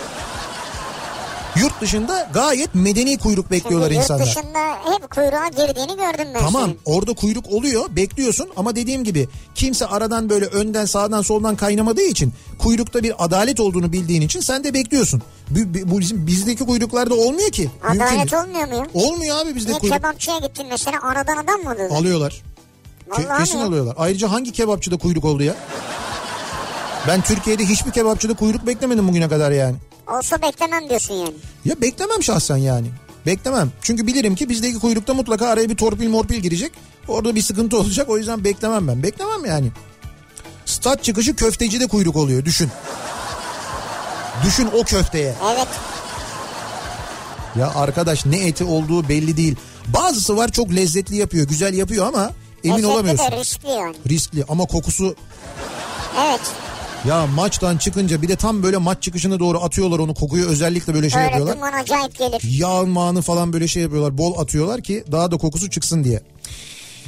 Speaker 1: Yurt dışında gayet medeni kuyruk
Speaker 2: Şimdi
Speaker 1: bekliyorlar
Speaker 2: yurt
Speaker 1: insanlar.
Speaker 2: dışında hep kuyruğa girdiğini gördüm ben
Speaker 1: Tamam
Speaker 2: senin.
Speaker 1: orada kuyruk oluyor bekliyorsun ama dediğim gibi kimse aradan böyle önden sağdan soldan kaynamadığı için kuyrukta bir adalet olduğunu bildiğin için sen de bekliyorsun. Bu, bu- bu bizim bizdeki kuyruklarda olmuyor ki. Mümkün
Speaker 2: Adalet
Speaker 1: değil.
Speaker 2: olmuyor mu ya?
Speaker 1: Olmuyor abi bizde
Speaker 2: Niye
Speaker 1: kuyruk.
Speaker 2: kebapçıya gittin mesela aradan adam mı alıyordun?
Speaker 1: Alıyorlar. Ke-
Speaker 2: Vallahi
Speaker 1: kesin
Speaker 2: mi ya?
Speaker 1: alıyorlar. Ayrıca hangi kebapçıda kuyruk oldu ya? Ben Türkiye'de hiçbir kebapçıda kuyruk beklemedim bugüne kadar yani.
Speaker 2: Olsa beklemem diyorsun yani.
Speaker 1: Ya beklemem şahsen yani. Beklemem. Çünkü bilirim ki bizdeki kuyrukta mutlaka araya bir torpil morpil girecek. Orada bir sıkıntı olacak. O yüzden beklemem ben. Beklemem yani. Stat çıkışı köftecide kuyruk oluyor. Düşün. Düşün o köfteye.
Speaker 2: Evet.
Speaker 1: Ya arkadaş ne eti olduğu belli değil. Bazısı var çok lezzetli yapıyor. Güzel yapıyor ama emin
Speaker 2: Lezzetli
Speaker 1: olamıyorsun.
Speaker 2: de riskli yani.
Speaker 1: Riskli ama kokusu
Speaker 2: Evet.
Speaker 1: ya maçtan çıkınca bir de tam böyle maç çıkışına doğru atıyorlar onu kokuyu özellikle böyle şey
Speaker 2: Öyle
Speaker 1: yapıyorlar.
Speaker 2: duman acayip gelir.
Speaker 1: yağmağını falan böyle şey yapıyorlar. Bol atıyorlar ki daha da kokusu çıksın diye.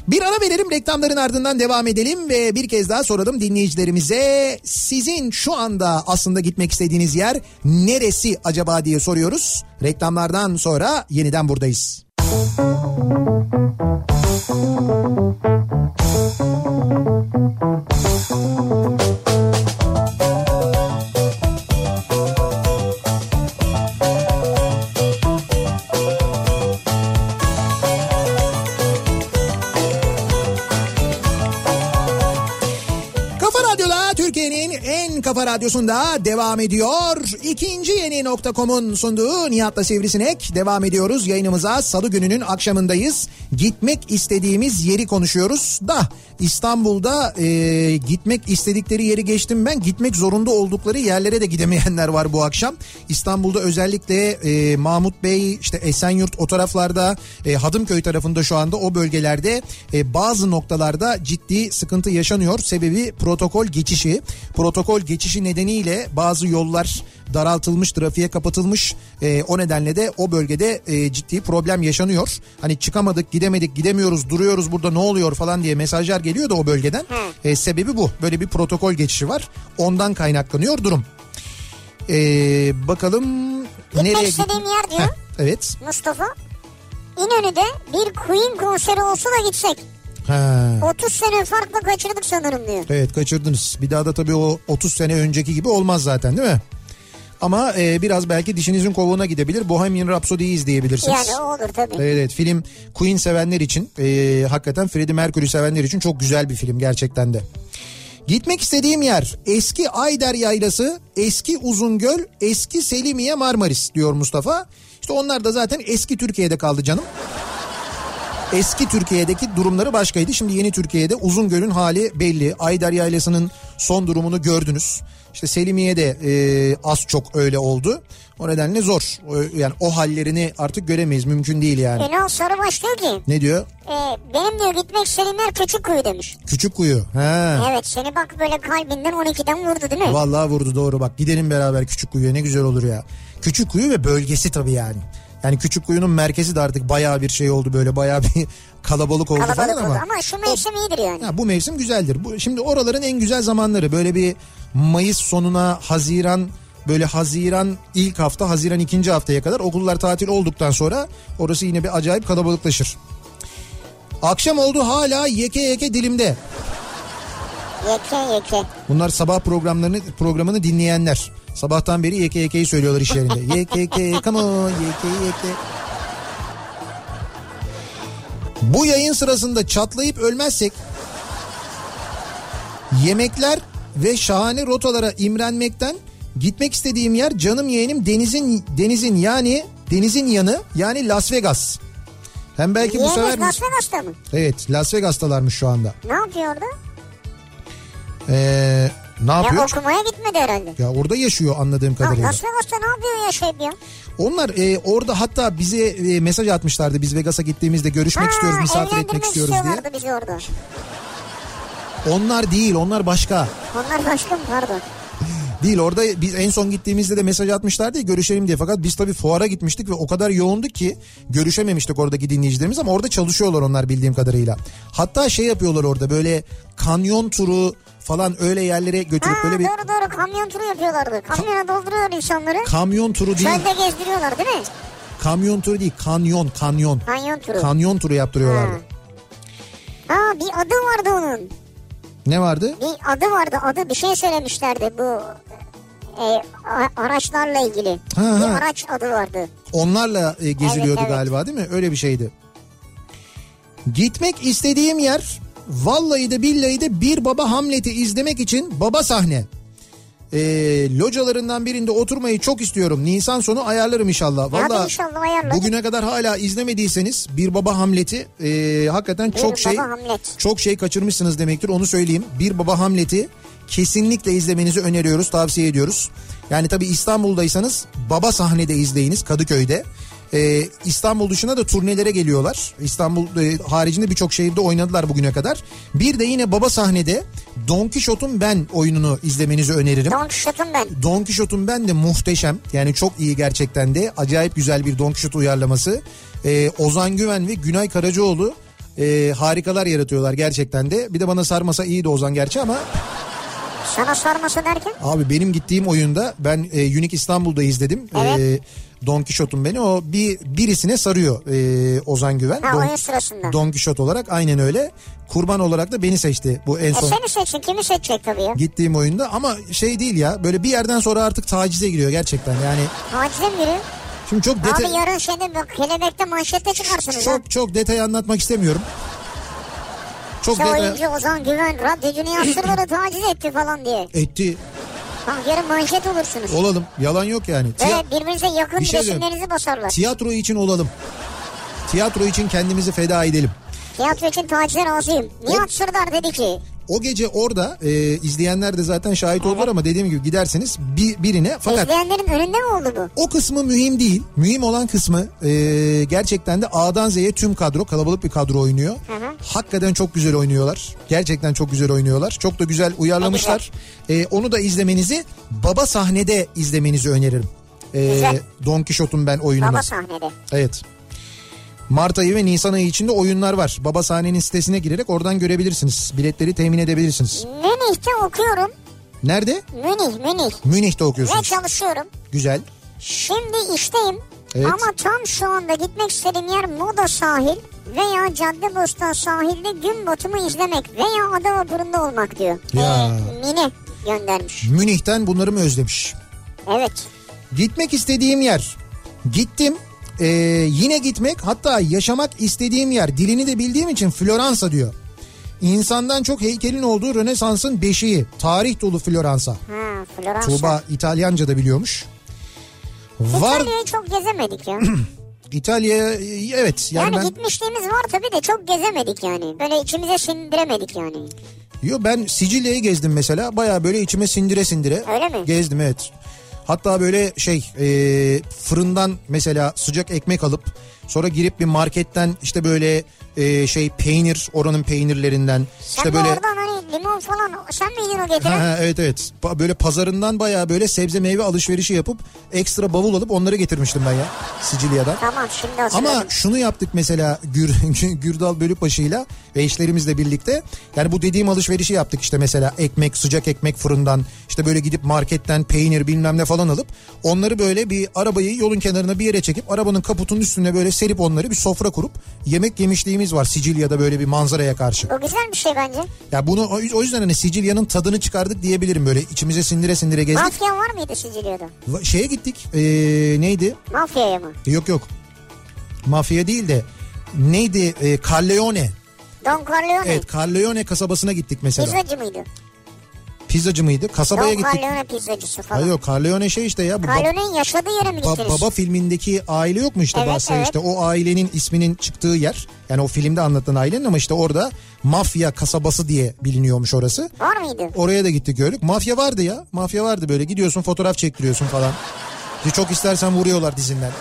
Speaker 1: Bir ara verelim reklamların ardından devam edelim ve bir kez daha soralım dinleyicilerimize sizin şu anda aslında gitmek istediğiniz yer neresi acaba diye soruyoruz. Reklamlardan sonra yeniden buradayız. Kafa Radyo'da Türkiye'nin en kafa radyosunda devam ediyor. İkinci yeni nokta.com'un sunduğu Nihat'la Sivrisinek devam ediyoruz. Yayınımıza salı gününün akşamındayız. Gitmek istediğimiz yeri konuşuyoruz da İstanbul'da e, gitmek istedikleri yeri geçtim ben. Gitmek zorunda oldukları yerlere de gidemeyenler var bu akşam. İstanbul'da özellikle e, Mahmut Bey işte Esenyurt o taraflarda e, Hadımköy tarafında şu anda o bölgelerde e, bazı noktalarda ciddi sıkıntı yaşanıyor. Sebebi protokol geçişi. Protokol geçişi nedeniyle bazı yollar daraltılmış, trafiğe kapatılmış. E, o nedenle de o bölgede e, ciddi problem yaşanıyor. Hani çıkamadık, gidemedik, gidemiyoruz, duruyoruz burada ne oluyor falan diye mesajlar geliyor da o bölgeden. E, sebebi bu. Böyle bir protokol geçişi var. Ondan kaynaklanıyor durum. E, bakalım nereye
Speaker 2: istediğim
Speaker 1: git-
Speaker 2: yer diyor.
Speaker 1: Heh, evet.
Speaker 2: Mustafa. İnönü'de bir Queen konseri olsa da gitsek.
Speaker 1: Ha.
Speaker 2: 30 sene farklı kaçırdık sanırım diyor.
Speaker 1: Evet kaçırdınız. Bir daha da tabii o 30 sene önceki gibi olmaz zaten değil mi? Ama e, biraz belki dişinizin kovuğuna gidebilir. Bohemian Rhapsody'yi izleyebilirsiniz.
Speaker 2: Yani o olur tabii.
Speaker 1: Evet, evet film Queen sevenler için e, hakikaten Freddie Mercury sevenler için çok güzel bir film gerçekten de. Gitmek istediğim yer eski Ayder Yaylası, eski Uzungöl, eski Selimiye Marmaris diyor Mustafa. İşte onlar da zaten eski Türkiye'de kaldı canım. Eski Türkiye'deki durumları başkaydı. Şimdi yeni Türkiye'de Uzungöl'ün hali belli. Ayder Yaylası'nın son durumunu gördünüz. İşte Selimiye'de e, az çok öyle oldu. O nedenle zor. O- Yani o hallerini artık göremeyiz. Mümkün değil yani.
Speaker 2: Ünal Sarıbaş diyor ki
Speaker 1: Ne diyor?
Speaker 2: e, benim diyor gitmek istediğim yer küçük kuyu demiş.
Speaker 1: Küçük kuyu. He.
Speaker 2: Evet seni bak böyle kalbinden 12'den vurdu değil mi?
Speaker 1: Vallahi vurdu doğru bak. Gidelim beraber küçük kuyuya ne güzel olur ya. Küçük kuyu ve bölgesi tabii yani. Yani küçük kuyunun merkezi de artık bayağı bir şey oldu böyle bayağı bir kalabalık oldu
Speaker 2: Kalabalık
Speaker 1: falan
Speaker 2: oldu
Speaker 1: ama.
Speaker 2: ama şu mevsim iyidir yani.
Speaker 1: Ya bu mevsim güzeldir. Bu, şimdi oraların en güzel zamanları böyle bir Mayıs sonuna Haziran böyle Haziran ilk hafta Haziran ikinci haftaya kadar okullar tatil olduktan sonra orası yine bir acayip kalabalıklaşır. Akşam oldu hala yeke yeke dilimde.
Speaker 2: Yeke yeke.
Speaker 1: Bunlar sabah programlarını programını dinleyenler. Sabahtan beri yeke yekeyi söylüyorlar iş yerinde. Yeke yeke come on yeke yeke. Bu yayın sırasında çatlayıp ölmezsek yemekler ve şahane rotalara imrenmekten gitmek istediğim yer canım yeğenim denizin denizin yani denizin yanı yani Las Vegas. Hem belki bu
Speaker 2: Yeğeniz
Speaker 1: sefer
Speaker 2: Las Vegas'ta mı?
Speaker 1: Evet Las Vegas'talarmış şu anda.
Speaker 2: Ne yapıyor orada?
Speaker 1: Ee, ne yapıyor?
Speaker 2: Ya okumaya gitmedi herhalde.
Speaker 1: Ya orada yaşıyor anladığım
Speaker 2: Ya
Speaker 1: kadarıyla.
Speaker 2: Las Vegas'ta ne yapıyor ya şey diyor?
Speaker 1: Onlar e, orada hatta bize e, mesaj atmışlardı. Biz Vegas'a gittiğimizde görüşmek istiyoruz, misafir etmek
Speaker 2: evlendirmek
Speaker 1: istiyoruz diye.
Speaker 2: istiyorlardı bizi orada.
Speaker 1: Onlar değil onlar başka.
Speaker 2: Onlar başka mı pardon?
Speaker 1: Değil orada biz en son gittiğimizde de mesaj atmışlardı ya görüşelim diye. Fakat biz tabii fuara gitmiştik ve o kadar yoğunduk ki görüşememiştik oradaki dinleyicilerimiz ama orada çalışıyorlar onlar bildiğim kadarıyla. Hatta şey yapıyorlar orada böyle kanyon turu falan öyle yerlere götürüp
Speaker 2: Ha,
Speaker 1: böyle bir
Speaker 2: Doğru doğru kamyon turu yapıyorlardı. Kamyona dolduruyor insanları.
Speaker 1: kamyon turu değil.
Speaker 2: Çölde gezdiriyorlar değil mi?
Speaker 1: Kamyon turu değil kanyon kanyon.
Speaker 2: Kanyon turu.
Speaker 1: Kanyon turu yaptırıyorlardı.
Speaker 2: Ha. Aa, bir adı vardı onun.
Speaker 1: Ne vardı?
Speaker 2: Bir adı vardı. Adı bir şey söylemişlerdi bu e, a- araçlarla ilgili.
Speaker 1: Ha, ha.
Speaker 2: bir araç adı vardı.
Speaker 1: Onlarla e, geziliyordu
Speaker 2: Evet, evet.
Speaker 1: galiba değil mi? Öyle bir şeydi. Gitmek istediğim yer vallahi de billahi de bir baba Hamlet'i izlemek için baba sahne. Ee, localarından birinde oturmayı çok istiyorum. Nisan sonu ayarlarım inşallah.
Speaker 2: Hadi
Speaker 1: Valla
Speaker 2: inşallah ayarladık.
Speaker 1: bugüne kadar hala izlemediyseniz bir baba Hamlet'i e, hakikaten
Speaker 2: Bir
Speaker 1: çok
Speaker 2: Baba
Speaker 1: şey
Speaker 2: Hamlet.
Speaker 1: çok şey kaçırmışsınız demektir onu söyleyeyim. Bir Baba Hamlet'i kesinlikle izlemenizi öneriyoruz, tavsiye ediyoruz. Yani tabii İstanbul'daysanız Baba sahnede izleyiniz Kadıköy'de. Ee, İstanbul dışına da turnelere geliyorlar. İstanbul e, haricinde birçok şehirde oynadılar bugüne kadar. Bir de yine Baba sahnede Don Kişot'un Ben oyununu izlemenizi öneririm.
Speaker 2: Don Quixote'um ben.
Speaker 1: Don Kişot'un ben de muhteşem. Yani çok iyi gerçekten de. Acayip güzel bir Don Kişot uyarlaması. Ee, Ozan Güven ve Günay Karacaoğlu e, harikalar yaratıyorlar gerçekten de. Bir de bana sarmasa iyiydi Ozan gerçi ama
Speaker 2: Sana sorması derken?
Speaker 1: abi benim gittiğim oyunda ben e, Unique İstanbul'da izledim.
Speaker 2: Evet.
Speaker 1: E, Don Kişot'un beni o bir birisine sarıyor e, Ozan Güven.
Speaker 2: Ha,
Speaker 1: Don,
Speaker 2: oyun sırasında.
Speaker 1: Don Kişot olarak aynen öyle. Kurban olarak da beni seçti bu en
Speaker 2: E
Speaker 1: son.
Speaker 2: seni seçsin kimi seçecek tabii ya.
Speaker 1: Gittiğim oyunda ama şey değil ya böyle bir yerden sonra artık tacize giriyor gerçekten yani
Speaker 2: Tacize mi yürü?
Speaker 1: Şimdi çok
Speaker 2: Abi
Speaker 1: detay
Speaker 2: yarın şeyde bak kelebekte manşette çıkarsınız. ha.
Speaker 1: çok çok detay anlatmak istemiyorum. Çok
Speaker 2: İşte
Speaker 1: detay
Speaker 2: oyuncu Ozan Güven radyocunu yaptırmadı taciz etti falan diye.
Speaker 1: etti.
Speaker 2: Bak yarın manşet olursunuz.
Speaker 1: Olalım. Yalan yok yani. Tiya-
Speaker 2: Böyle birbirinize yakın
Speaker 1: Bir şey
Speaker 2: resimlerinizi basarlar.
Speaker 1: tiyatro için olalım. Tiyatro için kendimizi feda edelim.
Speaker 2: Tiyatro için tacize razıyım. Nihat Sırdar dedi ki
Speaker 1: O gece orada e, izleyenler de zaten şahit oldular ama dediğim gibi giderseniz bir, birine fakat
Speaker 2: izleyenlerin önünde mi oldu bu?
Speaker 1: o kısmı mühim değil. Mühim olan kısmı e, gerçekten de A'dan Z'ye tüm kadro kalabalık bir kadro oynuyor. Hakikaten çok güzel oynuyorlar. Gerçekten çok güzel oynuyorlar. Çok da güzel uyarlamışlar. E, onu da izlemenizi baba sahnede izlemenizi öneririm. E,
Speaker 2: Güzel.
Speaker 1: Don Kişot'un ben oyununu.
Speaker 2: Baba sahnede.
Speaker 1: Evet. Mart ayı ve Nisan ayı içinde oyunlar var. Baba sahnenin sitesine girerek oradan görebilirsiniz. Biletleri temin edebilirsiniz.
Speaker 2: Münih'te okuyorum.
Speaker 1: Nerede?
Speaker 2: Münih, Münih.
Speaker 1: Münih'te
Speaker 2: Ve
Speaker 1: okuyorsunuz.
Speaker 2: çalışıyorum.
Speaker 1: Güzel.
Speaker 2: Şimdi işteyim.
Speaker 1: Evet.
Speaker 2: Ama tam şu anda gitmek istediğim yer Moda sahil veya Caddebostan sahilde gün batımı izlemek veya Adalaburun'da olmak diyor. Ee,
Speaker 1: Ya.
Speaker 2: Mine göndermiş.
Speaker 1: Münih'ten bunları mı özlemiş?
Speaker 2: Evet.
Speaker 1: Gitmek istediğim yer. Gittim. Ee, yine gitmek hatta yaşamak istediğim yer. Dilini de bildiğim için Floransa diyor. İnsandan çok heykelin olduğu Rönesans'ın beşiği. Tarih dolu Floransa.
Speaker 2: Ha, Floransa.
Speaker 1: Tuğba İtalyanca da biliyormuş. Var
Speaker 2: İtalya'yı çok gezemedik ya.
Speaker 1: İtalya evet yani,
Speaker 2: Yani
Speaker 1: ben
Speaker 2: gitmişliğimiz var tabii de çok gezemedik yani. Böyle içimize sindiremedik yani.
Speaker 1: yo ben Sicilya'yı gezdim mesela. Baya böyle içime sindire sindire.
Speaker 2: Öyle mi?
Speaker 1: Gezdim evet. Hatta böyle şey e, fırından mesela sıcak ekmek alıp sonra girip bir marketten işte böyle e, şey peynir oranın peynirlerinden
Speaker 2: Sen
Speaker 1: işte
Speaker 2: de
Speaker 1: böyle
Speaker 2: oradan hani limon falan sen miydin o
Speaker 1: Ha,
Speaker 2: getiren?
Speaker 1: ha, evet evet Pa- böyle pazarından baya böyle sebze meyve alışverişi yapıp ekstra bavul alıp onları getirmiştim ben ya Sicilya'dan.
Speaker 2: Tamam şimdi hatırladım.
Speaker 1: Ama şunu yaptık mesela Gür, Gürdal Bölükbaşı'yla ve eşlerimizle birlikte. Yani bu dediğim alışverişi yaptık işte mesela ekmek, sıcak ekmek fırından işte böyle gidip marketten peynir bilmem ne falan alıp onları böyle bir arabayı yolun kenarına bir yere çekip arabanın kaputunun üstüne böyle serip onları bir sofra kurup yemek yemişliğimiz var Sicilya'da böyle bir manzaraya karşı.
Speaker 2: O güzel bir şey bence.
Speaker 1: Ya bunu o o yüzden hani Sicilya'nın tadını çıkardık diyebilirim böyle içimize sindire sindire gezdik.
Speaker 2: Mafya var mıydı Sicilya'da?
Speaker 1: Va- Şeye gittik ee, neydi?
Speaker 2: Mafyaya mı?
Speaker 1: Yok yok. Mafya değil de neydi? E, Carleone.
Speaker 2: Don Corleone.
Speaker 1: Evet Carleone kasabasına gittik mesela.
Speaker 2: Pizzacı mıydı?
Speaker 1: Pizzacı mıydı? Kasabaya
Speaker 2: Don
Speaker 1: gittik.
Speaker 2: Corleone pizzacısı falan.
Speaker 1: Hayır yok Carleone şey işte ya. Bu bab-
Speaker 2: Corleone'nin yaşadığı yere mi
Speaker 1: ba-
Speaker 2: gittiniz?
Speaker 1: baba filmindeki aile yok mu işte
Speaker 2: Evet,
Speaker 1: bahsediyor
Speaker 2: evet.
Speaker 1: işte o ailenin isminin çıktığı yer. Yani o filmde anlatılan ailenin ama işte orada mafya kasabası diye biliniyormuş orası.
Speaker 2: Var mıydı?
Speaker 1: Oraya da gittik gördük. Mafya vardı ya. Mafya vardı böyle gidiyorsun fotoğraf çektiriyorsun falan. İşte çok istersen vuruyorlar dizinden.
Speaker 2: Ya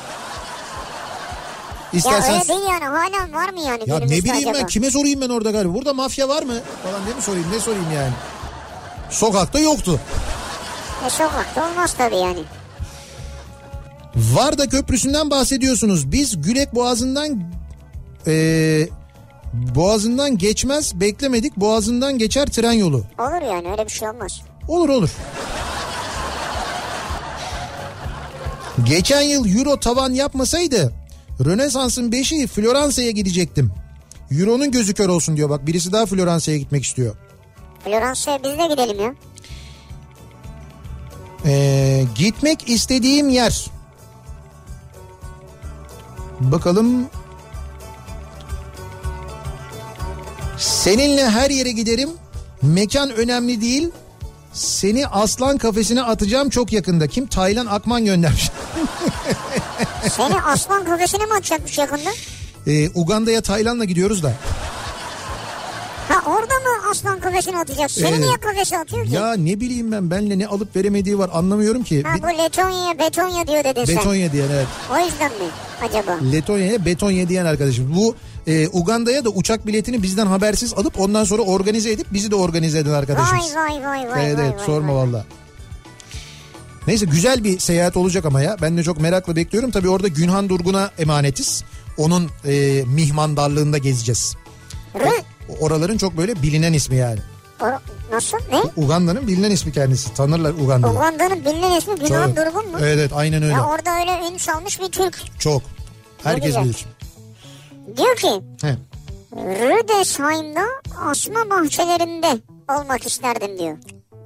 Speaker 1: İstersen...
Speaker 2: öyle değil yani hala var mı yani
Speaker 1: Ya ne
Speaker 2: günümüzde
Speaker 1: bileyim ben
Speaker 2: acaba?
Speaker 1: kime sorayım ben orada galiba. Burada mafya var mı? Falan diye mi sorayım ne sorayım yani. Sokakta yoktu.
Speaker 2: E, sokakta olmaz tabii yani.
Speaker 1: Varda Köprüsü'nden bahsediyorsunuz. Biz Gülek Boğazı'ndan eee, Boğazı'ndan geçmez beklemedik. Boğazı'ndan geçer tren yolu.
Speaker 2: Olur yani öyle bir şey olmaz.
Speaker 1: Olur olur. Geçen yıl euro tavan yapmasaydı Rönesans'ın beşi Floransa'ya gidecektim. Euro'nun gözü kör olsun diyor. Bak birisi daha Floransa'ya gitmek istiyor.
Speaker 2: Floransa'ya biz de gidelim ya.
Speaker 1: Ee, gitmek istediğim yer. Bakalım. Seninle her yere giderim. Mekan önemli değil. Seni aslan kafesine atacağım çok yakında. Kim? Taylan Akman göndermiş.
Speaker 2: Seni aslan kafesine mi atacakmış yakında?
Speaker 1: Ee, Uganda'ya Taylan'la gidiyoruz da.
Speaker 2: Ha orada mı aslan kafesine atacak? Seni
Speaker 1: Evet.
Speaker 2: niye kafese atıyor ki?
Speaker 1: Ee, Ya ne bileyim ben benle ne alıp veremediği var anlamıyorum ki.
Speaker 2: Ha
Speaker 1: Be-
Speaker 2: bu Letonya, Betonya diyor dedin sen.
Speaker 1: Betonya diyen evet.
Speaker 2: O yüzden mi acaba?
Speaker 1: Letonya'ya Betonya diyen arkadaşım. Bu e, Uganda'ya da uçak biletini bizden habersiz alıp ondan sonra organize edip bizi de organize eden
Speaker 2: Vay
Speaker 1: arkadaşımız.
Speaker 2: vay vay vay
Speaker 1: evet
Speaker 2: vay.
Speaker 1: evet
Speaker 2: vay,
Speaker 1: sorma
Speaker 2: vay.
Speaker 1: valla. Neyse güzel bir seyahat olacak ama ya. Ben de çok merakla bekliyorum. Tabii orada Günhan Durgun'a emanetiz. Onun e, mihmandarlığında gezeceğiz.
Speaker 2: Rı?
Speaker 1: Oraların çok böyle bilinen ismi yani.
Speaker 2: O- nasıl? Ne?
Speaker 1: Uganda'nın bilinen ismi kendisi. Tanırlar Uganda'yı.
Speaker 2: Uganda'nın bilinen ismi Günhan
Speaker 1: Tabii.
Speaker 2: Durgun mu?
Speaker 1: Evet evet aynen öyle.
Speaker 2: Ya orada öyle ün salmış bir Türk.
Speaker 1: Çok. Herkes
Speaker 2: güzel.
Speaker 1: bilir.
Speaker 2: Diyor ki
Speaker 1: He.
Speaker 2: Rüdesheim'da asma bahçelerinde olmak isterdim diyor.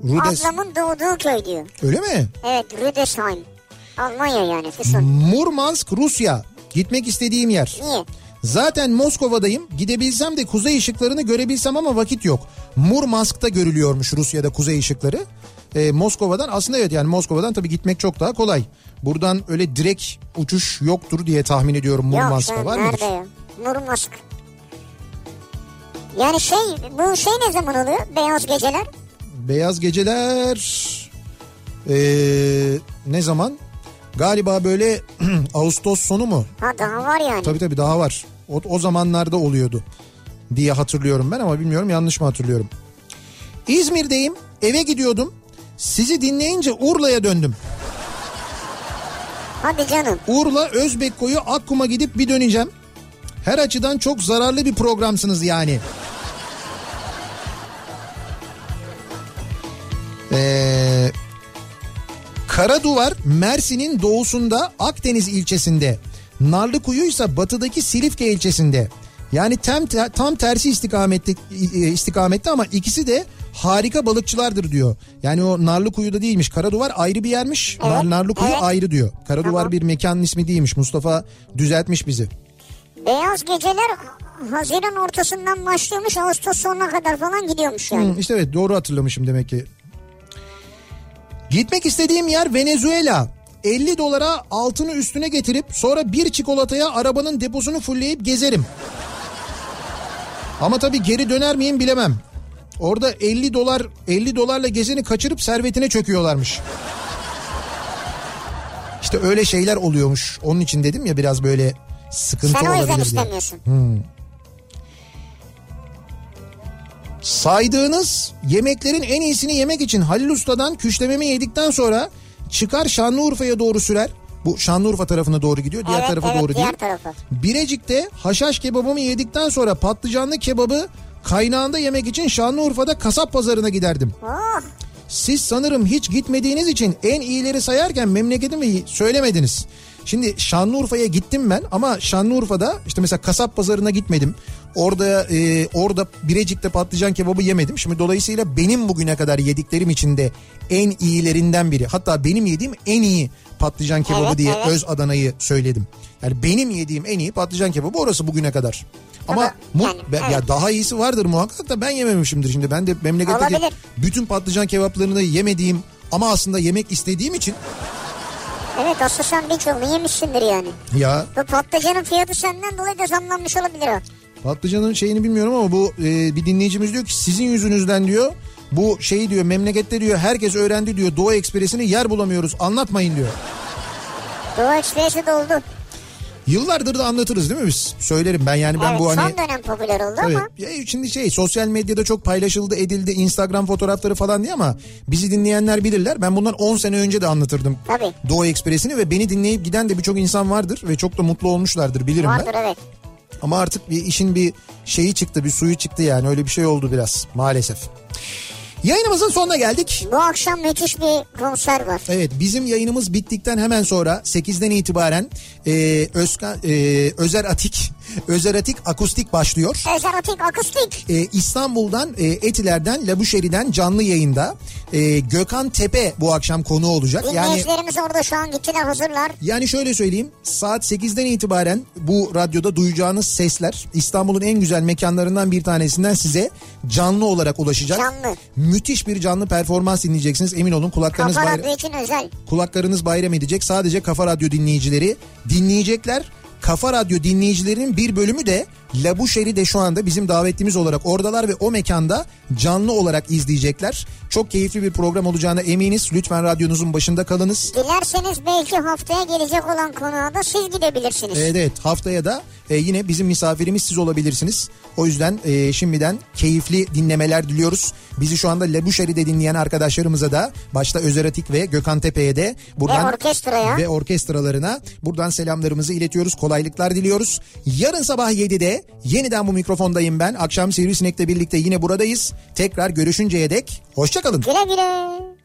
Speaker 1: Rudes.
Speaker 2: Ablamın doğduğu köy diyor.
Speaker 1: Öyle mi?
Speaker 2: Evet Rüdesheim. Almanya yani
Speaker 1: Hmm.
Speaker 2: Füsun.
Speaker 1: Murmansk Rusya. Gitmek istediğim yer.
Speaker 2: Niye?
Speaker 1: Zaten Moskova'dayım. Gidebilsem de kuzey ışıklarını görebilsem ama vakit yok. Murmansk'ta görülüyormuş Rusya'da kuzey ışıkları. Ee, Moskova'dan aslında evet yani Moskova'dan tabii gitmek çok daha kolay. Buradan öyle direkt uçuş yoktur diye tahmin ediyorum Murmansk'a
Speaker 2: Yok
Speaker 1: var
Speaker 2: canım,
Speaker 1: mı?
Speaker 2: nerede ya? Murmansk. Yani şey bu şey ne zaman oluyor? Beyaz geceler.
Speaker 1: Beyaz geceler ee, ne zaman? Galiba böyle Ağustos sonu mu?
Speaker 2: Ha daha var yani.
Speaker 1: Tabii tabii daha var. O, o zamanlarda oluyordu diye hatırlıyorum ben ama bilmiyorum yanlış mı hatırlıyorum. İzmir'deyim eve gidiyordum. Sizi dinleyince Urla'ya döndüm.
Speaker 2: Hadi canım.
Speaker 1: Urla Özbekkoyu Akkum'a gidip bir döneceğim. Her açıdan çok zararlı bir programsınız yani. Ee, Karaduvar Mersin'in doğusunda Akdeniz ilçesinde. Narlıkuyu ise batıdaki Silifke ilçesinde. Yani tam, tam tersi istikamette, istikamette ama ikisi de harika balıkçılardır diyor. Yani o Narlıkuyu'da değilmiş. Karaduvar ayrı bir yermiş.
Speaker 2: Evet,
Speaker 1: Nar- Narlıkuyu
Speaker 2: evet.
Speaker 1: ayrı diyor. Karaduvar
Speaker 2: Tamam.
Speaker 1: bir mekanın ismi değilmiş. Mustafa düzeltmiş bizi.
Speaker 2: Beyaz geceler Haziran ortasından başlıyormuş Ağustos sonuna kadar falan gidiyormuş yani.
Speaker 1: Hı, İşte evet doğru hatırlamışım demek ki. Gitmek istediğim yer Venezuela. 50 dolara altını üstüne getirip sonra bir çikolataya arabanın deposunu fulleyip gezerim. Ama tabii geri döner miyim bilemem. Orada 50 dolar 50 dolarla gezeni kaçırıp servetine çöküyorlarmış. İşte öyle şeyler oluyormuş. Onun için dedim ya biraz böyle sıkıntı
Speaker 2: Sen o
Speaker 1: olabilir Hmm.
Speaker 2: yüzden
Speaker 1: diye.
Speaker 2: istemiyorsun.
Speaker 1: Saydığınız yemeklerin en iyisini yemek için Halil Usta'dan küşlememi yedikten sonra çıkar Şanlıurfa'ya doğru sürer. Bu Şanlıurfa tarafına doğru gidiyor. Diğer
Speaker 2: evet,
Speaker 1: tarafa
Speaker 2: evet,
Speaker 1: doğru
Speaker 2: diğer
Speaker 1: değil.
Speaker 2: tarafı.
Speaker 1: Birecik'te haşhaş kebabımı yedikten sonra patlıcanlı kebabı kaynağında yemek için Şanlıurfa'da kasap pazarına giderdim.
Speaker 2: Oh,
Speaker 1: Siz sanırım hiç gitmediğiniz için en iyileri sayarken memleketimi söylemediniz. Şimdi Şanlıurfa'ya gittim ben ama Şanlıurfa'da işte mesela kasap pazarına gitmedim. Orada e, orada Birecik'te patlıcan kebabı yemedim. Şimdi dolayısıyla benim bugüne kadar yediklerim içinde en iyilerinden biri. Hatta benim yediğim en iyi patlıcan kebabı
Speaker 2: Evet,
Speaker 1: diye
Speaker 2: evet.
Speaker 1: öz Adana'yı söyledim. Yani benim yediğim en iyi patlıcan kebabı orası bugüne kadar. Ama
Speaker 2: Ama
Speaker 1: mu-
Speaker 2: yani,
Speaker 1: be- ya
Speaker 2: evet.
Speaker 1: daha iyisi vardır muhakkak da ben yememişimdir şimdi. Ben de memleketteki
Speaker 2: Olabilir.
Speaker 1: bütün patlıcan kebaplarını yemediğim ama aslında yemek istediğim için
Speaker 2: evet aslında sen birçoğunu yemişsindir yani.
Speaker 1: ya
Speaker 2: Bu patlıcanın fiyatı senden dolayı da zamlanmış olabilir o.
Speaker 1: patlıcanın şeyini bilmiyorum ama bu e, bir dinleyicimiz diyor ki sizin yüzünüzden diyor bu şey diyor memlekette diyor herkes öğrendi diyor Doğu Ekspresi'ni yer bulamıyoruz anlatmayın diyor.
Speaker 2: Doğu Ekspresi doldu.
Speaker 1: Yıllardır da anlatırız değil mi biz? Söylerim ben yani ben
Speaker 2: evet,
Speaker 1: bu hani...
Speaker 2: son dönem popüler oldu
Speaker 1: Evet.
Speaker 2: ama
Speaker 1: Ya şimdi şey sosyal medyada çok paylaşıldı edildi Instagram fotoğrafları falan diye ama bizi dinleyenler bilirler. Ben bundan 10 sene önce de anlatırdım.
Speaker 2: Tabii.
Speaker 1: Doğu Ekspresi'ni ve beni dinleyip giden de birçok insan vardır ve çok da mutlu olmuşlardır bilirim
Speaker 2: vardır
Speaker 1: ben.
Speaker 2: evet.
Speaker 1: Ama artık bir işin bir şeyi çıktı bir suyu çıktı yani öyle bir şey oldu biraz maalesef. Yayınımızın sonuna geldik.
Speaker 2: Bu akşam müthiş bir konser var.
Speaker 1: Evet bizim yayınımız bittikten hemen sonra 8'den itibaren e, Özka, e, Özer Atik Özer Atik akustik başlıyor.
Speaker 2: Özer Atik Akustik.
Speaker 1: Ee, İstanbul'dan e, Etiler'den Labuşeri'den canlı yayında Ee, Gökhan Tepe bu akşam konu olacak. Yani
Speaker 2: Dinleyicilerimiz orada şu an gittiler hazırlar.
Speaker 1: yani şöyle söyleyeyim saat 8'den itibaren bu radyoda duyacağınız sesler İstanbul'un en güzel mekanlarından bir tanesinden size canlı olarak ulaşacak.
Speaker 2: Canlı.
Speaker 1: Müthiş bir canlı performans dinleyeceksiniz emin olun kulaklarınız
Speaker 2: Kafa
Speaker 1: bayram,
Speaker 2: Radyo için özel.
Speaker 1: kulaklarınız bayram edecek. Sadece Kafa Radyo dinleyicileri dinleyecekler. Kafa Radyo dinleyicilerinin bir bölümü de Labuşeri de şu anda bizim davetlimiz olarak oradalar ve o mekanda canlı olarak izleyecekler. Çok keyifli bir program olacağına eminiz. Lütfen radyonuzun başında kalınız.
Speaker 2: Dilerseniz belki haftaya gelecek olan konuğa da siz gidebilirsiniz.
Speaker 1: Evet, evet haftaya da e, yine bizim misafirimiz siz olabilirsiniz. O yüzden e, şimdiden keyifli dinlemeler diliyoruz. Bizi şu anda Labuşeri'de dinleyen arkadaşlarımıza da başta Özer Atik ve Gökhan Tepe'ye de buradan
Speaker 2: Ve orkestraya.
Speaker 1: ve orkestralarına buradan selamlarımızı iletiyoruz. Kolaylıklar diliyoruz. Yarın sabah 7'de yeniden bu mikrofondayım ben. Akşam Sivrisinek'le birlikte yine buradayız. Tekrar görüşünceye dek hoşçakalın.
Speaker 2: Güle güle.